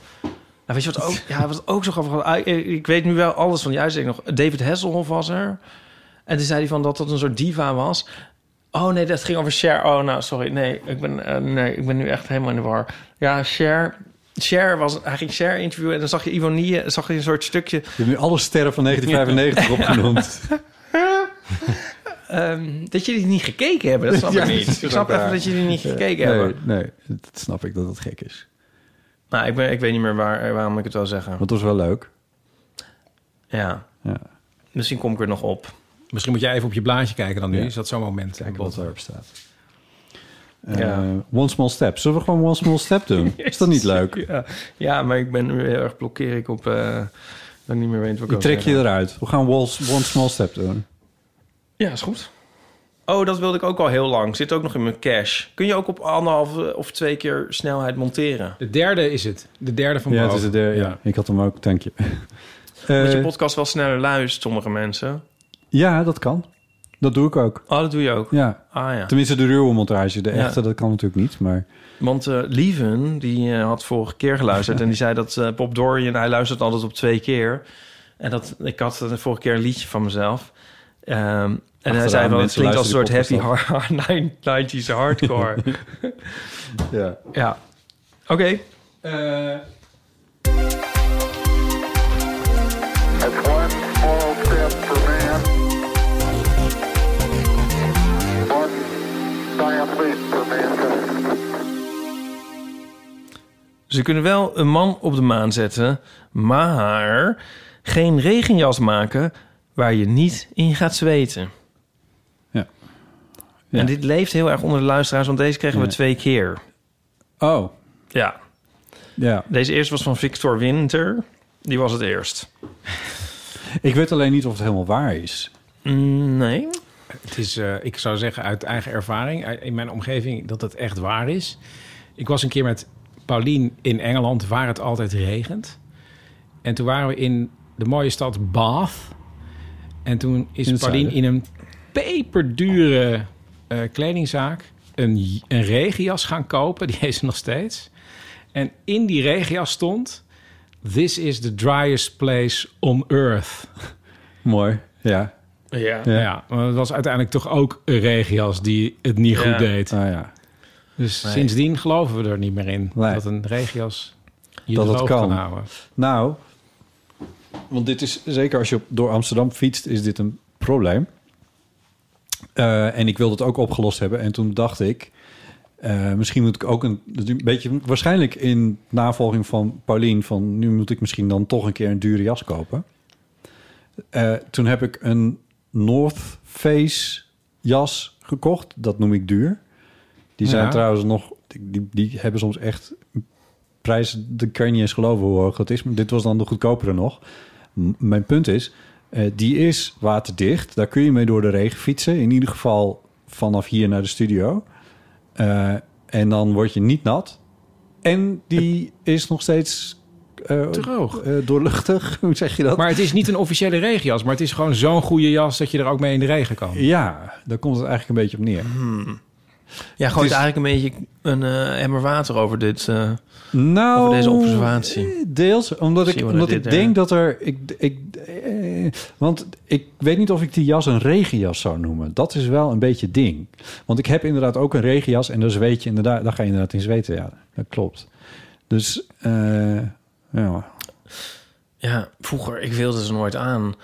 C: Nou, weet je wat ook, ja, wat ook zo grappig was? Ah, Ik ik weet nu wel alles van die uitzending nog. David Hasselhoff was er. En toen zei hij van dat dat een soort diva was. Oh nee, dat ging over Cher. Oh nou, sorry. Nee, ik ben, eh, nee, ik ben nu echt helemaal in de war. Ja, Cher... Cher was, hij ging Cher interviewen en dan zag je Ivonie, zag je een soort stukje
B: Je hebt nu alle sterren
C: [laughs]
B: van 1995 opgenoemd.
C: Ehm, dat jullie die niet gekeken hebben, dat snap
B: Ja,
C: ik
B: dat
C: niet.
B: is
C: Ik snap
B: ook
C: even
B: waar.
C: dat jullie die niet gekeken
B: Nee,
C: hebben.
B: nee, dat snap ik dat dat gek is.
C: Nou, ik, ben, ik weet niet meer waar, eh, waarom ik het wil zeggen.
B: Want dat was wel leuk.
C: Ja,
B: Ja,
C: misschien kom ik er nog op.
A: Misschien moet jij even op je blaadje kijken dan nu.
B: Ja.
A: Is dat zo'n moment?
B: kijken wat erop staat. Eh,
C: Ja.
B: One Small Step. Zullen we gewoon One Small
C: [laughs]
B: Step doen? Is dat niet leuk?
C: Ja, ja maar ik ben nu heel erg blokkeer ik op... eh, dat ik niet meer weet wat ik
B: Ik
C: wil
B: trek je
C: zeggen.
B: eruit. We gaan One One Small Step doen.
C: Ja, is goed. Oh, dat wilde ik ook al heel lang. Zit ook nog in mijn cache. Kun je ook op anderhalf of twee keer snelheid monteren?
A: De derde is het. De derde van
B: Ja, het
A: boven.
B: is het, eh, ja. ik had hem ook, dank
C: [laughs]
B: je.
C: Dat je
B: Eh,
C: podcast wel sneller luistert, sommige mensen.
B: ja, dat kan. Dat doe ik ook.
C: Oh, dat doe je ook.
B: Ja.
C: Ah ja.
B: Tenminste, de ruwe montage. De
C: Ja.
B: echte, dat kan natuurlijk niet. Maar
C: Want eh, Lieven, die eh, had vorige keer
B: [laughs]
C: geluisterd... en die zei dat eh Bob Dorian, hij luistert altijd op twee keer. En dat, ik had eh, de vorige keer een liedje van mezelf. Ehm, en hij
B: Achteraan
C: zei wel, het
B: mensen
C: klinkt als een soort
B: luisteren
C: heavy
B: die
C: hard, [laughs] 90s
B: [laughs]
C: hardcore.
B: ja.
C: ja. Oké.
A: Eh,
E: That's one small step for man, one giant leap for mankind.
C: Ze kunnen wel een man op de maan zetten, maar geen regenjas maken waar je niet in gaat zweten.
B: Ja. Ja.
C: En dit leeft heel erg onder de luisteraars, want deze kregen we
B: Ja.
C: twee keer.
B: Oh,
C: Ja.
B: ja.
C: Deze eerste was van Victor Winter. Die was het eerst.
B: Ik weet alleen niet of het helemaal waar is.
C: Mm, Nee.
A: Het is, eh, ik zou zeggen uit eigen ervaring, uit- in mijn omgeving, dat het echt waar is. Ik was een keer met Paulien in Engeland, waar het altijd regent. En toen waren we in de mooie stad Bath. En toen is
B: In het
A: Paulien
B: zuiden.
A: in een peperdure eh, kledingzaak een, j- een regenjas gaan kopen. Die heeft ze nog steeds. En in die regenjas stond... This is the driest place on earth.
B: Mooi. Ja.
C: Ja.
B: Ja.
A: Ja, maar het was uiteindelijk toch ook een regenjas die het niet
C: Ja.
A: goed deed.
B: Ah, ja.
A: Dus
C: Nee.
A: sindsdien geloven we er niet meer in
B: Nee.
A: dat een regenjas je
B: Dat
A: dat
B: het
A: droog
B: kan.
A: kan houden.
B: Nou, want dit is zeker als je op- door Amsterdam fietst, is dit een probleem. Eh, en ik wilde het ook opgelost hebben. En toen dacht ik, eh, misschien moet ik ook een, een beetje, waarschijnlijk in navolging van Paulien, van nu moet ik misschien dan toch een keer een dure jas kopen. Eh, toen heb ik een North Face jas gekocht. Dat noem ik duur. Die zijn
A: Ja.
B: trouwens nog, die, die hebben soms echt prijzen, dat kan je niet eens geloven hoe hoog dat is. Maar dit was dan de goedkopere nog. M- mijn punt is, eh, die is waterdicht. Daar kun je mee door de regen fietsen. In ieder geval vanaf hier naar de studio. Eh, en dan word je niet nat. En die is nog steeds eh,
A: Droog.
B: eh, doorluchtig. [laughs] Hoe zeg je dat?
A: Maar het is niet een officiële regenjas, maar het is gewoon zo'n goede jas dat je er ook mee in de regen kan.
B: Ja, daar komt het eigenlijk een beetje op neer.
C: Ja, gewoon
B: Het is-
C: eigenlijk een beetje een eh emmer water over dit. eh,
B: Nou,
C: Over deze observatie.
B: eh, Deels, omdat ik,
C: Zie je
B: omdat
C: dit, eh,
B: ik
C: hè?
B: denk dat er... Ik, ik, eh, want ik weet niet of ik die jas een regenjas zou noemen. Dat is wel een beetje ding. Want ik heb inderdaad ook een regenjas en dan zweet je inderdaad... Daar ga je inderdaad in zweten, ja. Dat klopt. Dus, eh, ja.
C: ja, vroeger, ik wilde ze nooit aan.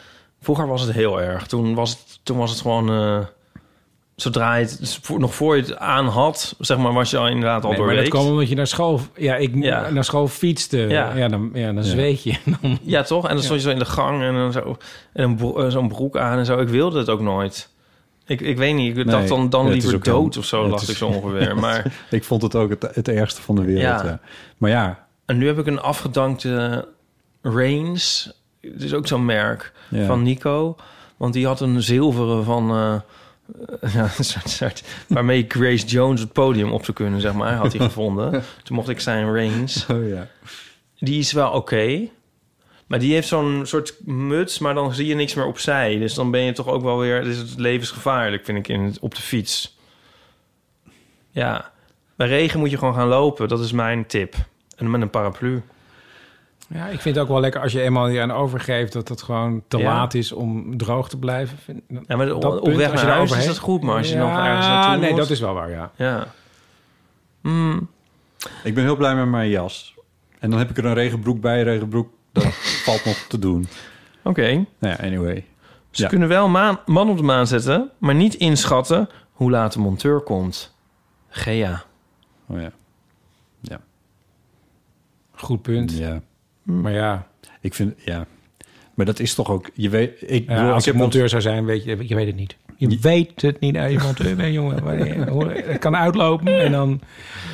C: Vroeger was het heel erg. Toen was het, toen was het gewoon... eh, zodra je het, dus vo- nog voor je het aan had, zeg maar, was je al inderdaad al
A: Nee, maar dat
C: doorweekt.
A: kwam omdat je naar school, ja, ik,
C: Ja.
A: Naar school fietste. Ja.
C: Ja.
A: dan, ja, dan zweet je. Dan-
C: Ja, toch? En dan stond je zo in de gang en dan zo en een bro- eh, zo'n broek aan en zo. Ik wilde het ook nooit. Ik, ik weet niet, ik dacht dan, dan
B: het is
C: liever
B: ook heel-
C: dood of zo,
B: het
C: dacht
B: is-
C: ik zo
B: [laughs]
C: ongeveer. Maar
B: Ik vond het ook het, het ergste van de wereld.
C: Ja.
B: ja. Maar ja,
C: en nu heb ik een afgedankte Reigns. Het is ook zo'n merk
B: Ja.
C: van Nico. Want die had een zilveren van... eh, [laughs] ja, een soort, soort, waarmee Grace Jones het podium op zou kunnen, zeg maar. Had
A: [laughs]
C: hij gevonden. Toen mocht ik zijn Reigns.
B: oh, ja.
C: Die is wel oké. Maar die heeft zo'n soort muts, maar dan zie je niks meer opzij. Dus dan ben je toch ook wel weer... Dus het levensgevaarlijk, vind ik, in het- op de fiets. Ja. Bij regen moet je gewoon gaan lopen. Dat is mijn tip. En met een paraplu.
A: [laughs] Ja, ik vind het ook wel lekker als je eenmaal je aan overgeeft dat het gewoon te
C: Ja.
A: laat is om droog te blijven. Vind-
C: Ja, maar
A: dat
C: op, op
A: punt,
C: weg
A: als
C: naar
A: je
C: huis
A: eroverheen-
C: is dat goed. Maar als je
A: Ja,
C: nog ergens naartoe
A: nee,
C: moet-
A: dat is wel waar, ja.
C: Ja. Mm,
B: Ik ben heel blij met mijn jas. En dan heb ik er een regenbroek bij. Regenbroek, dat
C: [laughs]
B: valt nog te doen.
C: Oké.
B: Nou ja, anyway.
C: Ze
B: Ja.
C: kunnen wel maan, man op de maan zetten, maar niet inschatten hoe laat de monteur komt. Gea.
B: Oh, ja.
A: Goed punt.
B: ja.
A: Maar ja,
B: Ik vind, ja. Maar dat is toch ook, je weet, ik,
A: ja,
B: bedoel,
A: als
B: ik
A: ik
B: heb
A: monteur zou zijn, weet je, je weet het niet. Je weet het niet als je monteur bent, jongen. Maar je- hoor, Het kan uitlopen en dan...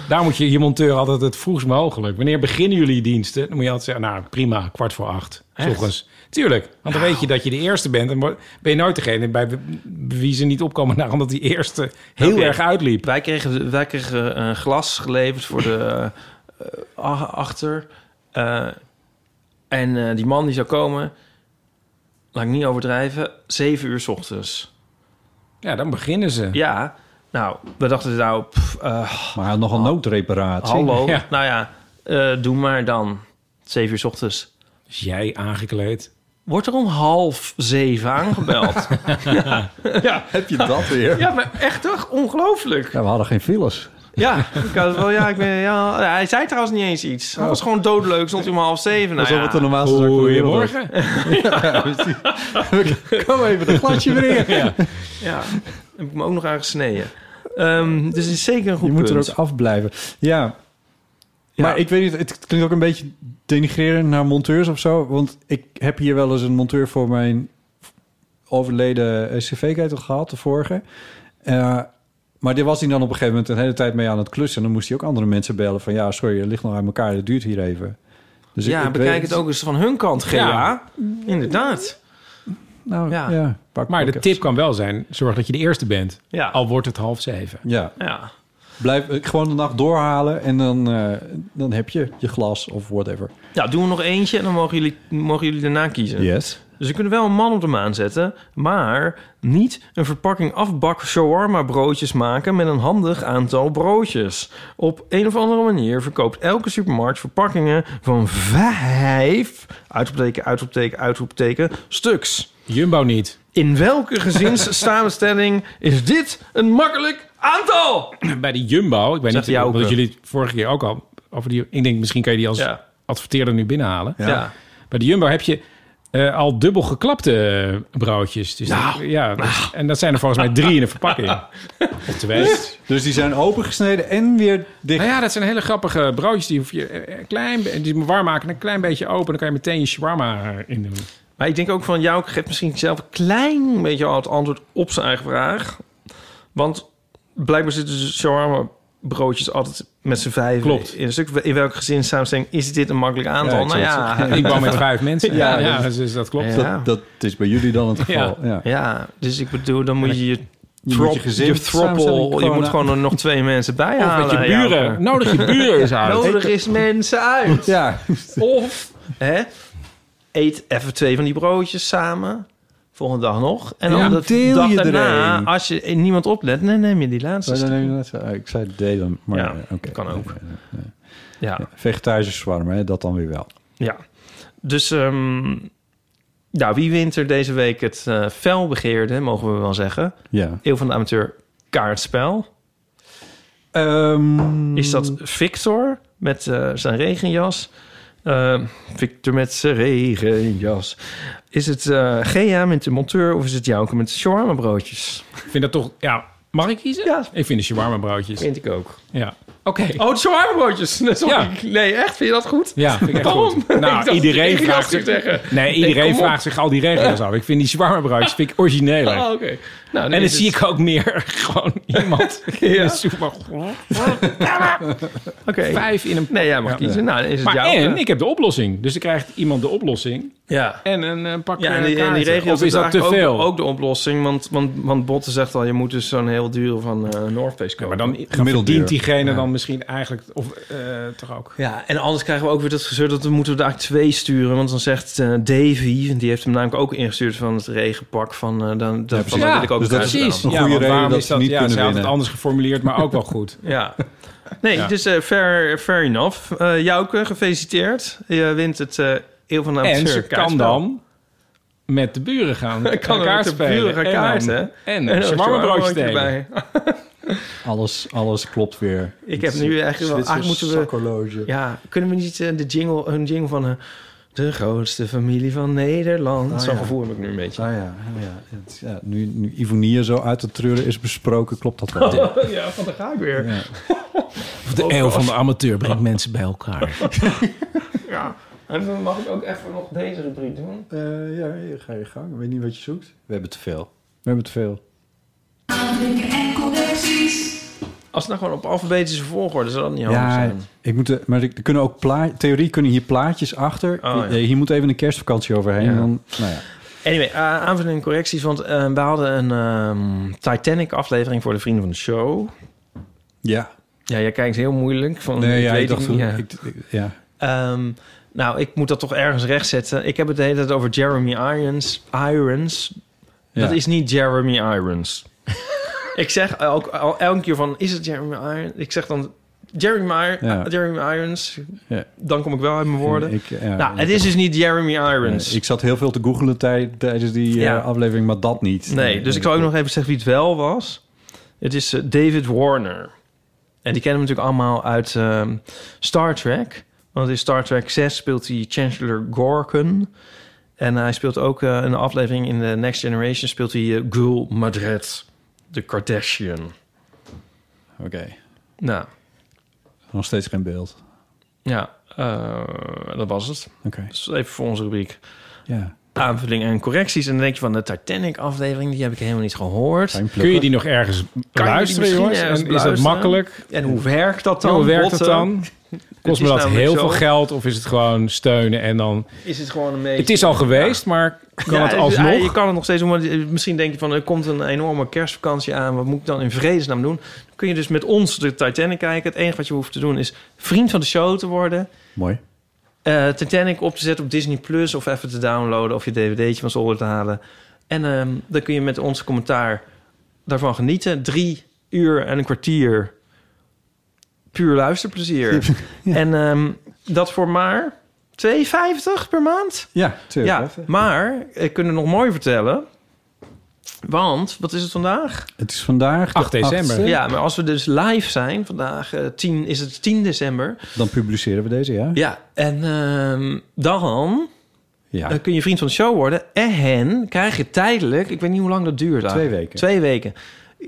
A: Daar moet je je monteur altijd het vroegst mogelijk. Wanneer beginnen jullie diensten? Dan moet je altijd zeggen, nou prima, kwart voor acht. 's
C: Echt?
A: ochtends. Tuurlijk, want dan weet je dat je de eerste bent. En wo- ben je nooit degene bij wie- wie ze niet opkomen. [laughs] Nou, omdat die eerste heel
C: Oké.
A: erg uitliep.
C: Wij kregen, wij kregen een glas geleverd voor de eh, a- achter. Eh, en eh, die man die zou komen, laat ik niet overdrijven, zeven uur 's ochtends.
A: Ja, dan beginnen ze.
C: Ja, nou, we dachten nou, pff, eh,
B: Maar nog een noodreparatie.
C: hallo.
A: Ja.
C: Nou ja, eh, doe maar dan. Zeven uur 's ochtends.
A: Is jij aangekleed?
C: Wordt er om half zeven aangebeld?
B: Heb je dat weer? Ja.
C: [laughs] ja, maar echt toch? Ongelooflijk.
B: we hadden geen files.
C: Ja, ik had wel, ja, ik ben, ja, ja, hij zei trouwens niet eens iets.
B: Oh.
C: Hij was gewoon doodleuk, stond hij om half zeven. Nou
B: Alsof
C: ja.
B: het de normaalste zaak van de wereld was.
A: Goedemorgen.
B: [laughs] Ja, [laughs] precies. Kom even een glasje weer in.
C: Ja, heb ik me ook nog aan gesneden. Ehm, dus het is zeker een goed
B: Je moet
C: punt.
B: er ook afblijven. Ja.
C: Ja.
B: Maar ik weet niet, het klinkt ook een beetje denigrerend naar monteurs of zo. Want ik heb hier wel eens een monteur voor mijn overleden eh, cv-ketel gehad, de vorige. Eh, maar die was hij dan op een gegeven moment een hele tijd mee aan het klussen. En dan moest hij ook andere mensen bellen van... ja, sorry, het ligt nog aan elkaar, dat duurt hier even. Dus ik-
C: ja,
B: ik
C: bekijk
B: weet-
C: het ook eens van hun kant, Gea.
A: Ja.
C: Inderdaad.
B: Nou,
C: Ja.
B: ja. pak-
A: Maar de
B: pak even.
A: tip kan wel zijn, zorg dat je de eerste bent.
C: Ja.
A: Al wordt het half zeven.
B: Ja,
C: Ja.
B: blijf eh, gewoon de nacht doorhalen en dan, eh, dan heb je je glas of whatever.
C: ja, doen we nog eentje en dan mogen jullie, mogen jullie daarna kiezen.
B: Yes.
C: Dus we kunnen wel een man op de maan zetten, maar niet een verpakking afbak shawarma broodjes maken met een handig aantal broodjes. Op een of andere manier verkoopt elke supermarkt verpakkingen van vijf, uitroepteken, uitroepteken, uitroepteken, stuks.
A: Jumbo niet.
C: In welke gezinssamenstelling is dit een makkelijk aantal?
A: Bij de Jumbo, ik weet
C: Zegt
A: niet,
C: hij ook,
A: omdat
C: eh.
A: jullie het vorige keer ook al over die... Ik denk, misschien kan je die als
C: Ja.
A: adverteerder nu binnenhalen.
C: Ja.
A: Bij de Jumbo heb je eh, al dubbel geklapte eh, broodjes. Dus
C: Nou.
A: dat- ja, dus- En dat zijn er volgens mij drie in een verpakking.
C: [laughs]
A: Of twee.
B: Dus die zijn opengesneden en weer dicht.
A: Nou ja, dat zijn hele grappige broodjes. Die hoef je eh, een klein, be- die warm maken, een klein beetje open. Dan kan je meteen je shawarma eh, in doen.
C: Maar ik denk ook van jou geeft misschien zelf een klein beetje al het antwoord op zijn eigen vraag. Want blijkbaar zitten dus shawarma broodjes altijd met z'n vijf
A: Klopt.
C: in een stuk. In welke gezinssamenstelling is dit een makkelijk aantal?
B: Ja, ik
C: nou
B: zou het
C: ja,
A: Ik woon met vijf mensen. Ja,
C: [laughs]
A: dus, dus dat klopt.
C: Ja.
B: Dat, dat is bij jullie dan het geval. Ja.
C: ja, dus ik bedoel, dan moet je je
B: Je
C: Trop-
B: moet je gezin
C: je throppel. Je moet gewoon er nog twee mensen bij
A: Of
C: halen.
A: met je
C: Ja,
A: buren. Nou,
C: maar-
A: Nodig je buren eens uit.
C: Nodig is mensen uit.
B: Ja,
C: Of hè, eet even twee van die broodjes samen. Volgende dag nog. En dan
A: Ja,
C: de
B: deel
C: dag
B: je er
C: daarna,
B: een.
C: als je in niemand oplet, dan neem je die laatste.
B: dan
C: stuk.
B: neem je dat, eh, ik zei delen, maar
C: Ja,
B: eh, oké.
C: kan ook.
B: Eh,
C: Ja,
B: eh, Vegetarische shawarma, hè, dat dan weer wel.
C: ja. Dus ehm, nou, wie wint er deze week het eh felbegeerde, mogen we wel zeggen.
B: Ja.
C: Eeuw van de amateur kaartspel.
B: Ehm,
C: Is dat Victor met eh, zijn regenjas? Eh, Victor met zijn regenjas. Is het eh Gea met de monteur of is het Jouke met de shawarma broodjes?
A: Ik vind dat toch... Ja, mag ik kiezen?
C: Ja.
A: Ik vind de shawarma broodjes.
C: Vind ik ook.
A: Ja. Oké.
C: Oh, shawarma
A: [laughs]
C: broodjes.
A: Sorry.
C: Nee, echt? Vind je dat goed?
A: Ja, vind [laughs] ik echt
C: Waarom?
A: goed.
C: [laughs] Ik dacht
A: Nou,
C: dat
A: iedereen
C: ik dat
A: vraagt
C: ging
A: zich...
C: zeggen.
A: Nee,
C: Nee,
A: iedereen
C: kom op.
A: vraagt zich al die regels af. Ik vind die shawarma broodjes vind ik origineler.
C: Oh, oké. Nou,
A: en dan zie ik ook meer [laughs] gewoon [laughs] iemand in de supermarkt. Vijf in een...
C: Nee, jij mag kiezen. Nou, dan is het
A: Maar
C: Jouke.
A: en, ik heb de oplossing. Dus dan krijgt iemand de oplossing
C: Ja.
A: en een eh, pak
C: Ja, en
A: eh,
C: die, en die
A: kaarten.
C: regio
A: Of is dat te veel?
C: Ook, ook de oplossing, want, want, want Botten zegt al... je moet dus zo'n heel dure van eh North Face
A: Ja,
C: kopen.
A: maar dan
B: Gemiddeld
A: verdient
B: duur.
A: diegene dan misschien eigenlijk... Of eh, toch ook...
C: Ja, en anders krijgen we ook weer dat gezeur dat we moeten we daar twee sturen. Want dan zegt eh, Davy, die heeft hem namelijk ook ingestuurd van het regenpak. Van, eh, dan, dat, van,
B: precies.
C: dan
A: Ja,
C: wil ik ook
B: dus
C: een
B: dat is
C: kruis
A: Precies.
C: dan.
B: Een goede
A: want
B: reden
A: waarom
B: dat
A: is
B: ze niet
A: ja,
B: kunnen
A: ze had het
B: winnen.
A: anders geformuleerd, maar ook wel goed.
C: Ja. Nee,
A: Ja.
C: dus eh, fair, fair enough. Eh Jouke, gefeliciteerd. Je wint het eh Eeuw van de
A: en
C: Amateur
A: ze kan
C: kaartspel.
A: dan met de buren gaan
C: [laughs] Kan
A: kan
C: ook
A: kaart
C: met de buren
A: spelen.
C: gaan
A: en dan-
C: kaarten.
A: En
C: En
A: een
C: een
A: shawarma-broodje
C: shawarma-broodje
A: delen.
C: erbij.
B: Alles, alles klopt weer.
C: Ik heb nu echt wel... Ach, moeten we...
B: Horloge.
C: Ja, kunnen we niet eh, de jingle, een jingle van... eh, de grootste familie van Nederland.
B: Ah,
C: Zo'n
B: ja.
C: gevoel heb ik nu een beetje.
B: Ah ja, ah ja. Het- ja, nu, nu Ivonier zo uit de treuren is besproken, klopt dat wel.
C: Oh Ja, van daar ga ik weer.
B: Ja.
A: De eeuw van de amateur brengt mensen bij elkaar.
C: Ja, en dan mag ik ook even nog deze rubriek doen.
B: Eh, ja, hier ga je gang. Ik weet niet wat je zoekt. We hebben te veel. We hebben te veel.
C: Als het nou gewoon op alfabetische volgorde zou dat niet handig
B: Ja,
C: zijn.
B: ik moet, de- maar er kunnen ook pla- theorie kunnen hier plaatjes achter.
C: Oh, ja.
B: Eh, Hier moet even een kerstvakantie overheen.
C: Ja.
B: Dan, nou ja.
C: Anyway, eh, aanvulling en correcties. Want eh, we hadden een ehm, Titanic-aflevering voor de vrienden van de show.
B: ja.
C: Ja, jij kijkt heel moeilijk. Van,
B: Nee,
C: ik
B: ja,
C: weet
B: ik dacht...
C: het
B: Ik,
C: niet, ja.
B: ik- ik- ja.
C: Ehm, nou, ik moet dat toch ergens rechtzetten. Ik heb het de hele tijd over Jeremy Irons. Irons.
B: Ja.
C: Dat is niet Jeremy
B: [laughs]
C: Irons. ik zeg ook al, elke keer van, is het Jeremy Irons? Ik zeg dan Jeremy, Ir-
B: Ja.
C: Jeremy Irons.
B: Ja.
C: Dan kom ik wel uit mijn woorden.
B: Ik, ja,
C: nou,
B: ik-
C: het is dus niet Jeremy Irons.
B: eh, Ik zat heel veel te googelen tij- tijdens die eh,
C: Ja.
B: aflevering, maar dat niet.
C: nee, dus ik zal ook nog even zeggen wie het wel was. Het is eh, David Warner. En die kennen we natuurlijk allemaal uit ehm, Star Trek. Want in Star Trek 6 speelt hij Chancellor Gorkon. En hij speelt ook eh, een aflevering in de Next Generation... speelt hij eh, Gul Madret, de Kardashian.
B: Oké,
C: Nou,
B: nog steeds geen beeld.
C: ja, eh, dat was het.
B: Oké,
C: Dus even voor onze rubriek
B: ja.
C: aanvulling en correcties. En dan denk je van de Titanic-aflevering... die heb ik helemaal niet gehoord.
B: Fijn
A: Kun je
B: plukken.
A: die nog ergens
C: die
A: luisteren,
C: misschien
A: jongens?
C: ergens
A: En is dat
C: luisteren?
A: makkelijk?
C: En hoe werkt dat dan?
A: Hoe werkt het
C: Botten? [laughs]
A: dan? Kost me
C: is
A: dat
C: namelijk
A: heel
C: zo.
A: veel geld of is het gewoon steunen en dan...
C: Is het gewoon een beetje...
A: Het is al geweest, maar kan
C: Ja,
A: het
C: ja, Je
A: alsnog?
C: kan het nog steeds doen. Maar misschien denk je van, er komt een enorme kerstvakantie aan. Wat moet ik dan in vredesnaam doen? Dan kun je dus met ons de Titanic kijken. Het enige wat je hoeft te doen is vriend van de show te worden.
B: Mooi.
C: eh, Titanic op te zetten op Disney Plus. Of even te downloaden of je dvd'tje van zolder te halen. En ehm, dan kun je met ons commentaar daarvan genieten. Drie uur en een kwartier puur luisterplezier.
A: [laughs]
C: En ehm, dat voor maar 2,50 per maand?
B: Ja, tuurlijk.
C: Ja, maar ik kan het nog mooi vertellen. Want, wat is het vandaag?
B: Het is vandaag de
A: 8 december.
B: achtste.
C: Ja, maar als we dus live zijn, vandaag eh, 10, is het 10 december.
B: Dan publiceren we deze, ja?
C: Ja, en ehm, dan
B: Ja.
C: eh, kun je vriend van de show worden. En krijg je tijdelijk, ik weet niet hoe lang dat duurt. eigenlijk.
B: Twee weken.
C: Twee weken.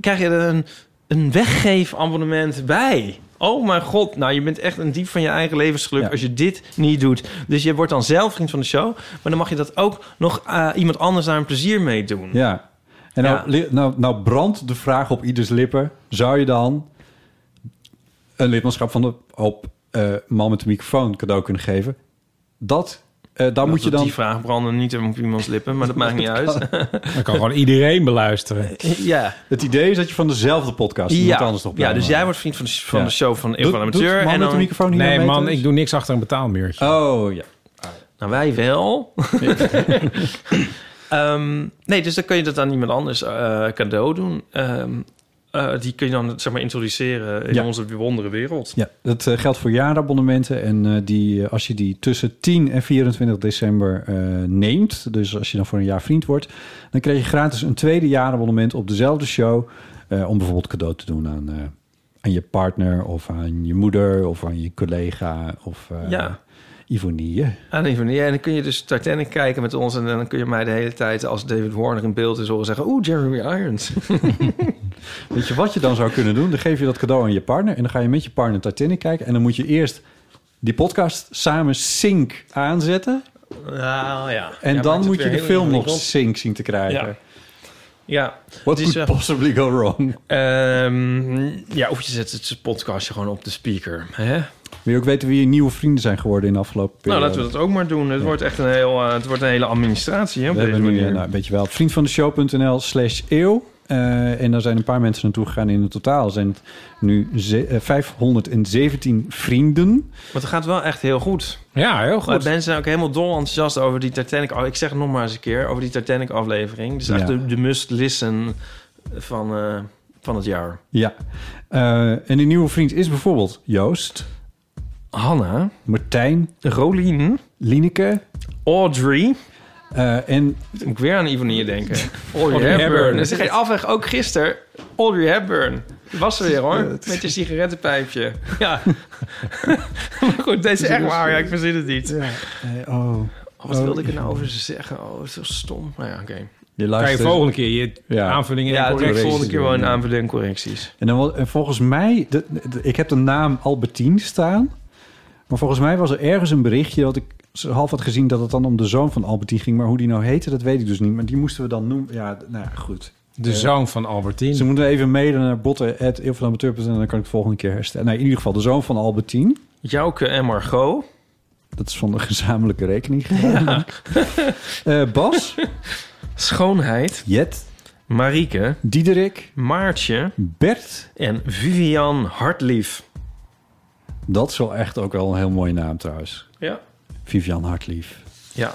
C: Krijg je er een, een weggeefabonnement bij. Oh mijn god, nou je bent echt een diep van je eigen levensgeluk
B: Ja.
C: als je dit niet doet. Dus je wordt dan zelf vriend van de show. Maar dan mag je dat ook nog eh, iemand anders daar een plezier mee doen.
B: Ja. En nou,
C: Ja.
B: li- nou, nou brandt de vraag op ieders lippen. Zou je dan een lidmaatschap van de op eh, man met de microfoon cadeau kunnen geven? Dat Eh, dan moet je dan...
C: Die vraag branden niet op iemands lippen, maar dat maakt
B: [laughs]
C: niet uit.
A: Dan kan gewoon iedereen beluisteren.
C: [laughs] ja.
B: Het idee is dat je van dezelfde podcast iemand anders nog
C: ja,
B: blijft
C: dus jij
B: maken.
C: wordt vriend van de, van
B: Ja.
C: de show van Eeuw
B: Doet-
C: van de
B: doet de
C: Amateur.
B: man
C: en
B: met de
C: dan,
B: microfoon hier
A: Nee,
B: mee
A: man,
B: thuis?
A: ik doe niks achter een betaalmuurtje.
B: Oh, ja.
C: nou, wij wel. [laughs] Ehm, nee, dus dan kun je dat aan iemand anders eh, cadeau doen. Ehm, eh, die kun je dan zeg maar introduceren in
B: Ja.
C: onze bijzondere wereld.
B: Ja, dat eh, geldt voor jaarabonnementen. En eh, die, eh, als je die tussen 10 en 24 december eh, neemt, dus als je dan voor een jaar vriend wordt, dan krijg je gratis een tweede jaarabonnement op dezelfde show. eh, om bijvoorbeeld cadeau te doen aan, eh, aan je partner of aan je moeder of aan je collega of eh
C: Ja.
B: Ivonie.
C: Aan die manier. En dan kun je dus Titanic kijken met ons. En dan kun je mij de hele tijd, als David Warner in beeld is, horen zeggen... Oeh, Jeremy Irons.
B: Weet je wat je dan zou kunnen doen? Dan geef je dat cadeau aan je partner en dan ga je met je partner Titanic kijken. En dan moet je eerst die podcast samen sync aanzetten.
C: [laughs] Nou ja.
B: En
C: Ja,
B: dan
C: maakt het
B: moet je
C: weer
B: de
C: helemaal
B: film nog
C: niet rond.
B: sync zien te krijgen.
C: Ja. Ja.
B: What
C: Het is,
B: could
C: eh,
B: possibly go wrong?
C: Ehm, ja, of je zet het podcastje gewoon op de speaker. Hè?
B: Wil je ook weten wie je nieuwe vrienden zijn geworden in de afgelopen
C: Nou,
B: periode?
C: laten we dat ook maar doen. Het wordt echt een, heel, eh, het wordt een hele administratie hè, op
B: We
C: deze
B: hebben nu,
C: manier.
B: eh, nou, weet je wel, vriendvandeshow.nl slash eeuw. Eh, en daar zijn een paar mensen naartoe gegaan. In het totaal zijn het nu ze- eh, 517 vrienden.
C: Want het gaat wel echt heel goed.
A: Ja, heel
C: Oh. Maar
A: goed.
C: mensen zijn ook helemaal dol enthousiast over die Titanic. Oh, ik zeg het nog maar eens een keer, over die Titanic-aflevering. Dus echt
B: Ja.
C: de, de must-listen van, eh, van het jaar.
B: Ja. Eh, en die nieuwe vriend is bijvoorbeeld Joost,
C: Hanna,
B: Martijn,
C: Rolien,
B: Lineke
C: Audrey.
B: eh, en
C: Moet ik weer aan
B: [laughs]
C: Ivonie denken. Audrey,
A: Audrey
C: Hepburn.
A: Hepburn.
C: Dat is geen afweg. Ook gisteren, Audrey Hepburn. Was ze weer hoor, met je sigarettenpijpje. Ja. maar goed, deze Dus is echt waar. Ja, ik verzin het niet.
B: eh, oh,
C: Oh, wat wilde ik er nou over zeggen? Oh, het is zo stom. Maar ja, oké.
B: je
A: Kan je
B: luistert.
A: volgende keer je
B: Ja.
A: aanvullingen en
C: Ja, de
A: correcties
C: volgende keer wel een
A: doen.
C: aanvulling en correcties.
B: En, dan, wel- en volgens mij, de- de- ik heb de naam Albertine staan. Maar volgens mij was er ergens een berichtje dat ik half had gezien dat het dan om de zoon van Albertine ging. Maar hoe die nou heette, dat weet ik dus niet. Maar die moesten we dan noemen. Ja, d- nou ja, goed.
A: De zoon van
B: Dus we
A: Albertine.
B: moeten even mailen naar botten.eeuwvanamateur.nl en dan kan ik het volgende keer herstellen. Nou, in ieder geval de zoon van Albertine.
C: Jouke en Margot.
B: Dat is van de gezamenlijke rekening gegaan. [laughs] Eh, Bas,
C: Schoonheid.
B: Jet,
C: Marieke.
B: Diederik,
C: Maartje.
B: Bert.
C: En Vivian Hartlief.
B: Dat is wel echt ook wel een heel mooie naam trouwens.
C: Ja.
B: Vivian Hartlief.
C: Ja.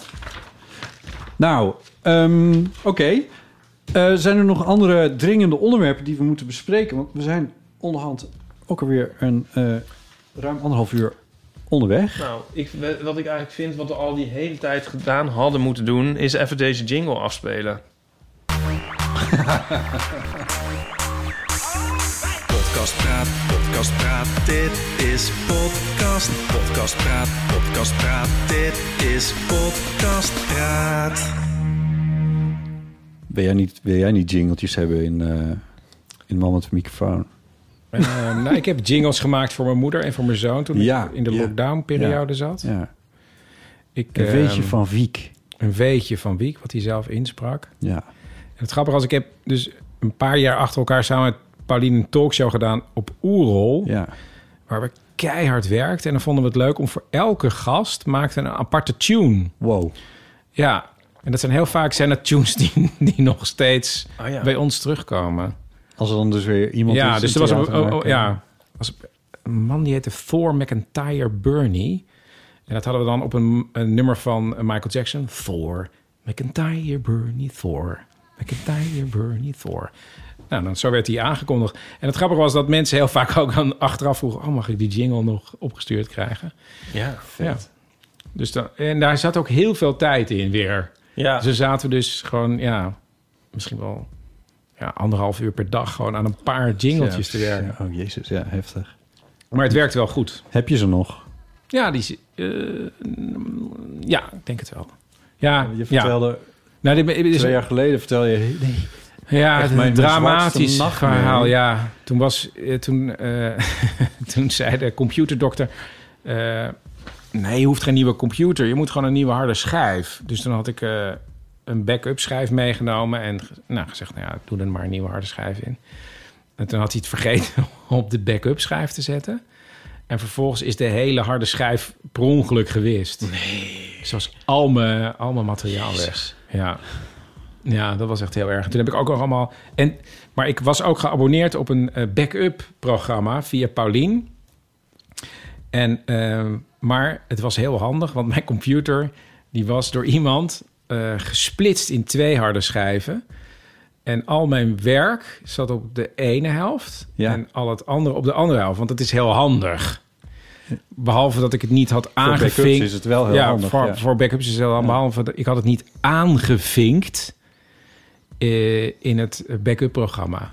B: Nou, ehm, oké. Eh, zijn er nog andere dringende onderwerpen die we moeten bespreken? Want we zijn onderhand ook alweer een eh, ruim anderhalf uur onderweg.
C: Nou, ik, wat ik eigenlijk vind, wat we al die hele tijd gedaan hadden moeten doen, is even deze jingle afspelen.
F: Podcast Praat, Podcast Praat, dit is podcast. Podcast Praat, Podcast Praat, dit is podcast Praat.
B: Wil jij niet, wil jij niet jingeltjes hebben in, eh in Man met de microfoon?
A: Eh, nou, ik heb jingles gemaakt voor mijn moeder en voor mijn zoon toen
B: Ja,
A: ik in de
B: ja.
A: lockdownperiode zat.
B: Ja.
A: Ik,
B: Een
A: ehm,
B: weetje van Wiek.
A: Een weetje van Wiek, wat hij zelf insprak.
B: Ja.
A: En het grappige was, ik heb dus een paar jaar achter elkaar samen met Pauline een talkshow gedaan op Oerol.
B: ja.
A: Waar we keihard werkten. En dan vonden we het leuk om voor elke gast maakte een aparte tune.
B: Wow.
A: Ja, en dat zijn heel vaak zijn dat tunes die, die nog steeds
B: Ah,
C: Oh ja.
A: bij ons terugkomen.
B: Als er dan dus weer iemand
A: ja,
B: is
A: dus
B: die
A: er was een,
B: theater
A: oh, oh,
B: maken.
A: ja, was een man die heette Thor McIntyre Bernie. En dat hadden we dan op een, een nummer van Michael Jackson. Thor McIntyre Bernie Thor. McIntyre Bernie Thor. Nou, dan, zo werd hij aangekondigd. En het grappige was dat mensen heel vaak ook aan achteraf vroegen... oh, mag ik die jingle nog opgestuurd krijgen?
C: Ja.
A: Ja. Dus dan, en daar zat ook heel veel tijd in weer.
C: Ja.
A: Ze zaten dus gewoon, ja, misschien wel ja, anderhalf uur per dag gewoon aan een paar jingeltjes te werken.
B: Ja, Oh, jezus. Ja, heftig.
A: Maar het werkt wel goed.
B: Heb je ze nog?
A: Ja, die, zi- eh, mm, ja ik denk het wel. Ja,
B: Je
A: ja.
B: vertelde...
A: Nou, dit dit is,
B: Twee jaar geleden vertel je...
A: ja
B: echt
A: het is
B: mijn
A: een dramatisch
B: zwartste nachtmerrie.
A: verhaal. Ja, toen, was, eh, toen, eh, [laughs] toen zei de computerdokter... eh, nee, je hoeft geen nieuwe computer. Je moet gewoon een nieuwe harde schijf. Dus toen had ik eh, een backup schijf meegenomen... en ge- nou, gezegd, nou ja, doe er maar een nieuwe harde schijf in. En toen had hij het [laughs] vergeten op de backup schijf te zetten. En vervolgens is de hele harde schijf per ongeluk gewist. Ze was al mijn, al mijn materiaal weg. Ja. ja, dat was echt heel erg. Toen heb ik ook nog allemaal... En, maar ik was ook geabonneerd op een eh, backup programma via Paulien. En, ehm, maar het was heel handig, want mijn computer... die was door iemand eh, gesplitst in twee harde schijven... En al mijn werk zat op de ene helft
B: Ja.
A: en al het andere op de andere helft. Want dat is heel handig. Behalve dat ik het niet had aangevinkt.
B: Voor backups is het wel heel
A: ja,
B: handig,
A: Voor,
B: ja.
A: voor backups is het heel handig. Behalve dat ik had het niet aangevinkt eh, in het backup programma.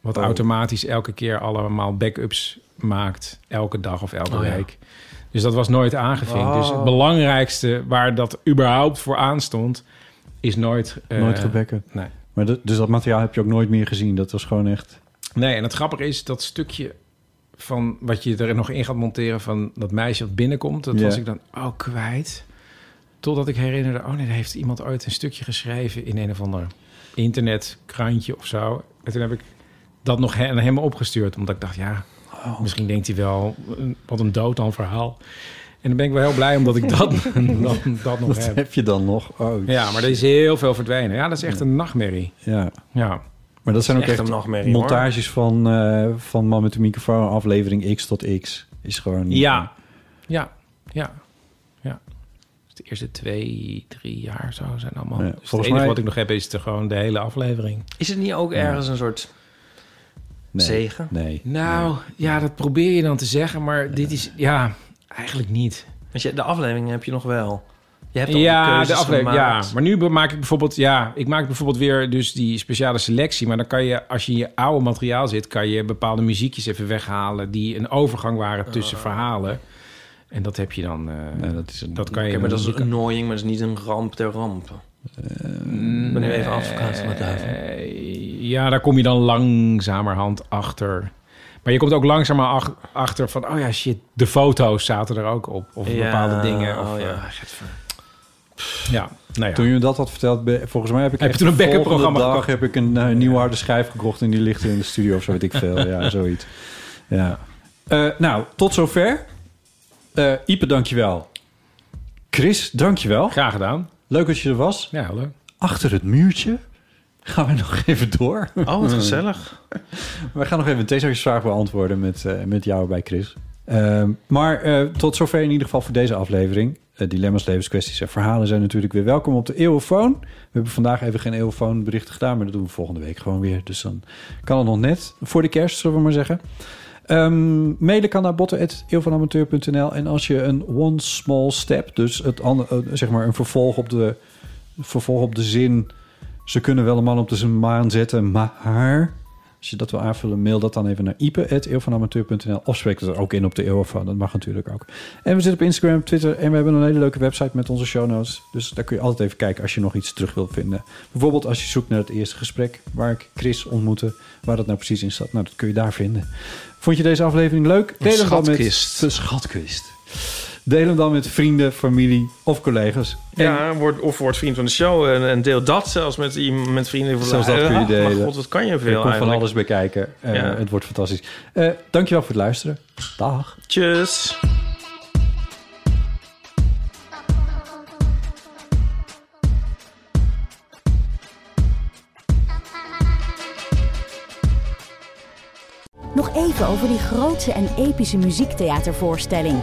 A: Wat
B: Oh.
A: automatisch elke keer allemaal backups maakt. Elke dag of
B: Oh,
A: elke week. Dus dat was nooit aangevinkt. Dus het belangrijkste waar dat überhaupt voor aanstond, is nooit... eh,
B: Nooit gebekken.
A: Nee.
B: Maar dat- dus dat materiaal heb je ook nooit meer gezien. Dat was gewoon echt...
A: Nee, en het grappige is dat stukje van wat je er nog in gaat monteren van dat meisje dat binnenkomt, dat
B: Ja.
A: was ik dan ook kwijt. Totdat ik herinnerde, oh nee, daar heeft iemand ooit een stukje geschreven in een of ander internetkrantje of zo. En toen heb ik dat nog he- aan hem opgestuurd, omdat ik dacht, ja, misschien denkt hij wel, een- wat een dood dan verhaal. En dan ben ik wel heel blij omdat ik dat, [laughs] dat, dat nog
B: Dat
A: heb.
B: heb je dan nog. Oh,
A: Ja, maar er is heel veel verdwenen. Ja, dat is echt een nachtmerrie.
B: ja.
A: Ja.
B: Maar dat zijn ook
C: echt
B: echt,
C: een nachtmerrie,
B: montages van, eh, van Man met de microfoon, aflevering X tot X. Is gewoon...
A: Ja. Ja, ja, ja. Dus de eerste twee, drie jaar zo zijn allemaal.
B: Ja,
A: dus het
B: volgens
A: enige
B: mij-
A: wat ik nog heb is de, gewoon de hele aflevering.
C: Is het niet ook ergens een soort
B: Nee.
C: zegen?
B: Nee.
A: Nou, ja, dat probeer je dan te zeggen, maar dit is, ja, eigenlijk niet.
C: Want je, de aflevering heb je nog wel. Je hebt al die
A: Ja,
C: keuzes
A: de aflevering, ja.
C: gemaakt.
A: Maar nu be- maak ik bijvoorbeeld, ja, ik maak bijvoorbeeld weer dus die speciale selectie. Maar dan kan je, als je in je oude materiaal zit, kan je bepaalde muziekjes even weghalen die een overgang waren tussen verhalen. En dat heb je dan, eh,
B: Nee, dat is een-
A: dat kan je
C: Oké, maar
A: dan-
C: dat is
A: je
C: een
A: kan-
C: annoying, maar dat is niet een ramp ter ramp.
B: Mm.
C: ik ben nu even advocaat van de duivel.
A: Eh, Ja, daar kom je dan langzamerhand achter. Maar je komt ook langzamerhand ach- achter van... oh ja, shit, de foto's zaten er ook op. Of bepaalde dingen. Of,
C: oh ja,
A: eh,
C: gadver.
A: ja, nou ja.
B: Toen je me dat had verteld, ben- volgens mij heb ik
A: Heb je
B: echt
A: toen een
B: de
A: backup
B: volgende
A: programma
B: dag
A: gekocht?
B: heb ik een eh, nieuwe harde schijf gekocht en die ligt in de studio of zo weet ik veel.
A: [laughs]
B: Ja, zoiets. Ja. Eh, nou, tot zover. Eh Ipe, dankjewel. Chris, dankjewel.
A: Graag gedaan.
B: Leuk dat je er was.
A: Ja, heel leuk.
B: Achter het muurtje gaan we nog even door.
C: [laughs] Oh, wat gezellig.
B: [laughs] We gaan nog even een theezakjesvraag beantwoorden met, eh, met jou bij Chris. Ehm, maar eh, tot zover in ieder geval voor deze aflevering. Eh, dilemma's, levenskwesties en verhalen zijn natuurlijk weer welkom op de eeuwenfoon. We hebben vandaag even geen eeuwenfoonberichten gedaan, maar dat doen we volgende week gewoon weer. Dus dan kan het nog net voor de kerst, zullen we maar zeggen. Ehm, mailen kan naar botten.eeuwvanamateur.nl en als je een one small step, dus het ander- eh, zeg maar een vervolg op de vervolg op de zin. Ze kunnen wel een man op de zijn maan zetten, maar... Als je dat wil aanvullen, mail dat dan even naar ipe.eeuwvanamateur.nl. Of spreek het er ook in op de Eeuwvan. Dat mag natuurlijk ook. En we zitten op Instagram, Twitter en we hebben een hele leuke website met onze show notes. Dus daar kun je altijd even kijken als je nog iets terug wilt vinden. Bijvoorbeeld als je zoekt naar het eerste gesprek waar ik Chris ontmoette. Waar dat nou precies in zat. Nou, dat kun je daar vinden. Vond je deze aflevering leuk? Deel hem dan met
C: schatkist.
B: de schatkist. Deel hem dan met vrienden, familie of collega's.
C: Ja, word, of word vriend van de show en, en deel dat zelfs met, iemand- met vrienden. voor-
B: Zelfs dat kun je
C: Eh, ah,
B: delen.
C: Maar god, wat kan je
B: Je
C: veel
B: komt van
C: eigenlijk.
B: alles bekijken. Eh,
C: Ja.
B: Het wordt fantastisch. Eh dankjewel voor het luisteren. Dag.
C: Tjus.
G: Nog even over die grootse en epische muziektheatervoorstelling.